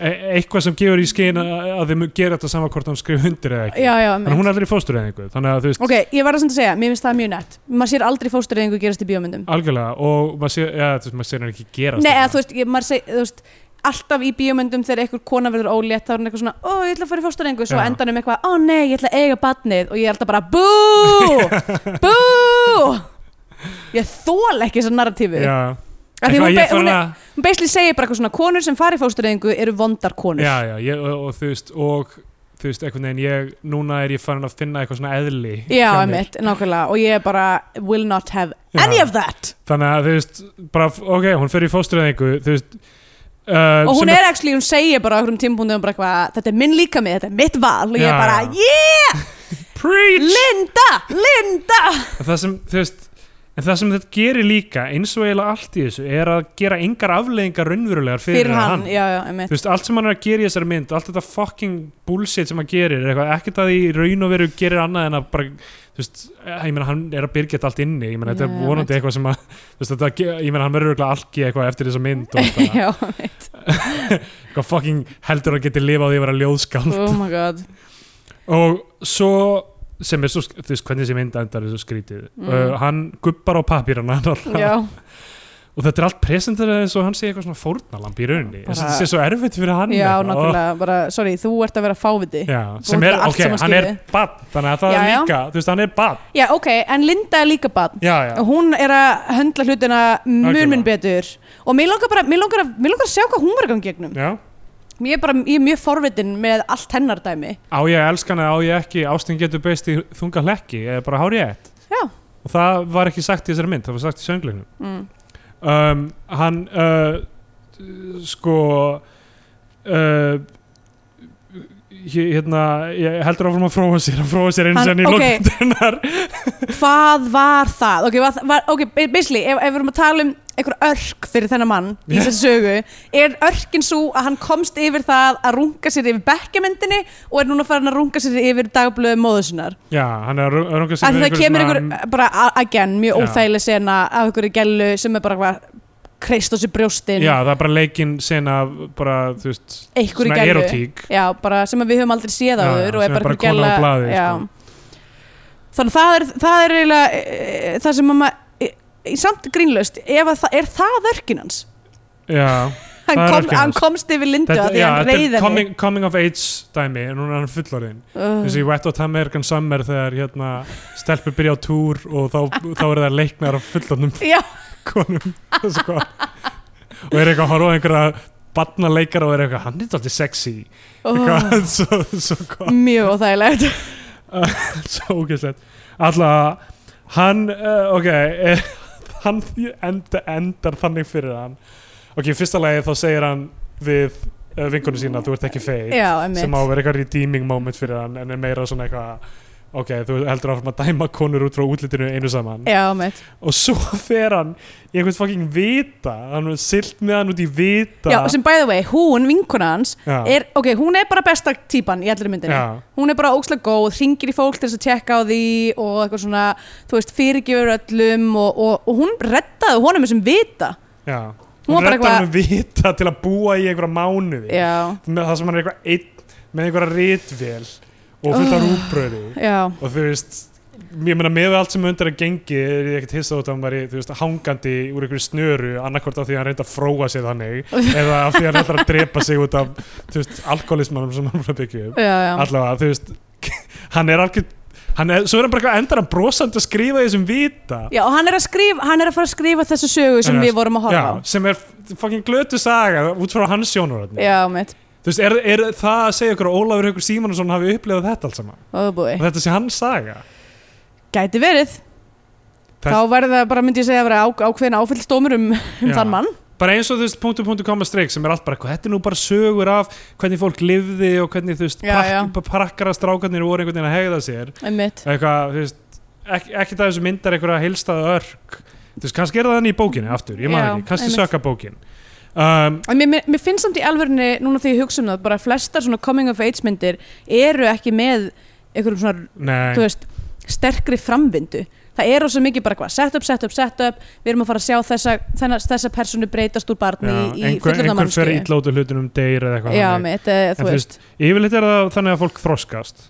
C: e eitthvað sem gefur í skyn að að þið gera þetta saman hvort hann skrif undir eða ekki
B: já, já
C: en hún er aldrei fóstur eða einhver, þannig að þú veist
B: Ok, ég var að sem að segja, mér finnst það mjög nett Maður sér aldrei fóstureyðingu gerast í bíómyndum
C: algjörlega, og maður sér, ja, veist, maður sér hann ekki gera
B: Nei, eða þú veist, ég, maður seg, þú veist alltaf í bíómyndum þegar einhver kona verður ólétt þá er hún eitthvað svona, ó, ég ætla að fara í fóstureyðingu svo
C: Já.
B: á endanum eitthvað, ó nei, ég ætla að eiga badnið og ég er alltaf bara, bú, bú Ég þól ekki þessar narratífi
C: já,
B: Af því
C: Eitthvað,
B: hún,
C: ég
B: be,
C: fer
B: hún,
C: hana-
B: er, hún basically segir bara eitthvað svona konur sem fari fóstureyðingu eru vondar konur
C: já, já ég, og, og þú veist, og þú veist, einhvern veginn, ég, núna er ég farin að finna eitthvað svona eðli
B: já
C: hjá mér.
B: emitt, nákvæmlega og ég er bara will not have
C: Já.
B: any of that
C: þannig að þú veist, bara, ok, hún fer í fóstur eða einhver, þú veist Uh,
B: og
C: sem
B: hún er actually, hún segir bara á einhverjum tímpúndum bara eitthvað, þetta er minn líka mig, þetta er mitt val og ég
C: Já,
B: er bara,
C: já.
B: yeah,
C: preach
B: Linda Linda,
C: En það sem, þú veist, en það sem þetta gerir líka eins og eiginlega allt í þessu er að gera engar afleðingar raunverulegar fyrir,
B: fyrir hann, já, já,
C: Þú
B: emitt
C: veist, allt sem hann er að gera í þessari mynd, allt þetta fucking bullshit sem hann gerir, er eitthvað, ekkert að því raun og veru gerir annað en að bara, þú veist, ég meina, hann er að byrgja þetta allt inni, ég meina, þetta
B: Já,
C: er vonandi eitthvað sem að, þú veist, þetta, ge- ég meina, hann verður eitthvað algi eitthvað eftir þessa mynd og eitthvað,
B: já, emitt,
C: eitthvað fucking heldur að geti lifað því að vera ljóðskáld
B: oh my god
C: og svo sem er svo, sk- þú veist, hvernig þessi mynd endar er svo skrítið,
B: Mm.
C: uh, hann gubbar á pappirana
B: já,
C: og þetta er allt presenterað eins og hann sé eitthvað svona fórnalamb í rauninni,
B: Bara-
C: þess að þetta sé svo erfitt fyrir hann
B: já,
C: eitthvað.
B: nákvæmlega bara, sorry, þú ert að vera fáviti
C: Og- já, sem er,
B: náttúrulega allt
C: ok,
B: sem hann
C: hann er
B: skilur.
C: bann, þannig að það
B: Já,
C: er
B: já.
C: líka þú veist, hann er bann,
B: já, ok, en Linda er líka badn
C: já, já
B: og hún er að höndla hlutina
C: Algjörlega.
B: mun mun betur og mér langar bara, mér langar að, mér langar að sjá hvað hún var að ganga í gegnum
C: já,
B: ég er bara, ég er mjög forvitin með allt hennar dæmi
C: á ég að elska hann eða á ég ekki, ástin getur beist í þunga hlekki eða bara hár ég
B: Já.
C: og það var ekki sagt í þessari mynd, það var sagt í söngleinu
B: mm.
C: um, hann uh, sko uh, hér- hérna ég heldur áfram að fróa sér að fróa sér einu
B: Hann-
C: senni í
B: ok.
C: okay. lokundunar
B: hvað var það? ok, var, var, okay basically, ef, ef við erum að tala um einhver örk fyrir þennan mann í
C: Já.
B: þessu sögu, er örkin svo að hann komst yfir það að runga sér yfir bekkjamyndinni og er núna farin að runga sér yfir dagblöðu móðusinnar
C: já, hann er að runga sér
B: að
C: við
B: það kemur einhver,
C: svona-
B: bara a- again, mjög
C: Já.
B: óþægileg sena af einhverju gellu sem er bara hvað kreist á sér brjóstin
C: já, það er bara leikinn sen af bara, þú veist,
B: einhverju
C: svona
B: gælu
C: erotík
B: já, bara sem að við höfum aldrei séð
C: Já,
B: áður og er
C: sem
B: bara
C: er bara
B: einhver
C: kona á
B: gæla-
C: blaði,
B: já.
C: sko.
B: þannig að það er það er eiginlega e, það sem að maður e, e, samt grínlaust, ef að það er það örkin hans
C: já,
B: hann,
C: Það er
B: kom,
C: örkin
B: hann
C: hans.
B: komst yfir lindu að því
C: já,
B: hann
C: þetta
B: reyði
C: er coming, coming of age dæmi en núna er hann fullorðin
B: Mm.
C: eins og í Wet Hot American Summer þegar hérna stelpur byrja á túr og þá, þá eru það leiknar af fullorðnum
B: já,
C: konum og sko. og er eitthvað að horfa á einhverja barna leikara og er eitthvað, hann er alltaf sexy
B: ó,
C: eitthvað, svo, svo gott
B: mjög óþægilegt
C: svo ógeðslegt alltaf, hann uh, ok, eh, hann enda, endar þannig fyrir hann ok, í fyrsta lagi þá segir hann við uh, vinkonu sína, þú ert ekki feit
B: já,
C: sem á
B: emmitt
C: að vera eitthvað redeeming moment fyrir hann en er meira svona eitthvað ok, þú heldur áfram að dæma konur út frá útlitinu einu saman
B: já, emmitt
C: og svo fer hann í einhvern fucking vita hann er silt með hann út í vita
B: já, sem by the way, hún, vinkona hans
C: Já,
B: er, ok, hún er bara besta típan í allri myndinni
C: já,
B: hún er bara ókslega góð, hringir í fólk til þess að tjekka á því og eitthvað svona, þú veist, fyrirgefur öllum og, og, og hún rettaði honum þessum vita.
C: já.
B: Hún var
C: hún
B: bara
C: rettar
B: eitthvað-
C: hann um vita til að búa í einhverja mánuði
B: Já,
C: með það sem hann er eitthvað einn með einhverja ritvél og fullt af
B: Oh.
C: rúbröði
B: já,
C: og þú veist ég meina með allt sem undir að gengi er ég ekkert hissa út að hann væri þú veist, hangandi úr einhverju snöru annarkvort af því að hann reyndi að fróa sig þannig eða af því að hann ætlar að drepa sig út af þú veist, alkoholismanum sem hann var að byggja upp
B: já, já.
C: allavega, þú veist hann er algjör hann er, svo er hann bara eitthvað endar hann brosandi að skrifa í þessum vita
B: já, og hann er, að skrifa, hann er að fara að skrifa þessu sögu sem
C: Hann er
B: við vorum að
C: já,
B: horfa á
C: sem er fucking glötu saga út frá hans sjónur
B: já, mitt,
C: þú veist, er, er það að segja ykkur að Ólafur Haukur Símannsson hafi upplifað þetta allt saman
B: óbúi
C: og þetta sé hans saga
B: Oh, gæti verið
C: Það-
B: þá verður það bara, myndi ég segja, að vera á, ákveðin áfyllstómur um, um
C: Já.
B: þann mann
C: bara eins og þú veist, punktu, punktu, koma, streik sem er allt bara eitthvað, þetta er nú bara sögur af hvernig fólk lifði og hvernig þú veist,
B: Já, já.
C: pakk, pakkara strákarnir voru einhvern veginn að hegða sér
B: einmitt,
C: eitthvað, þú veist, ekki, ekki það þessu myndar einhverja heilstaða örk þú veist, kannski er það þannig í bókinni aftur, ég maður
B: Já,
C: ekki, kannski
B: einmitt.
C: sökka bókin um,
B: En mér, mér, mér finnst samt í alvörinni núna því ég hugsa um það, bara flestar svona coming of age myndir eru ekki með einhverjum svona, þú
C: nei,
B: veist sterkri framvindu, það er svo mikið bara hvað, set up, set up, set up við erum að fara að sjá þessa, þennan, þessa personu breytast úr barni
C: já,
B: í
C: einhver,
B: fullurna
C: einhver fer
B: mannskjöðu
C: ítlótu hlutunum deyr eða eitthvað
B: Já,
C: þannig.
B: mitt, uh,
C: En
B: þú
C: þú
B: veist
C: yfirleitt er það þannig að fólk þroskast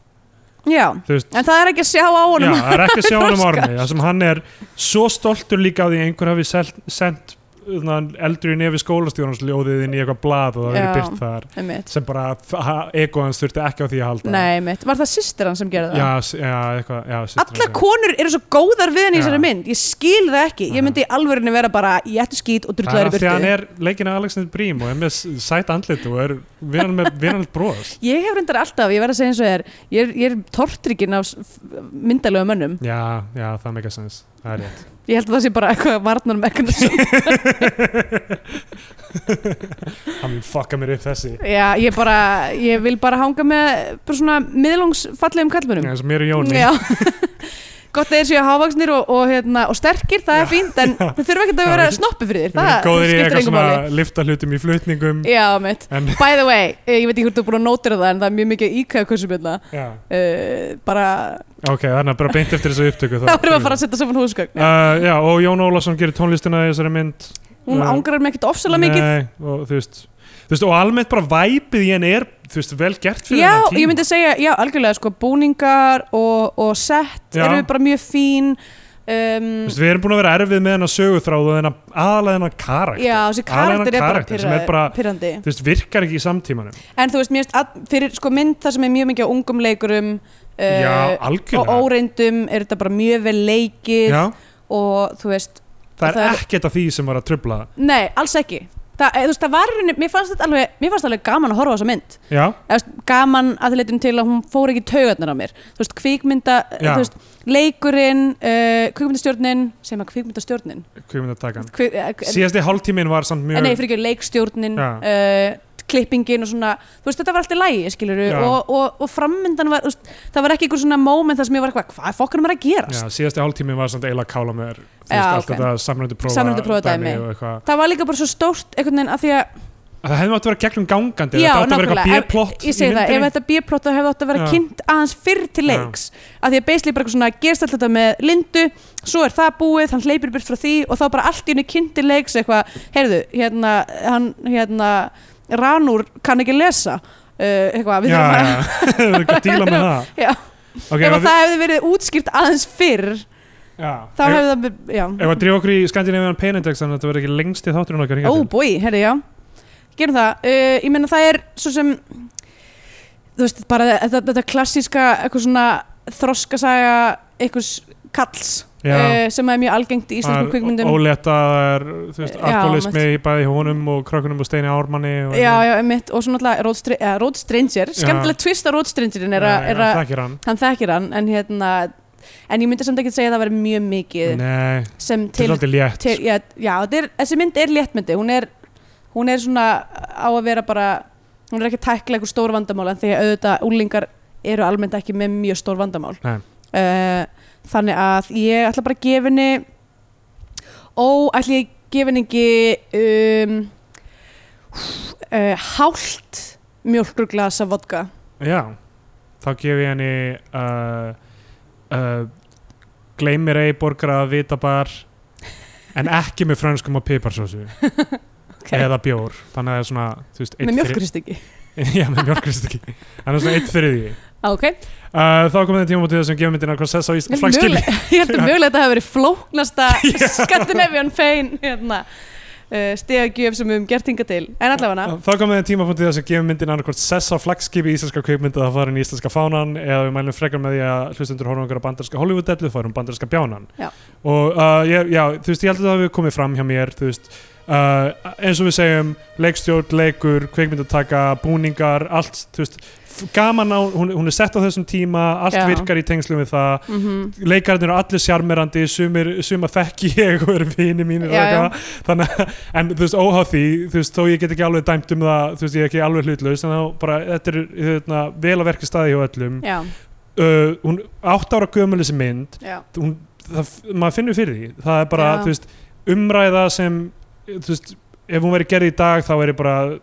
B: Já,
C: þú veist,
B: en það er ekki að sjá á honum
C: Já, það er ekki að sjá hann um
B: Þroskast.
C: orni Það sem hann er svo stoltur líka af því að einhver hafi sel- sendt þannig, eldri nefi skólastjórnans ljóðið inn í eitthvað blað og það verið
B: Já.
C: byrt þar
B: einmitt.
C: sem bara ego hans þurfti ekki á því að halda
B: Nei, mitt, var það systir hann sem gerði það?
C: Já, s- já, eitthvað já, systir
B: Allar
C: hans, já.
B: konur eru svo góðar við hann í
C: Já.
B: þessari mynd Ég skil það ekki, ég myndi í alvörinni vera bara Ég ættu skít og
C: Það er
B: drullar í
C: af því að hann
B: burtu
C: er leikinn af Alexander Brím og er með s- sætt andlit og er vinnan með vinnan bros
B: Ég hef reyndar alltaf, ég verð að segja eins og þér Ég er, ég er tortrykkin af myndalögu mönnum
C: Já, já, það make a sense Það er rétt
B: Ég held að það sé bara eitthvað varnar Magnússon
C: Hann mun fucka mér upp þessi
B: Já, ég bara, ég vil bara hanga með bara svona miðlungsfallegum kallmönum
C: eins og mér og Jóni
B: Já Gott að þeir séu hávaksnir og, og, hérna, og sterkir, það er fínt en þau þurfa ekki að vera
C: Já.
B: snoppi fyrir þér
C: Við erum
B: Það
C: góðir í
B: skiptir
C: eitthvað
B: engum máli
C: svona lifta hlutum í flutningum
B: Já, mitt
C: En,
B: By the way, eh, ég veit ekki hvort þú er búin að nótira það en það er mjög mikið íkæða kursum hérna
C: já
B: uh, bara,
C: Ok, þannig að bara beint eftir þessu upptöku
B: þá erum við að fara að setja saman húsgögn
C: Uh, já, og Jón Ólafsson gerir tónlistina í þessari mynd
B: Hún
C: Já.
B: ángrar mig ekkert ofsalega mikið
C: Nei, og þú veist, þú veist og almennt bara væpið í henni er þú veist, vel gert fyrir
B: Já,
C: þennan tíma
B: ég myndi segja, já, algjörlega sko, búningar og, og sett
C: Já.
B: eru bara mjög fín um,
C: Þú veist, við erum búin að vera erfið með hennar sögutráð og hennar aðalega hennar karakter
B: Já, þessi
C: Aðalega
B: karakter er bara,
C: karakter sem
B: pyrra,
C: er bara-
B: pyrrandi
C: þú veist, virkar ekki í samtímanum
B: En þú veist, mér finnst að, fyrir sko mynd það sem er mjög mikið á ungum leikurum
C: Já,
B: uh, og
C: algjörlega
B: óreindum er þetta bara mjög vel leikið
C: Já,
B: og þú veist,
C: það
B: það
C: er
B: er-
C: ekkert af því sem var að trubla það.
B: nei, alls ekki Það, eh, þú veist, það var, í rauninni- mér fannst þetta alveg, mér fannst alveg gaman að horfa á þessa mynd
C: Já,
B: Eða, þú veist, gaman að leitum til að hún fór ekki í taugarnar á mér þú veist, kvikmynda,
C: Já.
B: þú veist, leikurinn uh, kvikmyndastjórnin, segir maður kvikmyndastjórnin
C: hvað mynd að taka hann
B: Kvi, eh,
C: Síðasti hálftíminn var samt mjög
B: en Eh, nei, fyrir ekki leikstjórnin
C: Já.
B: uh, klippingin og svona þú veist, þetta var allt í lægi, skilur
C: Já.
B: og, og, og framöndan var, þú veist, það var ekki einhver svona moment þar sem ég var eitthvað, hvað fokkanum er að
C: Já,
B: gerast
C: síðasti hálftíminn var samt eiginlega kála með þér Þú veist,
B: Já,
C: allt
B: ok.
C: þetta samröndu prófa,
B: Samræmdu prófa dæmi.
C: og eitthvað
B: það var líka bara svo stórt einhvern veginn að því að
C: Það hefði mátt að vera gegnum gangandi
B: Já,
C: Þetta átt að vera
B: nákvæmlega.
C: eitthvað B-plott
B: Ef- ég segi það, ef þetta B-plott þá hefði átt að vera
C: Já.
B: kynnt aðeins fyrr til
C: Já.
B: leiks að því að basically bara eitthvað svona gerst alltaf þetta með Lindu svo er það búið, hann hleypir burt frá því og þá bara allt í henni kynnt til leiks eitthvað, heyrðu, hérna, hann, hérna Ranúr kann ekki lesa uh, eitthvað, við
C: Já,
B: þurfum að
C: já, við erum ekki að díla með það
B: Já,
C: Ok,
B: ef
C: ef
B: að það hefði verið útskýrt aðeins fyrr þá
C: Ef
B: hefði það, be- já
C: ef að drífa okkur í Skandinavian Penindex þannig að þetta verður ekki lengsti þátturinn
B: Ó
C: okkar hingað til
B: búi, herri, já Gerum það, uh, ég meina það er svo sem þú veist, bara þetta, þetta klassíska eitthvað svona þroskasaga einhvers kalls
C: Já.
B: uh, sem er mjög algengt í íslenskum kvikmyndum
C: Óletta, þú veist,
B: Já,
C: alkoholismi í bæði hjá honum og krökkunum og Steini Ármanni og
B: Já, já, mitt, og svo náttúrulega Road, Stra eh, Road Stranger, skemmtilega twist á Road Strangerin er að, er að
C: Það ekki hann
B: hann þekkir hann, en hérna en ég myndi samt ekki segja að það verið mjög mikið
C: Nei,
B: sem
C: þetta
B: til
C: er aldrei létt
B: til, já, já þetta er, þessi mynd er léttmyndi hún er, hún er svona á að vera bara, hún er ekki að tækla einhver stór vandamál en því að auðvitað úlingar eru almennt ekki með mjög stór vandamál
C: Nei.
B: Eh, þannig að ég ætla bara að gefa henni ó, ætla ég að gefa henni ekki um, uh, hálft mjölkurglasa vodka
C: Já, þá gef ég henni uh, uh, Gleimir ei borgara að vita bar en ekki með frönskum og piparsósu
B: okay.
C: eða bjór þannig að það er svona þú veist, einn
B: með
C: fyrir-
B: mjölkurist ekki
C: já, með mjölkrist ekki þannig að svona eitt fyrir því
B: ok
C: Uh, þá komið það tímabótið sem gefur myndina hvað sess á
B: Ég
C: Ísland
B: held
C: flagskipi
B: mögulega- ég held að mögulega þetta hafi verið flóknasta Scandinavian fein hérna, uh, stegagjöf sem við höfum gert hinga til en allavega
C: Þá komið það tímabótið sem gefur myndina annarkvort sess á flagskipi í íslenska kveikmynda það farin í íslenska fánan eða við mælum frekar með því að hlustundur horfum okkar á bandarska Hollywood-dellu farum bandarska bjánan
B: Já.
C: og uh, ég, já, þú veist, ég held að það hafi komið fram hjá mér þú veist, uh, eins og við segjum leikstjórn, leikur, kveikmyndataka búningar, allt, þú veist f- gaman á, hún, hún er sett á þessum tíma allt
B: Já.
C: virkar í tengslum við það
B: mm -hmm.
C: leikarnir eru allir sjarmerandi sumir, suma þekki ég og eru vini mínir
B: Já,
C: og
B: já.
C: eitthvað. þannig að en þú veist óhá því, þú veist þó ég get ekki alveg dæmt um það, þú veist ég er ekki alveg hlutlaus en þá bara þetta er hérna, vel að verka staði hjá öllum
B: já,
C: uh, hún átt ára gömul þessi mynd
B: já,
C: hún, það, maður finnur fyrir því það er bara,
B: Já.
C: þú veist, umræða sem þú veist, ef hún verið gerð í dag þá er ég bara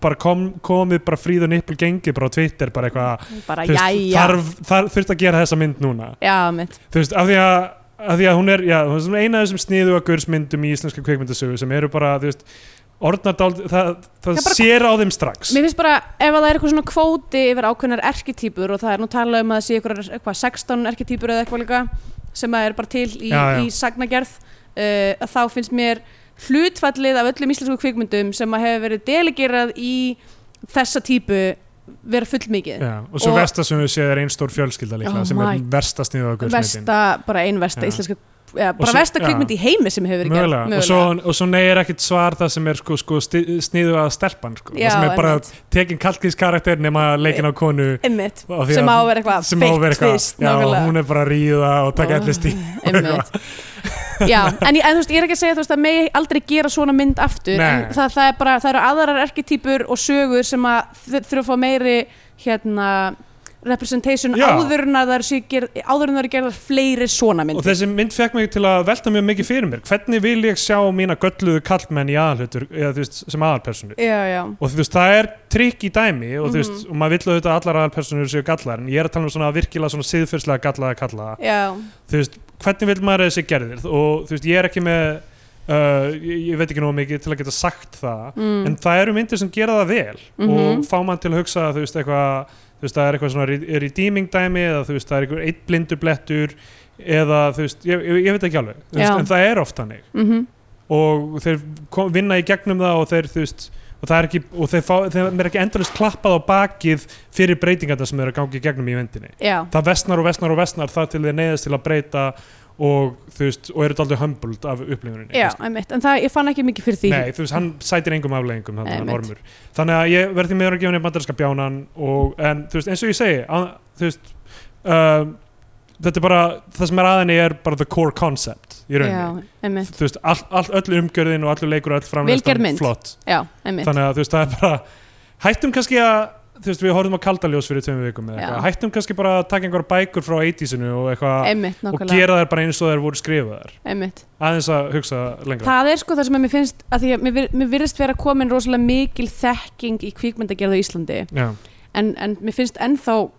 C: bara kom, komið bara fríð og nippul gengið bara á Twitter, bara eitthvað
B: bara
C: þú veist,
B: jæja
C: þarf, þarf, þurft að gera þessa mynd núna
B: já, mitt,
C: þú veist, af því að af því að hún er, já, hún er svona eina af þessum sniðu að gursmyndum í íslenska kveikmyndasögu sem eru bara, þú veist, orðnardál það, það
B: Já, bara-
C: sér á þeim strax
B: mér finnst bara ef að það er eitthvað svona kvóti yfir ákveðnar erketýpur og það er nú talað um að það sé eitthvað, eitthvað 16 erketýpur eða eitthvað líka sem að er bara til í,
C: Já, já.
B: í sagnagerð uh, að þá finnst mér hlutfallið af öllum íslensku kvikmyndum sem að hefur verið delegerað í þessa típu vera fullmikið
C: já, og svo
B: og-
C: versta sem við séð er einn stór fjölskylda líklega
B: Oh
C: sem
B: my-
C: er versta sniðu að gursmyndin
B: versta, bara ein versta
C: Já.
B: íslenska ja, bara
C: svo-
B: versta
C: já.
B: kvikmynd í heimi sem hefur verið gerð,
C: Mögulega. Og, svo, og svo nei er ekkit svar það sem er sko, sko, sniðu að stelpan sko,
B: Já,
C: það sem er bara
B: einmitt.
C: tekin kallkins karakter nema leikin á konu
B: einmitt,
C: af því
B: sem á
C: að-
B: að vera eitthvað
C: sem á að vera
B: feitt tvist,
C: eitthvað já,
B: nákvæmlega. Oh.
C: hún er bara að ríða og taka
B: Ó,
C: ellist í
B: einmitt já, en, ég- en þú veist, ég er ekki að segja þú veist að megi aldrei gera svona mynd aftur en
C: Nei.
B: það, það er bara, það eru aðrar erketýpur og sögur sem að þur- þurfa að fá meiri hérna representation
C: Já.
B: áður en að það eru séu gerð- áður en það eru gerðar fleiri svona
C: Og
B: myndir
C: þessi mynd fekk mig til að velta mjög mikið fyrir mér. Hvernig vil ég sjá mína gölluðu kallmenn í aðalhutur, eða þú veist, sem aðalpersonu?
B: já, já,
C: Og þú veist, það er trikk í dæmi og þú veist, og maður vill auðvitað að allar aðalpersonur séu gallar, en ég er að tala um svona virkilega svona siðfyrslega gallaða kallaða.
B: já,
C: Þú veist, hvernig vil maður að þessi gerðir? Og þú veist, ég er ekki með, uh, ég, ég veit ekki nóg mikið til að geta sagt það,
B: mm,
C: en það eru myndir sem gera það vel
B: Mhm.
C: og fá mann til að hugsa þú veist eitthvað þú veist það er eitthvað svona re- redeeming dæmi eða þú veist það er eitthvað eitt blindu blettur eða þú veist ég, ég, ég veit ekki alveg þú veist,
B: Já.
C: en það er oft þannig
B: mm
C: og þeir kom, vinna í gegnum það og þeir þú veist og það er ekki og þeir, fá, þeir er ekki endalist klappað á bakið fyrir breytingarna sem þeir eru að gangi í gegnum í vendinni
B: já
C: það vestnar og vestnar og vestnar þar til þeir neyðast til að breyta og þú veist og eru þetta aldrei humbled af upplifuninni
B: Já, einmitt, en það, ég fann ekki mikið fyrir því
C: Nei, þú veist, hann sætir engum afleggingum þannig að
B: Einmitt.
C: normur. Þannig að ég verði meður að gefa henni bandarinska bjánan og, en þú veist, eins og ég segi, að, þú veist, uh, þetta er bara, það sem er aðinni er bara the core concept í rauninni.
B: Já, einmitt,
C: Þú veist, all, all, öll umgjörðin og allur leikur og öll
B: Velgerð
C: framleyslan
B: mynd.
C: flott.
B: já, einmitt
C: Þannig að þú veist, það er bara, hættum kannski að, þú veist, við horfum á kaldaljós fyrir tveimur vikum eða
B: Já.
C: eitthvað, hættum kannski bara að taka einhverja bækur frá 80-sinu og eitthvað
B: Einmitt,
C: og
B: nákvæmlega,
C: gera þær bara eins og þær voru skrifaðar.
B: einmitt
C: Aðeins að hugsa lengra.
B: Það er sko það sem að mér finnst að því að mér, vir- mér virðist vera komin rosalega mikil þekking í kvíkmyndagerðu í Íslandi
C: Já.
B: en, en mér finnst ennþá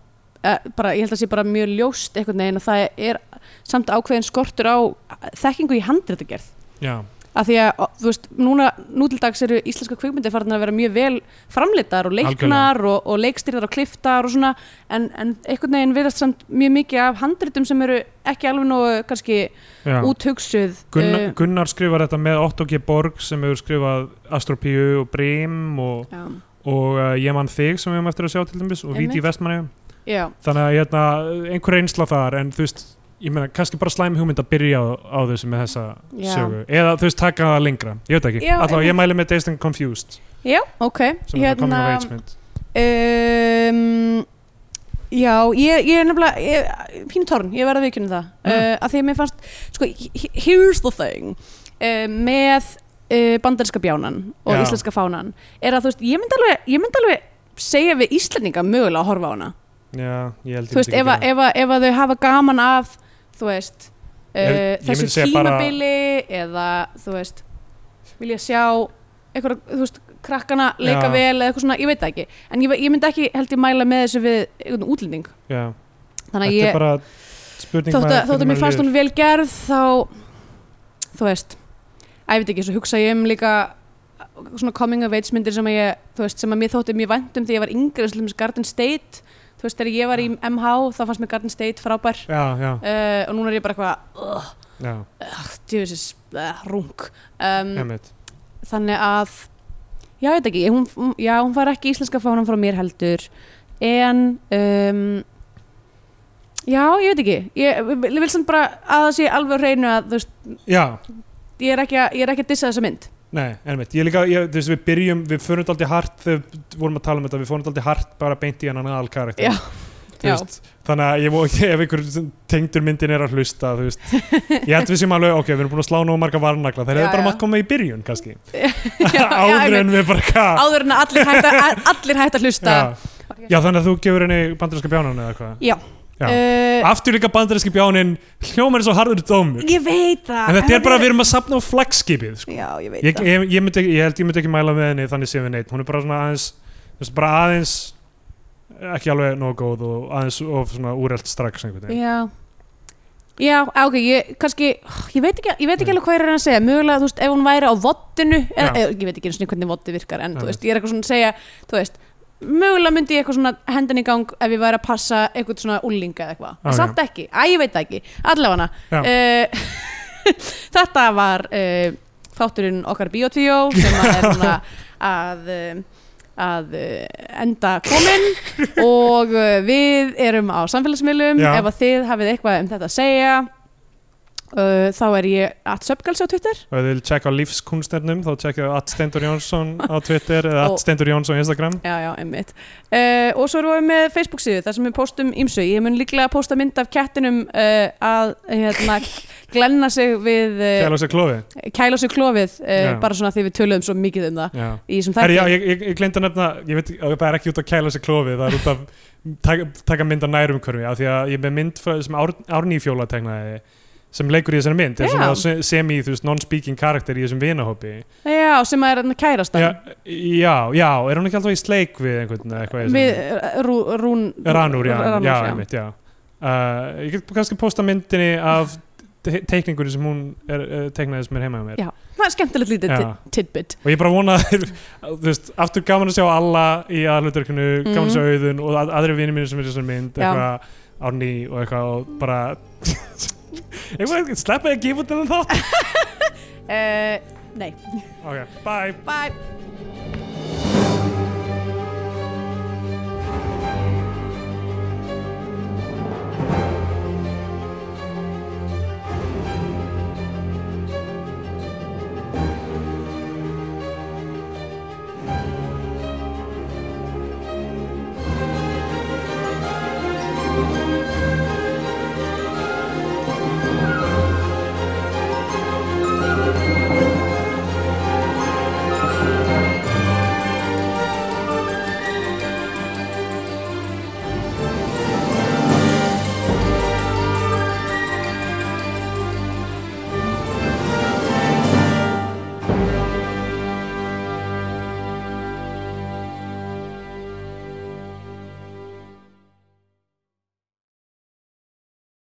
B: eh, bara, ég held að sé bara mjög ljóst einhvern veginn að það er samt ákveðin skortur á þekkingu í handritagerð
C: Já.
B: af því að, ó, þú veist, núna nútildags eru íslenska kvikmyndir farin að vera mjög vel framleitar og leiknar og, og leikstýrðar og kliftar og svona en, en einhvern veginn virðast samt mjög mikið af handritum sem eru ekki alveg nógu kannski
C: Já.
B: úthugsuð
C: Gunnar,
B: eh,
C: Gunnar skrifar þetta með Otto G. Borg sem hefur skrifað Astropíu og Brim og,
B: já,
C: og uh, Ég mann þig sem við höfum eftir að sjá til dæmis og Víti
B: Einmitt.
C: í Vestmanni
B: já,
C: þannig að hérna, einhver reynsla þar en þú veist, ég meina, kannski bara slæm hugmynd að byrja á, á þessu með þessa
B: Já.
C: sögu eða þú veist, taka það lengra, ég veit ekki
B: Já,
C: allavega
B: einmitt. Hérna,
C: ég mæli með Dazed and Confused
B: já, ok
C: sem er komin á veitsmynd
B: Um, já, ég, ég er nefnilega ég- pínu torn, ég verði að viðkynna það
C: Mm.
B: uh, að því að mér fannst sko, he- here's the thing uh, með uh, bandarinska bjánan og
C: Já.
B: íslenska fánan er að þú veist, ég myndi alveg, ég myndi alveg segja við Íslendinga mögulega að horfa á hana
C: Já, ég held ég
B: þú veist,
C: myndi
B: ef, að-
C: gera það.
B: ef, að- ef að þau hafa gaman af þú veist, uh,
C: Ég- ég
B: þessu
C: myndi segja bara-
B: tímabili eða þú veist, vilja sjá eitthvað, þú veist, krakkana leika
C: Já.
B: vel eða eitthvað svona, ég veit það ekki en ég, ég myndi ekki held ég mæla með þessu við einhvern útlending,
C: Já,
B: þannig að
C: þetta er
B: ég
C: bara spurning
B: þótt
C: maður
B: að, þótt
C: hvernig
B: að mér
C: maður
B: fannst
C: líður.
B: hún vel gerð þá, þú veist að ég veit ekki, svo hugsa ég um líka svona coming of age myndir sem að ég þú veist, sem að mér þótti mjög vænt um því ég var yngri, eins og til dæmis Garden State þú veist, þegar ég var í MH þá fannst mér Garden State frábær
C: já, já,
B: uh, og núna er ég bara eitthvað uh,
C: já,
B: djöfisins, uh, rung um,
C: emmitt
B: þannig að já, ég veit ekki, hún, já, hún fær ekki íslenska fánan frá mér heldur en um, já, ég veit ekki ég, ég vil samt bara að það sé alveg á hreinu að þú veist,
C: Já,
B: ég er ekki að, ég er ekki að dissa þessa mynd
C: nei, emmitt Ég líka, ég, þú veist, við byrjum, við fyrir þetta aldrei hart þegar við vorum að tala um þetta, við fórum þetta aldrei hart bara beint í hennan aðal karakter
B: já,
C: Þú veist, þannig að ég má ekki ef einhver sem tengdur myndin er að hlusta þú veist, ég held við sem alveg, ok, við erum búin að slá nóg marga varnagla, þeir
B: Já,
C: hefur bara
B: já.
C: mátt koma í byrjun kannski,
B: já, já, einmitt.
C: áður en við bara hvað
B: áður en að allir hægt að, allir hægt að hlusta
C: Ah. já. já, þannig að þú gefur henni bandarinska bjánan eða hvað,
B: já,
C: Já.
B: Uh,
C: aftur líka bandarinski bjánin hljómar eins og harður dómur
B: ég veit það
C: en þetta er bara að
B: þetta
C: við erum að sapna á flaggskipið sko.
B: já, ég veit
C: ég,
B: það
C: ég, ég, myndi, ekki- ég held ég myndi ekki mæla með henni þannig séum við neitt, hún er bara svona aðeins þú veist, bara aðeins ekki alveg nóg góð og aðeins of svona úrelt strax einhvern veginn.
B: Já Já, á, ok, ég kannski ég veit ekki, ég veit ekki alveg hvað ég er að reyna að segja mögulega, þú veist, ef hún væri á vottinu eða,
C: Mm. Já.
B: eða, ég veit ekki einu sinni hvernig votti virkar en,
C: Já,
B: þú
C: veit.
B: veist, ég er eitthvað svona að segja þú veist, mögulega myndi ég eitthvað svona hendin í gang ef ég væri að passa eitthvað svona úlinga eða eitthvað,
C: Já,
B: okay. samt ekki Æ, ég veit það ekki, allavega
C: Já.
B: hana uh, Þetta var uh, þátturinn okkar Bíotvíó sem að er svona að um, að uh, enda kominn og uh, við erum á samfélagsmiðlum
C: Já.
B: ef að þið hafið eitthvað um þetta að segja uh, þá er ég at söpgalsi á Twitter
C: og ef þið vil tjekka á lífskunstnernum þá tjekkið at Stendur Jónsson á Twitter eða
B: Og-
C: at Stendur Jónsson á Instagram
B: já, já, emmitt uh, og svo erum við með Facebook síðu þar sem við postum ímsu ég mun líklega posta mynd af kettinum uh, að hérna, glenna sig við uh,
C: Kæla sér klofi
B: kæla sig klofið uh,
C: Já.
B: bara svona því við töluðum svo mikið um það
C: Já.
B: í þessum þætti
C: Herri, já, ég, ég, ég glemt að nefna ég veit, það er ekki út að kæla sér klofi það er út að taka, taka mynd að nærum hverfi af því að ég er með mynd frá- sem Ár, Árný Fjóla tegnaði sem leikur í þessari mynd er
B: Já.
C: svona se- semi, þú veist, non-speaking karakter í þessum vinahópi
B: já, sem að er hérna kærastan
C: já, já, já, er hún ekki alltaf í sleik við einhvern eitthvað í þessum-
B: við eh, rú, rún
C: Ranur, já,
B: Ranúr,
C: já, einmitt, já. Uh, ég get kannski posta myndinni af te- teikningunni sem hún er, uh, teiknaði sem er heima hjá mér
B: Já. það er skemmtilegt lítið
C: Já.
B: tid- tidbit
C: og ég bara vona að þeir, þú veist, aftur gaman að sjá alla í aðhaldurkinu, gaman að sjá auðun og að, aðri vinir mínir sem er í þessari
B: Mhm.
C: mynd
B: Já.
C: eitthvað árný og eitthvað og bara eitthvað, sleppa ég að gefa út þennan þátt
B: uh, nei,
C: ok, bye
B: bye